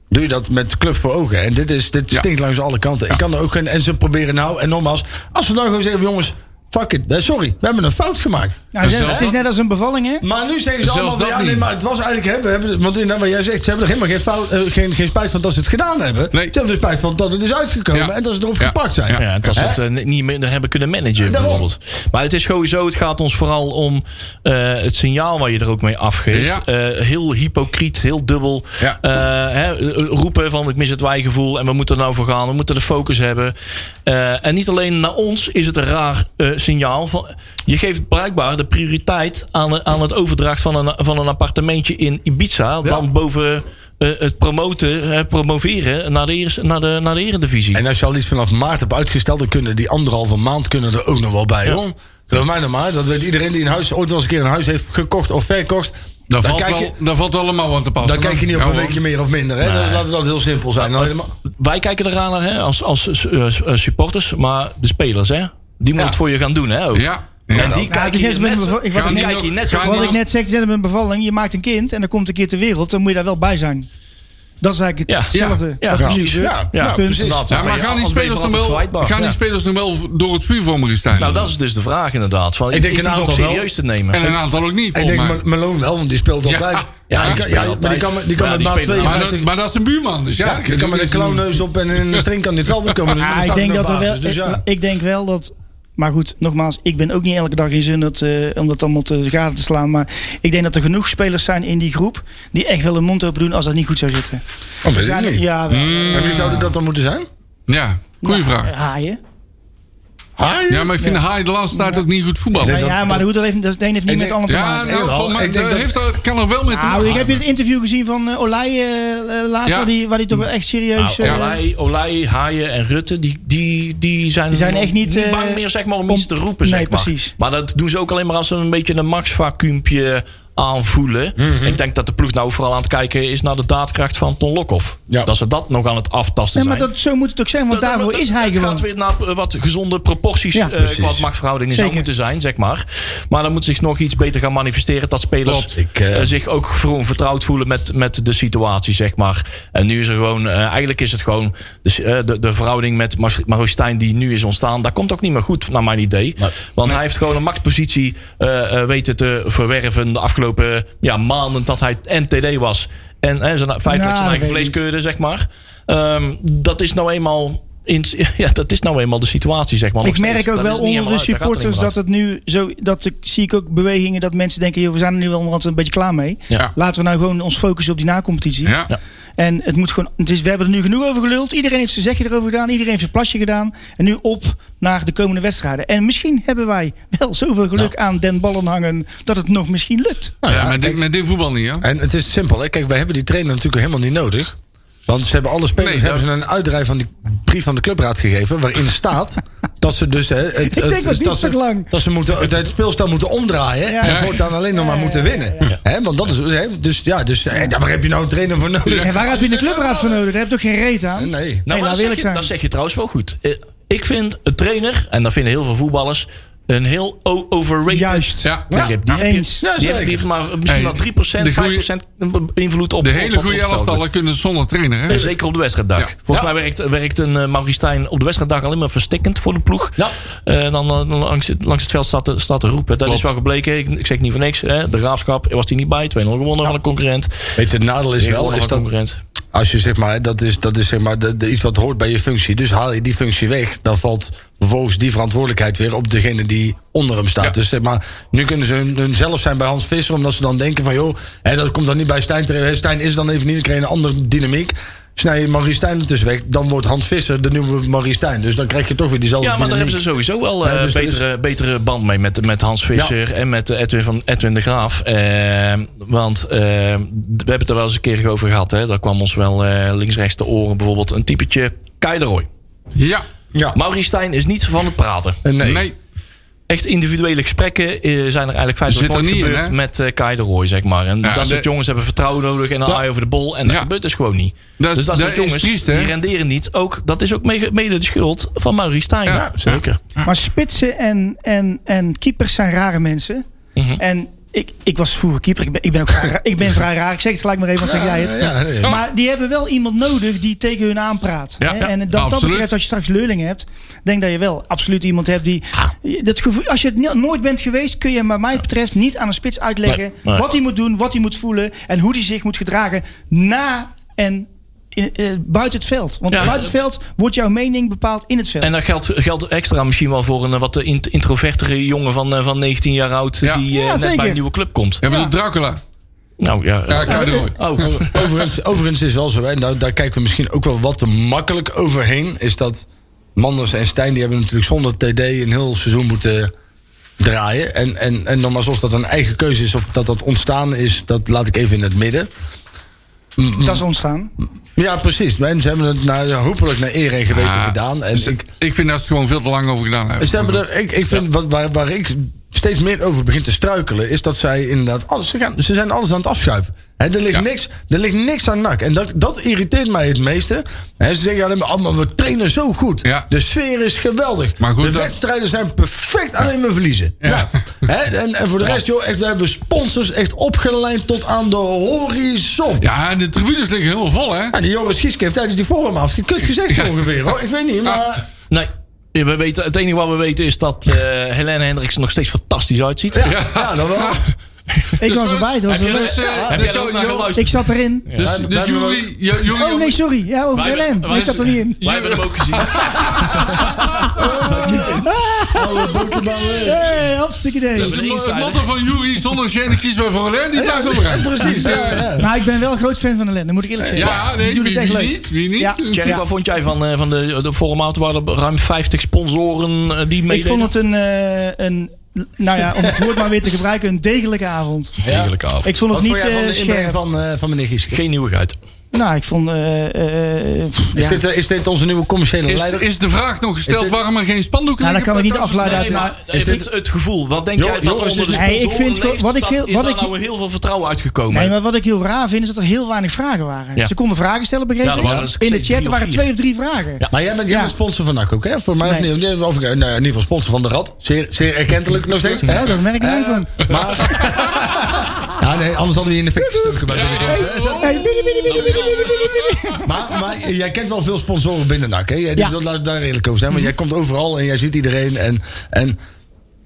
Speaker 4: doe je dat met de club voor ogen. En dit, is, dit
Speaker 8: Ja.
Speaker 4: stinkt langs alle kanten. Ik kan er ook geen, en ze proberen nou, en nogmaals, als we dan nou gewoon zeggen, jongens, Fuck it. Nee, sorry, we hebben een fout gemaakt.
Speaker 7: Nou,
Speaker 8: Dus zelfs
Speaker 7: het is
Speaker 8: dat-
Speaker 7: net als een bevalling, hè?
Speaker 4: Maar nu zeggen ze
Speaker 8: Zelfs
Speaker 4: allemaal, van,
Speaker 8: dat
Speaker 4: ja, nee,
Speaker 8: niet.
Speaker 4: maar het was eigenlijk, hè, we hebben, want inderdaad wat jij zegt, ze hebben er helemaal geen, fout, eh, geen, geen spijt van dat ze het gedaan hebben.
Speaker 8: Nee.
Speaker 4: Ze hebben er spijt van dat het is uitgekomen
Speaker 8: Ja.
Speaker 4: en dat ze erop
Speaker 8: Ja.
Speaker 4: gepakt zijn.
Speaker 3: Ja, dat ze
Speaker 4: Hè?
Speaker 3: het eh, ni- niet minder hebben kunnen managen,
Speaker 4: Daarom.
Speaker 3: bijvoorbeeld. Maar het is sowieso, het gaat ons vooral om eh, het signaal waar je er ook mee afgeeft.
Speaker 8: Ja.
Speaker 3: Eh, heel hypocriet, heel dubbel.
Speaker 8: Ja.
Speaker 3: Eh, hè, eh, roepen van ik mis het wijgevoel en we moeten er nou voor gaan. We moeten de focus hebben. Eh, en niet alleen naar ons is het een raar eh, signaal. Van, je geeft blijkbaar de prioriteit aan, aan het overdracht van een, van een appartementje in Ibiza. Dan boven eh, het promoten, eh, promoveren naar de, eerste- naar, de, naar de eredivisie.
Speaker 4: En als je al iets vanaf maart hebt uitgesteld, dan kunnen die anderhalve maand kunnen er ook nog wel bij. Hoor. Geloof mij nou maar, dat weet iedereen die een huis, ooit wel eens een keer een huis heeft gekocht of verkocht.
Speaker 8: Daar, valt,
Speaker 4: kijk je,
Speaker 8: wel, daar valt wel een mouw aan te passen.
Speaker 4: dan kijk je niet op
Speaker 8: Ja,
Speaker 4: een
Speaker 8: hoor.
Speaker 4: weekje meer of minder. Hè? Dat, laten we dat heel simpel zijn. Nou, helemaal,
Speaker 3: Wij kijken eraan naar, hè, als, als eh, s- eh, supporters, maar de spelers, hè? Die moeten
Speaker 4: Ja.
Speaker 3: het voor je gaan doen, hè? ook.
Speaker 8: Ja. ja.
Speaker 3: En die
Speaker 7: Ja, het
Speaker 3: kijken
Speaker 7: is net
Speaker 3: hier
Speaker 7: als met een
Speaker 3: net,
Speaker 7: beval-
Speaker 8: Gaan
Speaker 7: ik wou-
Speaker 3: die
Speaker 8: niet
Speaker 3: kijken hier
Speaker 8: nog-
Speaker 3: net zo
Speaker 8: gaan
Speaker 3: van-
Speaker 8: niet
Speaker 7: Wat ik
Speaker 8: nog-
Speaker 7: net zeg, je hebt een bevalling, je maakt een kind en dan komt een keer ter wereld, dan moet je daar wel bij zijn. Dat is eigenlijk
Speaker 3: Ja.
Speaker 7: hetzelfde.
Speaker 3: Ja,
Speaker 7: wat er nu
Speaker 3: precies.
Speaker 7: gebeurt.
Speaker 4: Ja,
Speaker 3: ja,
Speaker 4: nou,
Speaker 7: Punt.
Speaker 4: precies.
Speaker 3: inderdaad.
Speaker 8: Ja,
Speaker 3: Dan
Speaker 8: maar
Speaker 3: ben je
Speaker 8: gaan die
Speaker 3: af- ben je
Speaker 8: spelers dan
Speaker 3: altijd
Speaker 8: wel,
Speaker 3: verwijtbaar.
Speaker 8: gaan die
Speaker 3: Ja.
Speaker 8: spelers dan wel door het vuur voor me staan?
Speaker 3: Nou, dat is dus de vraag inderdaad. Van,
Speaker 4: Ik denk
Speaker 3: is
Speaker 4: een
Speaker 3: die nog
Speaker 4: aantal wel.
Speaker 3: serieus te nemen.
Speaker 8: En een aantal ook niet,
Speaker 4: Ik denk
Speaker 8: volgens mij.
Speaker 4: Mal- Malone wel, want die speelt
Speaker 8: Ja.
Speaker 3: Ja,
Speaker 4: altijd. die
Speaker 3: die
Speaker 4: kan-
Speaker 3: speelt
Speaker 4: ja, maar die kan,
Speaker 3: altijd.
Speaker 4: die kan
Speaker 3: Ja,
Speaker 4: met
Speaker 3: die
Speaker 4: maat
Speaker 3: speelt
Speaker 8: Maar
Speaker 4: 52.
Speaker 8: dat, maar dat is een buurman, dus ja.
Speaker 4: Die kan met een klauwneus op en een string kan dit wel weer komen. Dus
Speaker 7: Ah,
Speaker 4: dan
Speaker 7: ik,
Speaker 4: staat
Speaker 7: denk
Speaker 4: hij
Speaker 7: dat
Speaker 4: op
Speaker 7: er wel,
Speaker 4: basis. Dus ja.
Speaker 7: ik, ik denk wel dat. Maar goed, nogmaals, ik ben ook niet elke dag in Zundert eh, om dat allemaal te gaten te slaan. Maar ik denk dat er genoeg spelers zijn in die groep die echt wel hun mond open doen als dat niet goed zou zitten.
Speaker 4: Oh, weet
Speaker 7: Zijn
Speaker 4: ik
Speaker 7: er-
Speaker 4: niet.
Speaker 7: Ja, wel.
Speaker 4: En wie zouden dat dan moeten zijn?
Speaker 8: Ja, goeie
Speaker 7: Nou,
Speaker 8: vraag.
Speaker 7: Haaien.
Speaker 8: Ja, maar ik vind Haai de laatste tijd ook niet goed voetbal.
Speaker 7: Nou
Speaker 4: dat-
Speaker 7: ja, maar
Speaker 4: dat-
Speaker 7: de, hoed, dat, heeft, dat de een heeft niet
Speaker 4: Ik
Speaker 7: met
Speaker 4: denk-
Speaker 7: het ander te
Speaker 8: Ja,
Speaker 7: maken.
Speaker 8: nou,
Speaker 4: Jawel,
Speaker 8: volgens mij,
Speaker 4: ik denk
Speaker 8: dat
Speaker 4: dat-
Speaker 8: heeft, er- kan er wel mee te
Speaker 7: Nou, ik
Speaker 8: maken
Speaker 7: heb je het interview gezien van eh, Olij eh, laatst,
Speaker 8: Ja.
Speaker 7: waar die- waar hij toch wel echt serieus...
Speaker 3: Nou,
Speaker 7: eh,
Speaker 3: Olij, Olij, Haaien en Rutte, die, die, die zijn,
Speaker 7: Die zijn echt niet, eh,
Speaker 3: bang meer zeg maar, om,
Speaker 7: om-
Speaker 3: iets te roepen.
Speaker 7: Nee,
Speaker 3: zeg maar.
Speaker 7: precies.
Speaker 3: maar dat doen ze ook alleen maar als ze een beetje een machtsvacuumpje aanvoelen. Ik denk dat de ploeg nou vooral aan het kijken is naar de daadkracht van Ton Lokhoff.
Speaker 4: Ja.
Speaker 3: Dat ze dat nog aan het aftasten
Speaker 7: nee, maar
Speaker 3: zijn.
Speaker 7: dat, zo moet het ook zijn, want
Speaker 3: Dat-
Speaker 7: daarvoor
Speaker 3: dat-
Speaker 7: is
Speaker 3: dat-
Speaker 7: hij
Speaker 3: het
Speaker 7: gewoon.
Speaker 3: gaat weer naar eh, wat gezonde proporties
Speaker 7: Ja,
Speaker 3: eh,
Speaker 7: precies.
Speaker 3: qua machtsverhoudingen zou
Speaker 7: Zeker.
Speaker 3: moeten zijn, zeg maar. Maar dan moet zich nog iets beter gaan manifesteren dat spelers
Speaker 4: Klopt, ik, eh,
Speaker 3: eh, zich ook gewoon vertrouwd voelen met, met de situatie, zeg maar. En nu is er gewoon, eh, eigenlijk is het gewoon de, s- eh, de, de verhouding met Mar- Marostijn die nu is ontstaan, daar komt ook niet meer goed naar mijn idee. Want hij heeft gewoon een machtspositie eh, eh, weten te verwerven de afgelopen ja, maanden dat hij en TD was. En eh, zijn, feitelijk
Speaker 7: Nou,
Speaker 3: zijn eigen
Speaker 7: dat weet ik
Speaker 3: vleeskeur keuren, zeg maar. Ehm, dat is nou eenmaal. In, ja, dat is nou eenmaal de situatie, zeg maar. nog
Speaker 7: Ik merk
Speaker 3: steeds.
Speaker 7: ook
Speaker 3: Dat
Speaker 7: wel
Speaker 3: is niet
Speaker 7: onder de
Speaker 3: helemaal uit, daar gaat
Speaker 7: supporters dat
Speaker 3: helemaal
Speaker 7: het nu zo. Dat ik, zie ik ook bewegingen dat mensen denken: joh, we zijn er nu wel onderhand een beetje klaar mee.
Speaker 3: Ja.
Speaker 7: Laten we nou gewoon ons focussen op die nacompetitie.
Speaker 8: Ja.
Speaker 3: Ja.
Speaker 7: En het moet gewoon. Het is, we hebben er nu genoeg over geluld. Iedereen heeft zijn zegje erover gedaan. Iedereen heeft zijn plasje gedaan. En nu op naar de komende wedstrijden. En misschien hebben wij wel zoveel geluk aan Den Ballen hangen. dat het nog misschien lukt.
Speaker 8: Nou Ja, met, dit, met dit voetbal niet, hoor.
Speaker 4: En het is simpel, hè? Kijk, wij hebben die trainer natuurlijk helemaal niet nodig. Want ze hebben alle spelers
Speaker 8: Nee,
Speaker 4: hebben
Speaker 8: dat-
Speaker 4: ze een uitdraai van die brief van de clubraad gegeven. Waarin staat dat ze dus. Hè, het, het,
Speaker 7: denk dat
Speaker 4: dat,
Speaker 7: dinsdag
Speaker 4: ze,
Speaker 7: lang.
Speaker 4: dat ze moeten, dat het speelstijl moeten omdraaien.
Speaker 7: Ja.
Speaker 4: En voortaan alleen nog maar moeten winnen. Hè, want dat is. Hè, dus ja, dus, hè, daar- waar heb je nou een trainer voor nodig?
Speaker 7: En waar gaat u in de clubraad voor nodig? Daar heb je toch geen reet aan?
Speaker 4: Nee.
Speaker 3: Nou,
Speaker 7: Nee,
Speaker 3: maar
Speaker 7: laat
Speaker 3: dat,
Speaker 7: eerlijk
Speaker 3: zeg je,
Speaker 7: zijn.
Speaker 3: dat zeg je trouwens wel goed. Eh, Ik vind een trainer, en dat vinden heel veel voetballers, een heel o- overrated
Speaker 7: Juist.
Speaker 8: Ja.
Speaker 3: begrip. Die, heb je,
Speaker 7: Eens.
Speaker 3: die, heeft, die heeft maar misschien
Speaker 8: Hey,
Speaker 3: wel 3%,
Speaker 8: de goeie-
Speaker 3: 5% invloed op
Speaker 8: De
Speaker 3: op
Speaker 8: hele
Speaker 3: wat
Speaker 8: goede
Speaker 3: er op het veld
Speaker 8: elftallen kunnen zonder trainer, hè?
Speaker 3: Eh, Zeker op de wedstrijddag.
Speaker 8: Ja.
Speaker 3: Volgens mij werkt, werkt een eh, Mauristijn op de wedstrijddag alleen maar verstikkend voor de ploeg.
Speaker 4: Ja.
Speaker 3: Eh, dan, eh, dan langs, het, langs het veld staat te, staat te roepen. Dat
Speaker 8: Klopt.
Speaker 3: is wel gebleken. Ik, ik zeg niet voor niks. Hè. De graafschap eh, was die niet bij. 2-0 gewonnen van een concurrent.
Speaker 4: Weet je, het nadeel is wel.
Speaker 3: Gewonnen
Speaker 4: Is
Speaker 3: van
Speaker 4: dat,
Speaker 3: een concurrent.
Speaker 4: Als je zeg maar, dat is, dat is zeg maar de, de- iets wat hoort bij je functie. Dus haal je die functie weg, dan valt vervolgens die verantwoordelijkheid weer op degene die onder hem staat. Dus zeg maar, nu kunnen ze hun, hun zelf zijn bij Hans Visser, omdat ze dan denken van joh, hè, dat komt dan niet bij Stijn terecht. Hè, Stijn is dan even niet, dan krijg je een andere dynamiek. Snij je Marie Stijn ertussen weg, dan wordt Hans Visser de nieuwe Marie Stijn. Dus dan krijg je toch weer diezelfde
Speaker 3: Ja, maar daar hebben
Speaker 4: dynamiek.
Speaker 3: ze sowieso wel
Speaker 4: Ja,
Speaker 3: eh,
Speaker 4: dus dat is-
Speaker 3: betere, betere band mee met, met Hans Visser en met eh, Edwin, van, Edwin de Graaf. Eh, want eh, we hebben het er wel eens een keer over gehad. Hè. Daar kwam ons wel eh, links-rechts de oren bijvoorbeeld een typetje Keideroy.
Speaker 8: Ja.
Speaker 4: Ja,
Speaker 3: Mauristijn is niet van het praten.
Speaker 8: Nee.
Speaker 3: echt individuele gesprekken eh, zijn er eigenlijk feitelijk
Speaker 8: Zit er
Speaker 3: nooit
Speaker 8: niet in,
Speaker 3: gebeurd
Speaker 8: hè?
Speaker 3: met eh Kai de Roy, zeg maar. En
Speaker 8: Ja,
Speaker 3: dat
Speaker 8: de-
Speaker 3: soort jongens hebben vertrouwen nodig en een
Speaker 8: Ja.
Speaker 3: eye over de bol. En dat
Speaker 8: Ja.
Speaker 3: gebeurt dus gewoon niet.
Speaker 8: Dat is-
Speaker 3: dus dat
Speaker 8: dat
Speaker 3: soort
Speaker 8: is
Speaker 3: jongens,
Speaker 8: triest, hè?
Speaker 3: die renderen niet. Ook, dat is ook mede, mede de schuld van Maurice Stijn.
Speaker 8: Ja,
Speaker 3: zeker. Mhm.
Speaker 7: Maar spitsen en, en, en keepers zijn rare mensen. En Ik, ik was vroeger keeper. Ik ben, ik ben, ook vrij, raar- ik ben vrij raar. Ik zeg het gelijk maar even, want zeg jij het.
Speaker 4: Ja, nee.
Speaker 3: Oh,
Speaker 7: Maar die hebben wel iemand nodig die tegen hun aanpraat.
Speaker 3: Ja,
Speaker 7: hè?
Speaker 3: ja,
Speaker 7: en dat, dat
Speaker 8: absoluut.
Speaker 7: betreft, als je straks leerlingen hebt, denk dat je wel absoluut iemand hebt die.
Speaker 3: Ah.
Speaker 7: Dat gevoel, als je het no- nooit bent geweest, kun je, maar mij betreft, niet aan een spits uitleggen
Speaker 3: Nee, nee.
Speaker 7: wat hij moet doen, wat hij moet voelen en hoe hij zich moet gedragen na en in- eh, buiten het veld. Want
Speaker 3: Ja.
Speaker 7: buiten het veld wordt jouw mening bepaald in het veld.
Speaker 3: En dat geldt, geldt extra misschien wel voor een eh, wat eh, int- introvertere jongen van, eh, van 19 jaar oud. eh,
Speaker 8: Ja.
Speaker 3: die eh,
Speaker 7: Ja,
Speaker 3: net bij
Speaker 7: zeker.
Speaker 3: een nieuwe club komt.
Speaker 8: Ja, bedoel Dracula.
Speaker 3: Nou ja.
Speaker 8: Ja,
Speaker 3: eh,
Speaker 8: Kruidenhooi.
Speaker 3: oh,
Speaker 4: Overigens, overigens is wel zo, hè, nou, daar kijken we misschien ook wel wat te makkelijk overheen. Is dat Manders en Stijn, die hebben natuurlijk zonder TD een heel seizoen moeten draaien. En, en, en dan alsof dat een eigen keuze is of dat dat ontstaan is, dat laat ik even in het midden.
Speaker 7: dat is ontstaan.
Speaker 4: Ja, precies. En ze hebben het naar, hopelijk naar eer en geweten
Speaker 8: Ah,
Speaker 4: gedaan. En
Speaker 8: dus
Speaker 4: ik,
Speaker 8: ik vind dat ze er gewoon veel te lang over gedaan hebben.
Speaker 4: ze hebben er, ik, ik vind wat, waar, waar ik steeds meer over begin te struikelen, is dat zij inderdaad alles, ze, gaan, ze zijn alles aan het afschuiven. Hè, er, ligt
Speaker 8: Ja.
Speaker 4: niks, er ligt niks aan nak. En dat, dat irriteert mij het meeste. Hè, ze zeggen, ja, maar, oh, maar we trainen zo goed.
Speaker 8: Ja.
Speaker 4: De sfeer is geweldig.
Speaker 8: Maar goed,
Speaker 4: de
Speaker 8: dat-
Speaker 4: wedstrijden zijn perfect, alleen we verliezen.
Speaker 8: Ja.
Speaker 4: Nou, hè, en, en voor de rest, joh, echt, we hebben sponsors echt opgelijnd tot aan de horizon.
Speaker 8: Ja, en de tribunes liggen helemaal vol, hè?
Speaker 4: En die Joris Gieske heeft tijdens die forum afgekut gezegd zo
Speaker 8: Ja.
Speaker 4: ongeveer. Hoor. Ik weet niet, maar...
Speaker 3: nee. Ja, We weten, het enige wat we weten is dat eh Helene Hendricks er nog steeds fantastisch uitziet.
Speaker 4: Ja, ja. dan wel.
Speaker 7: Ik was erbij. Dat was
Speaker 3: Heb je
Speaker 7: wel-
Speaker 8: Dus, eh,
Speaker 3: Heb jij
Speaker 8: dus
Speaker 3: er
Speaker 8: zo,
Speaker 3: ook naar
Speaker 8: Jo-
Speaker 3: geluisterd?
Speaker 7: ik zat erin.
Speaker 8: Dus,
Speaker 4: Ja,
Speaker 8: dus
Speaker 4: blijven we-
Speaker 8: jullie... j- jullie
Speaker 7: Oh nee, sorry. Ja, over
Speaker 3: Wij-
Speaker 7: LM.
Speaker 3: wij-
Speaker 7: Ik zat er niet in.
Speaker 3: Wij hebben hem ook gezien.
Speaker 4: Alle boeken dan weer.
Speaker 7: Hey, hartstikke idee.
Speaker 8: Dus de mo- het
Speaker 3: Insider.
Speaker 8: motto van Jury zonder Jenny kies bij voor Alain, die blijft
Speaker 4: Ja,
Speaker 8: overeind.
Speaker 4: precies. Ja, ja.
Speaker 7: Maar ik ben wel groot fan van Alain, dat moet ik eerlijk zeggen.
Speaker 8: Ja, nee,
Speaker 7: Die
Speaker 8: wie,
Speaker 7: doet het echt
Speaker 8: wie
Speaker 7: leuk.
Speaker 8: niet? Wie niet?
Speaker 7: Ja.
Speaker 3: Jerry,
Speaker 7: Ja.
Speaker 3: wat vond jij van, eh, van de, de Forum Auto? Waren er ruim 50 sponsoren eh, die meededen?
Speaker 7: Ik vond het een, eh, een, nou ja, om het woord maar weer te gebruiken, een degelijke avond.
Speaker 3: Degelijke avond.
Speaker 7: Ik vond het
Speaker 4: Wat vond jij
Speaker 7: niet
Speaker 4: van
Speaker 7: eh
Speaker 4: de inbreng
Speaker 7: scherp.
Speaker 4: van, eh, van meneer Gieske?
Speaker 3: Geen nieuwigheid.
Speaker 7: Nou, ik vond... eh, eh, eh, pff,
Speaker 4: Is,
Speaker 7: ja.
Speaker 4: dit, eh, is dit onze nieuwe commerciële
Speaker 8: Is,
Speaker 4: leider?
Speaker 8: is de vraag nog gesteld
Speaker 4: Is dit-
Speaker 8: waarom er geen spandoeken
Speaker 7: Nou, dat
Speaker 8: liggen
Speaker 7: kan ik
Speaker 8: bij
Speaker 7: niet
Speaker 8: Telstra?
Speaker 7: afleiden uit
Speaker 3: Nee,
Speaker 7: maar...
Speaker 3: maar is dit het gevoel? Wat denk
Speaker 4: Jo-
Speaker 3: jij dat er
Speaker 4: jongens,
Speaker 3: onder de
Speaker 4: is-
Speaker 7: Nee, ik
Speaker 3: sponsoren
Speaker 7: vind gewoon-
Speaker 3: leeft?
Speaker 7: wat ik
Speaker 3: Dat-
Speaker 7: heel-
Speaker 3: is
Speaker 7: wat
Speaker 3: daar
Speaker 7: ik-
Speaker 3: nou heel veel vertrouwen uitgekomen?
Speaker 7: Nee, maar wat ik heel raar vind is dat er heel weinig vragen waren.
Speaker 3: Ja.
Speaker 7: Ze konden vragen stellen, begreep
Speaker 3: Ja, er
Speaker 7: ik?
Speaker 3: waren dus
Speaker 7: In de
Speaker 3: steeds
Speaker 7: chat
Speaker 3: drie of
Speaker 7: er waren
Speaker 3: vier.
Speaker 7: twee of drie vragen.
Speaker 4: Maar jij bent, jij
Speaker 7: Ja.
Speaker 4: bent sponsor van NAC ook, hè? Voor mij of
Speaker 7: Nee.
Speaker 4: niet? Nee, Of, eh, nou, in ieder geval sponsor van de Rad. Zeer, zeer erkentelijk nog steeds. hè?
Speaker 7: Ja, daar ben ik blij
Speaker 4: Eh,
Speaker 7: van.
Speaker 4: Maar... ja, nee, anders hadden we je in de fik gestoken bij binnenkant. hè?
Speaker 7: Hey, bidi, bidi, bidi, bidi, bidi, bidi, bidi.
Speaker 4: Maar, maar jij kent wel veel sponsoren binnen NAC, hè? Jij,
Speaker 7: Ja.
Speaker 4: dat, laat ik daar redelijk over zijn. Want jij komt overal en jij ziet iedereen. En, en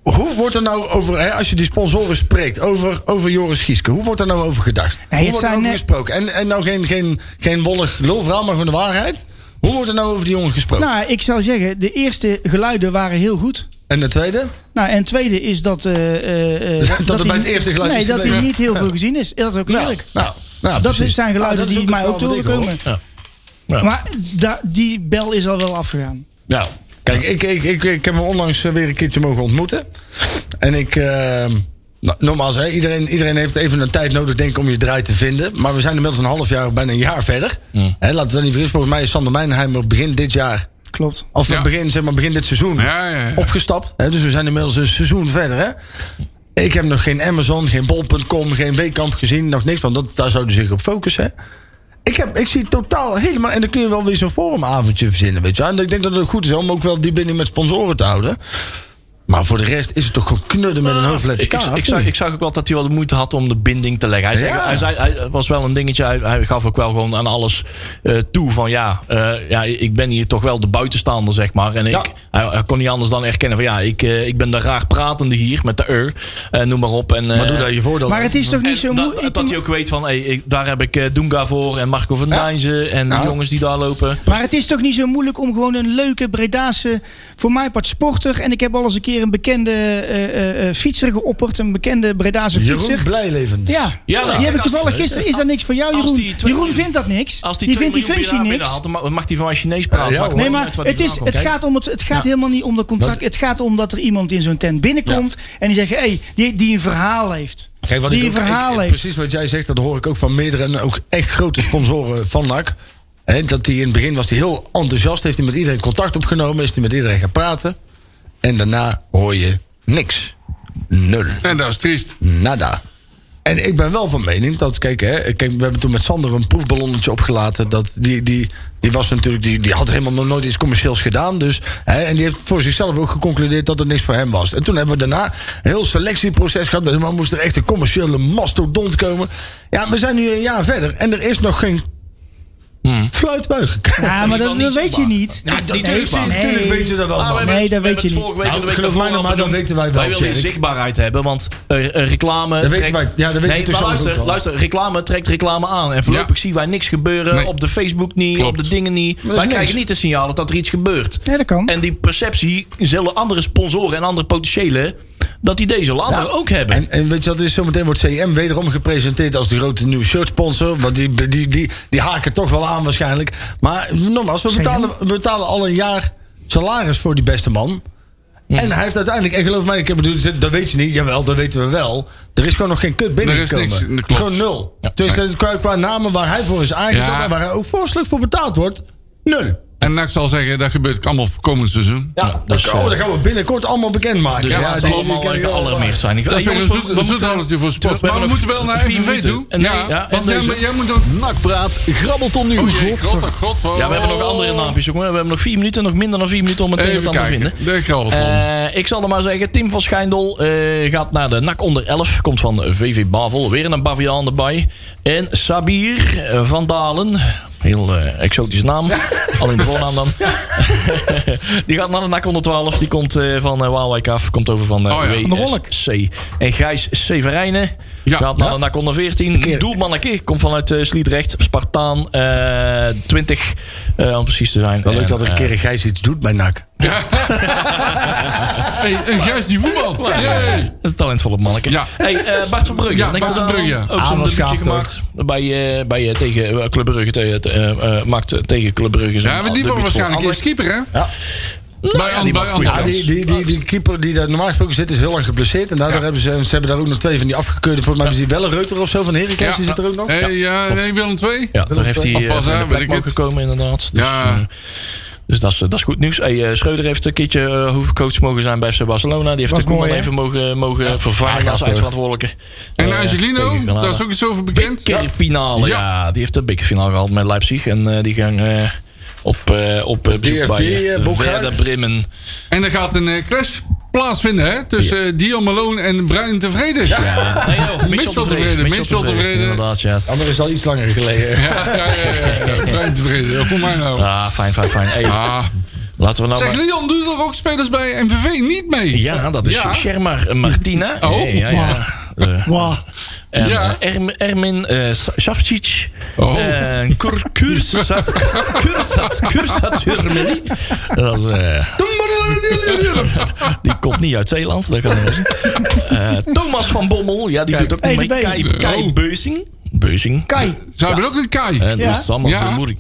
Speaker 4: hoe wordt er nou over, hè, als je die sponsoren spreekt, over, over Joris Gieske, hoe wordt er nou over gedacht?
Speaker 7: het
Speaker 4: hoe wordt er
Speaker 7: zijn eh,
Speaker 4: over
Speaker 7: net-
Speaker 4: gesproken? En, en nou geen, geen, geen wollig lulverhaal, maar gewoon de waarheid. Hoe wordt er nou over die jongens gesproken?
Speaker 7: Nou, ik zou zeggen, de eerste geluiden waren heel goed.
Speaker 4: en de tweede?
Speaker 7: Nou, en tweede is dat... eh, eh, eh,
Speaker 4: het bij
Speaker 7: hij
Speaker 4: het
Speaker 7: niet-
Speaker 4: eerste geluid
Speaker 7: Nee,
Speaker 4: is
Speaker 7: dat hij
Speaker 4: gebleven.
Speaker 7: niet heel veel gezien is. Dat is ook
Speaker 4: Nou,
Speaker 7: eerlijk.
Speaker 4: nou, nou,
Speaker 7: dat
Speaker 4: precies.
Speaker 7: zijn
Speaker 4: Nou,
Speaker 7: geluiden
Speaker 4: dat is
Speaker 7: die
Speaker 4: het
Speaker 7: mij ook
Speaker 4: verhaal
Speaker 7: te
Speaker 4: wat
Speaker 7: horen
Speaker 4: ik hoor.
Speaker 7: komen.
Speaker 3: Ja. Ja.
Speaker 7: Maar da- die bel is al wel afgegaan.
Speaker 4: Nou, kijk, ik, ik, ik, ik heb hem onlangs eh, weer een keertje mogen ontmoeten. En ik. eh, nou, nogmaals, hè, iedereen, iedereen heeft even een tijd nodig, denk ik, om je draai te vinden. Maar we zijn inmiddels een half jaar, bijna een jaar verder. Hè, laten we dat niet vergissen. Volgens mij is Sander Mijnheimer begin dit jaar.
Speaker 7: Klopt.
Speaker 4: Of
Speaker 8: Ja.
Speaker 4: begin, zeg maar, begin dit seizoen
Speaker 8: Ja, ja, ja.
Speaker 4: opgestapt. Hè, dus we zijn inmiddels een seizoen verder. Hè. Ik heb nog geen Amazon, geen Bol.com, geen Weekamp gezien. Nog niks, want dat, daar zouden ze zich op focussen. Ik, heb, ik zie totaal helemaal... En dan kun je wel weer zo'n forumavondje verzinnen, weet je wel. En ik denk dat het goed is om ook wel die binding met sponsoren te houden. Maar voor de rest is het toch gewoon knudden met een hoofdletter
Speaker 3: Ik,
Speaker 4: K,
Speaker 3: ik,
Speaker 4: of
Speaker 3: ik, zag,
Speaker 4: niet?
Speaker 3: ik zag ook wel dat hij wel de moeite had om de binding te leggen. Hij, zei,
Speaker 4: Ja.
Speaker 3: hij, zei, hij was wel een dingetje. Hij, hij gaf ook wel gewoon aan alles eh, toe. Van ja, eh, ja, ik ben hier toch wel de buitenstaander, zeg maar. En ik,
Speaker 4: Ja.
Speaker 3: hij, hij kon niet anders dan erkennen van ja, ik, eh, ik ben de raar pratende hier met de ur. eh, noem maar op. En,
Speaker 4: Maar doe
Speaker 3: eh,
Speaker 4: daar je voordeel
Speaker 7: Maar
Speaker 4: mee.
Speaker 7: het is toch niet zo
Speaker 3: en dat,
Speaker 7: moeilijk?
Speaker 3: dat hij ook weet van hey, ik, daar heb ik eh, Dunga voor en Marco van Dijnzen en de
Speaker 4: Ja.
Speaker 3: jongens die daar lopen.
Speaker 7: Maar het is toch niet zo moeilijk om gewoon een leuke Bredase, voor mij part sporter. En ik heb al eens een keer een bekende eh, eh, eh, fietser geopperd, een bekende Bredase
Speaker 4: Jeroen
Speaker 7: fietser.
Speaker 4: Blijlevens.
Speaker 7: Ja,
Speaker 3: Ja, nou,
Speaker 7: die
Speaker 3: kijk,
Speaker 7: heb ik
Speaker 3: als
Speaker 7: toevallig
Speaker 3: die-
Speaker 7: gisteren. Is dat niks voor jou,
Speaker 3: als
Speaker 7: Jeroen?
Speaker 3: die twee-
Speaker 7: Jeroen vindt dat niks.
Speaker 3: Als die,
Speaker 7: die
Speaker 3: twee
Speaker 7: vindt die
Speaker 3: miljoen
Speaker 7: functie
Speaker 3: binnen-
Speaker 7: niks.
Speaker 3: binnen had, dan ma- mag hij van mij Chinees praten.
Speaker 4: Ja,
Speaker 3: Maakt me
Speaker 4: hoor.
Speaker 7: Nee,
Speaker 3: niet
Speaker 7: maar
Speaker 3: uit waar die
Speaker 7: het, is,
Speaker 3: vandaan
Speaker 7: het,
Speaker 3: komt.
Speaker 7: gaat om het, het gaat helemaal niet om dat contract. Het gaat om dat er iemand in zo'n tent binnenkomt. En die zegt, hey, die, die een verhaal heeft.
Speaker 4: Kijk, wat
Speaker 7: die
Speaker 4: ik
Speaker 7: een
Speaker 4: ook- ik-
Speaker 7: verhaal
Speaker 4: ik-
Speaker 7: heeft.
Speaker 4: Precies wat jij zegt, dat hoor ik ook van meerdere en ook echt grote sponsoren van NAC. Hè, dat hij in het begin was hij heel enthousiast, heeft hij met iedereen contact opgenomen, is hij met iedereen gaan praten. En daarna hoor je niks. Nul.
Speaker 8: En dat is triest.
Speaker 4: Nada. En ik ben wel van mening dat, kijk, hè, kijk, we hebben toen met Sander een proefballonnetje opgelaten. Dat die, die, die was natuurlijk, die, die had helemaal nog nooit iets commercieels gedaan. Dus, hè, en die heeft voor zichzelf ook geconcludeerd dat het niks voor hem was. En toen hebben we daarna een heel selectieproces gehad. En dan moest er echt een commerciële mastodont komen. Ja, we zijn nu een jaar verder en er is nog geen fluitbuig gekomen.
Speaker 7: Ja, maar dat,
Speaker 3: niet
Speaker 7: dat weet je
Speaker 3: zichtbaar.
Speaker 7: niet.
Speaker 3: Ja,
Speaker 7: Dat-
Speaker 3: Nou, niet
Speaker 7: dat-
Speaker 3: zichtbaar.
Speaker 7: nee.
Speaker 4: Tuurlijk weet je dat wel.
Speaker 3: Maar we
Speaker 4: man.
Speaker 3: hebben
Speaker 7: Nee,
Speaker 3: het-
Speaker 7: dat
Speaker 3: we
Speaker 7: weet
Speaker 3: hebben het
Speaker 7: je niet.
Speaker 3: vorige week en
Speaker 4: Nou,
Speaker 3: de week
Speaker 4: geloof
Speaker 3: daarvoor
Speaker 4: mij nou
Speaker 3: al
Speaker 4: maar, dat
Speaker 3: benoemd.
Speaker 4: weten wij wel,
Speaker 3: willen
Speaker 4: Tjerk.
Speaker 3: zichtbaarheid hebben, want eh, eh, reclame
Speaker 4: Dat weten
Speaker 3: trekt...
Speaker 4: wij- ja, dat weten
Speaker 3: nee,
Speaker 4: we
Speaker 3: maar
Speaker 4: zelf ook
Speaker 3: luister,
Speaker 4: wel.
Speaker 3: luister, reclame trekt reclame aan. En voorlopig
Speaker 8: Ja.
Speaker 3: zien wij niks gebeuren
Speaker 8: Nee.
Speaker 3: op de Facebook niet,
Speaker 8: Klopt.
Speaker 3: op de dingen niet. Wij
Speaker 4: niks.
Speaker 3: krijgen niet de signalen dat er iets gebeurt.
Speaker 7: Ja, dat kan.
Speaker 3: En die perceptie zullen andere sponsoren en andere potentiële... dat die deze zullen anderen ook hebben.
Speaker 4: En, en weet je wat, het is zometeen wordt CM wederom gepresenteerd als de grote nieuwe shirt sponsor. Want die, die, die, die haken toch wel aan waarschijnlijk. Maar nogmaals, we betalen, we betalen al een jaar salaris voor die beste man. En hij heeft uiteindelijk, en geloof mij, ik heb bedoeld, dat weet je niet. Jawel, dat weten we wel. Er is gewoon nog geen kut binnengekomen.
Speaker 8: niks, dat klopt.
Speaker 4: gewoon nul. dus eh, qua, qua namen waar hij voor is aangesteld
Speaker 8: Ja.
Speaker 4: en waar hij ook voorstelijk voor betaald wordt, nul.
Speaker 8: En nou, ik zal zeggen, dat gebeurt allemaal voor komend seizoen.
Speaker 4: Ja, dat,
Speaker 3: dus,
Speaker 4: oh,
Speaker 3: eh,
Speaker 4: dat gaan we binnenkort allemaal bekendmaken.
Speaker 3: Dus
Speaker 4: maken.
Speaker 3: ja, het zal allemaal eh, gealarmeerd zijn. Ik,
Speaker 8: Dat is
Speaker 3: eh,
Speaker 8: weer een
Speaker 3: jongens,
Speaker 8: zoet-
Speaker 3: we- we
Speaker 8: een
Speaker 3: moeten-
Speaker 8: zoethoudetje voor sport.
Speaker 3: we
Speaker 8: Maar we
Speaker 3: hebben
Speaker 8: moeten
Speaker 3: nog
Speaker 8: wel naar
Speaker 3: vier
Speaker 8: FNV
Speaker 3: minuten.
Speaker 8: toe.
Speaker 3: En nee, ja, Oh,
Speaker 8: Ja,
Speaker 3: en
Speaker 8: want jij
Speaker 3: deze.
Speaker 8: moet- jij moet nog...
Speaker 5: Nakpraat, grabbelton
Speaker 8: Oh
Speaker 5: nieuws.
Speaker 8: jee, god, oh god. oh.
Speaker 3: Ja, we hebben nog andere naampjes, jongen. We hebben nog vier minuten, nog minder dan vier minuten om het een en het
Speaker 8: Even
Speaker 3: ander te vinden.
Speaker 8: kijken. De grabbelton.
Speaker 3: Eh, ik zal er maar zeggen, Tim van Schijndel eh, gaat naar de NAC onder 11. Komt van VV Bavel, weer een Baviaan erbij. En Sabir eh, van Dalen, heel eh, exotische naam, alleen de voornaam dan. die gaat naar de NAC onder 12. Die komt eh, van eh, Waalwijk af, komt over van eh
Speaker 8: Oh ja. Van
Speaker 7: de Wolk.
Speaker 3: WSC. En Gijs Severijnen
Speaker 8: Ja.
Speaker 3: gaat naar de NAC onder 14. Doelmanneke komt vanuit eh, Sliedrecht, Spartaan eh 20, eh, om precies te zijn.
Speaker 4: Wel leuk
Speaker 3: En,
Speaker 4: dat er een
Speaker 3: eh,
Speaker 4: keer een Gijs iets doet bij NAC.
Speaker 8: Hey, en Gijs die voetbalt. Jee.
Speaker 3: Een talentvolle manneke.
Speaker 8: Ja.
Speaker 3: Hey, eh, Bart van Brugge.
Speaker 8: Ja,
Speaker 3: Denk
Speaker 8: Bart
Speaker 3: dat
Speaker 8: van
Speaker 3: aan.
Speaker 8: Brugge.
Speaker 3: Ook zo'n
Speaker 4: Aanwas
Speaker 3: debuutje
Speaker 4: Kaaf
Speaker 3: gemaakt. Bij, eh bij, eh, tegen eh, Club Brugge. Te, te- eh, eh, maakte tegen Club Brugge. zijn
Speaker 8: Ja, maar die
Speaker 3: debuut
Speaker 8: wordt waarschijnlijk
Speaker 3: voor
Speaker 8: eerst keeper, hè? Ja.
Speaker 3: Nou ja, die maakt goede
Speaker 4: Ja, Ah, die, die, die, die keeper die daar normaal gesproken zit, is heel lang geblesseerd. En daardoor
Speaker 8: Ja.
Speaker 4: hebben ze, ze hebben daar ook nog twee van die afgekeurde. Volgens mij is die wel een Reuter of zo van Heracles, die zit er ook nog.
Speaker 8: Hey, ja, nee, Willem II.
Speaker 3: Anders. Ja, daar heeft hij
Speaker 8: Of
Speaker 3: eh,
Speaker 8: pas,
Speaker 3: van
Speaker 8: hè,
Speaker 3: de
Speaker 8: weet
Speaker 3: plek
Speaker 8: ik
Speaker 3: mogen
Speaker 8: het.
Speaker 3: komen inderdaad. Dus,
Speaker 8: Ja.
Speaker 3: eh, dus dat is, eh, dat is goed nieuws. Hey, eh, Schreuder heeft een keertje eh, hoofdcoach mogen zijn bij FC Barcelona. Die heeft
Speaker 7: Was
Speaker 3: de Koeman
Speaker 7: mooi, hè?
Speaker 3: even mogen, mogen vervangen als eindverantwoordelijke.
Speaker 8: En
Speaker 3: Eh,
Speaker 8: Angelino,
Speaker 3: tegen Granada.
Speaker 8: daar is ook iets over bekend.
Speaker 3: Bekerfinale, finale, ja.
Speaker 8: Ja.
Speaker 3: Die heeft de bekerfinale gehad met Leipzig. En eh, die gaan eh, op, eh, op eh, bezoek
Speaker 4: DFB,
Speaker 3: bij
Speaker 4: eh,
Speaker 3: eh,
Speaker 4: Bochum.
Speaker 3: Werder Bremen.
Speaker 8: En er gaat een eh, clash plaatsvinden, hè? Tussen eh, Dion Malone en Brian Tevreden. Ja, ja,
Speaker 3: Nee, joh,
Speaker 8: Ah. Mitchell tevreden, Mitchell tevreden.
Speaker 3: Inderdaad, ja.
Speaker 4: Ander is al iets langer geleden.
Speaker 8: ja, ja. ja, Brian Tevreden, kom maar nou.
Speaker 3: Ah, fijn, fijn, fijn. Hey,
Speaker 8: Ah.
Speaker 3: Laten we nou
Speaker 8: Zeg,
Speaker 3: maar-
Speaker 8: Leon, doen er ook spelers bij MVV niet mee?
Speaker 3: Ja, dat is
Speaker 8: Ja.
Speaker 3: Shermar eh, Martina.
Speaker 8: Oh,
Speaker 3: Hey, ja, ja. Eh,
Speaker 7: Wow.
Speaker 3: en,
Speaker 8: Ja.
Speaker 3: eh, Erm- Ermin eh, Sa- Savcic.
Speaker 8: Oh.
Speaker 3: Eh, Kur- Kursa- Kursat. Kursat Jurmeli. Dat is... eh, Die komt niet uit Zeeland, dat kan niet zijn. Eh, Thomas van Bommel, ja, die doet ook
Speaker 7: hey,
Speaker 3: mee.
Speaker 7: de
Speaker 3: Kai,
Speaker 7: been.
Speaker 3: Kai
Speaker 8: Oh.
Speaker 3: Beuzing. Beuzing.
Speaker 7: Kai.
Speaker 8: Ze hebben ook een Kai.
Speaker 3: En
Speaker 7: Ja.
Speaker 3: dat is allemaal
Speaker 8: Ja.
Speaker 3: zijn moeder.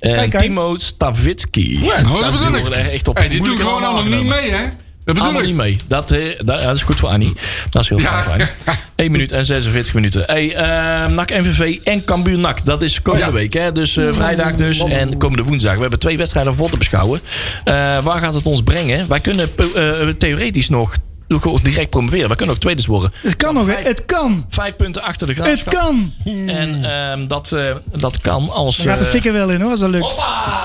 Speaker 3: En
Speaker 7: Kijk, kijk.
Speaker 3: Timo Stavitski.
Speaker 8: Oh, dat bedoel
Speaker 3: die
Speaker 8: ik.
Speaker 3: worden er echt op.
Speaker 8: Hey, die doen
Speaker 3: Moeilijk
Speaker 8: gewoon allemaal niet
Speaker 3: aangenomen.
Speaker 8: mee, hè? Dat bedoel
Speaker 3: Allemaal
Speaker 8: ik.
Speaker 3: niet mee. Dat, eh, dat, ja, dat is goed voor Annie. Dat is heel
Speaker 8: Ja.
Speaker 3: fijn. 1 minuut en 46 minuten. Hey, ehm NAC NVV en Cambuur NAC. Dat is komende
Speaker 8: Ja. Mm.
Speaker 3: week. Hè? Dus eh, vrijdag dus en komende woensdag. We hebben twee wedstrijden voor te beschouwen. Eh, waar gaat het ons brengen? Wij kunnen eh, eh, theoretisch nog gewoon direct promoveren. Wij kunnen ook tweede worden.
Speaker 7: Het kan nog, hè? Het kan.
Speaker 3: Vijf punten achter de
Speaker 7: Het
Speaker 3: graafschap.
Speaker 7: kan.
Speaker 3: En ehm, dat, eh, dat kan als...
Speaker 7: Daar gaat de
Speaker 3: eh,
Speaker 7: fik er wel in, hoor, als dat lukt.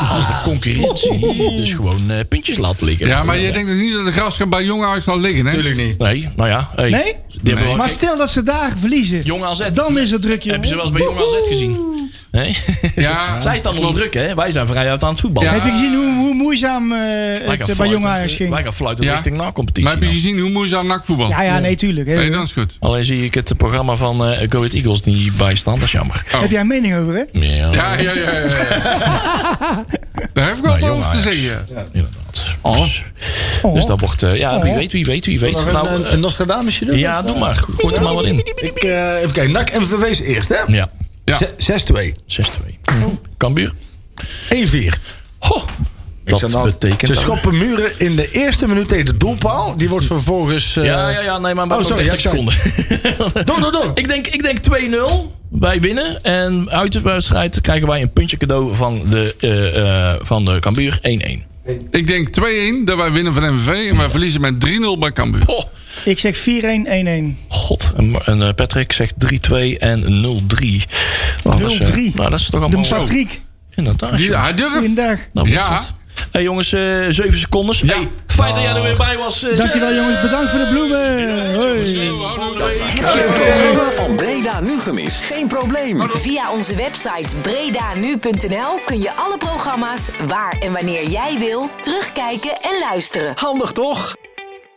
Speaker 3: als de concurrentie dus gewoon eh, puntjes laat liggen.
Speaker 8: Ja, maar je denkt dus niet dat de graafschap bij Jong Ajax zal liggen, hè?
Speaker 4: Natuurlijk niet.
Speaker 3: Nee, nou ja. hey.
Speaker 7: Nee?
Speaker 3: Die hebben wel-
Speaker 7: Maar stel dat ze daar verliezen.
Speaker 3: Jong AZ.
Speaker 7: Dan is het druk, jongen.
Speaker 3: Heb je ze wel eens bij Jong AZ gezien? Nee?
Speaker 8: Ja,
Speaker 3: Zij staan onder
Speaker 8: klopt.
Speaker 3: druk, hè? Wij zijn vrijuit aan het voetballen.
Speaker 8: Ja.
Speaker 7: Heb je gezien hoe, hoe moeizaam eh, het eh, bij Jong Ajax ging?
Speaker 3: Wij gaan fluiten
Speaker 8: Ja.
Speaker 3: richting na competitie.
Speaker 8: Maar heb je gezien hoe moeizaam NAC voetbal?
Speaker 7: Ja, eh, ja, nee, tuurlijk. hè.
Speaker 8: Nee, dat is goed.
Speaker 3: Alleen zie ik het programma van eh Go Ahead Eagles niet bijstaan. Dat is jammer.
Speaker 7: Heb jij een mening over, hè?
Speaker 3: Ja,
Speaker 8: Ja, ja, ja. ja, ja. Daar heb ik wel
Speaker 3: Bij
Speaker 8: wat
Speaker 3: Jong
Speaker 8: over te
Speaker 3: Ajax.
Speaker 8: zeggen.
Speaker 3: inderdaad.
Speaker 8: Oh.
Speaker 3: Dus,
Speaker 7: Oh.
Speaker 3: dus dat wordt... eh, ja, wie weet, wie weet, wie weet.
Speaker 4: Nog een,
Speaker 3: Nou,
Speaker 4: een,
Speaker 3: eh,
Speaker 4: een Nostradamusje doen?
Speaker 3: ja,
Speaker 4: Of,
Speaker 3: doe
Speaker 4: eh,
Speaker 3: maar. Gooi er maar wat in.
Speaker 7: Oh.
Speaker 4: Ik, eh, even kijken, NAC MVV is eerst, hè?
Speaker 3: Ja,
Speaker 8: Ja.
Speaker 4: Z- 6-2.
Speaker 3: 6-2.
Speaker 7: Oh.
Speaker 3: Cambuur.
Speaker 4: 1-4.
Speaker 3: Ho,
Speaker 4: Ik
Speaker 3: dat
Speaker 4: zeg nou,
Speaker 3: betekent...
Speaker 4: Ze
Speaker 3: dat-
Speaker 4: schoppen muren in de eerste minuut tegen de doelpaal. Die wordt vervolgens... eh,
Speaker 3: Ja, ja, ja, nee, maar maar
Speaker 4: Oh,
Speaker 3: nog
Speaker 4: sorry,
Speaker 3: 30
Speaker 4: ja,
Speaker 3: seconden.
Speaker 4: Door, door, door.
Speaker 3: Ik denk, ik denk 2-0. Wij winnen. En uit de wedstrijd krijgen wij een puntje cadeau van de, eh, eh, van de Cambuur 1-1.
Speaker 8: Ik denk 2-1 dat wij winnen van MVV en wij verliezen met 3-0 bij Cambuur.
Speaker 3: Oh,
Speaker 7: Ik zeg 4-1-1-1.
Speaker 3: god. En, en, eh, Patrick zegt 3-2 en 0-3. Nou, dat is, eh,
Speaker 7: 0-3.
Speaker 3: Nou, dat is toch
Speaker 7: De
Speaker 3: allemaal... oh,
Speaker 7: Patrick,
Speaker 3: Inderdaad.
Speaker 8: Die,
Speaker 3: jongens.
Speaker 8: hij durft.
Speaker 7: goeiedag.
Speaker 3: Nou, moet
Speaker 8: Ja.
Speaker 3: het. Hey jongens, eh 7 secondes.
Speaker 8: Ja.
Speaker 3: Hey, fijn dat jij er weer bij was. eh,
Speaker 7: Dankjewel jongens, bedankt voor de bloemen. Hoi.
Speaker 5: Heb je een programma van Breda nu gemist? Geen probleem.
Speaker 1: Via onze website bredanu.nl kun je alle programma's waar en wanneer jij wil terugkijken en luisteren.
Speaker 5: Handig toch?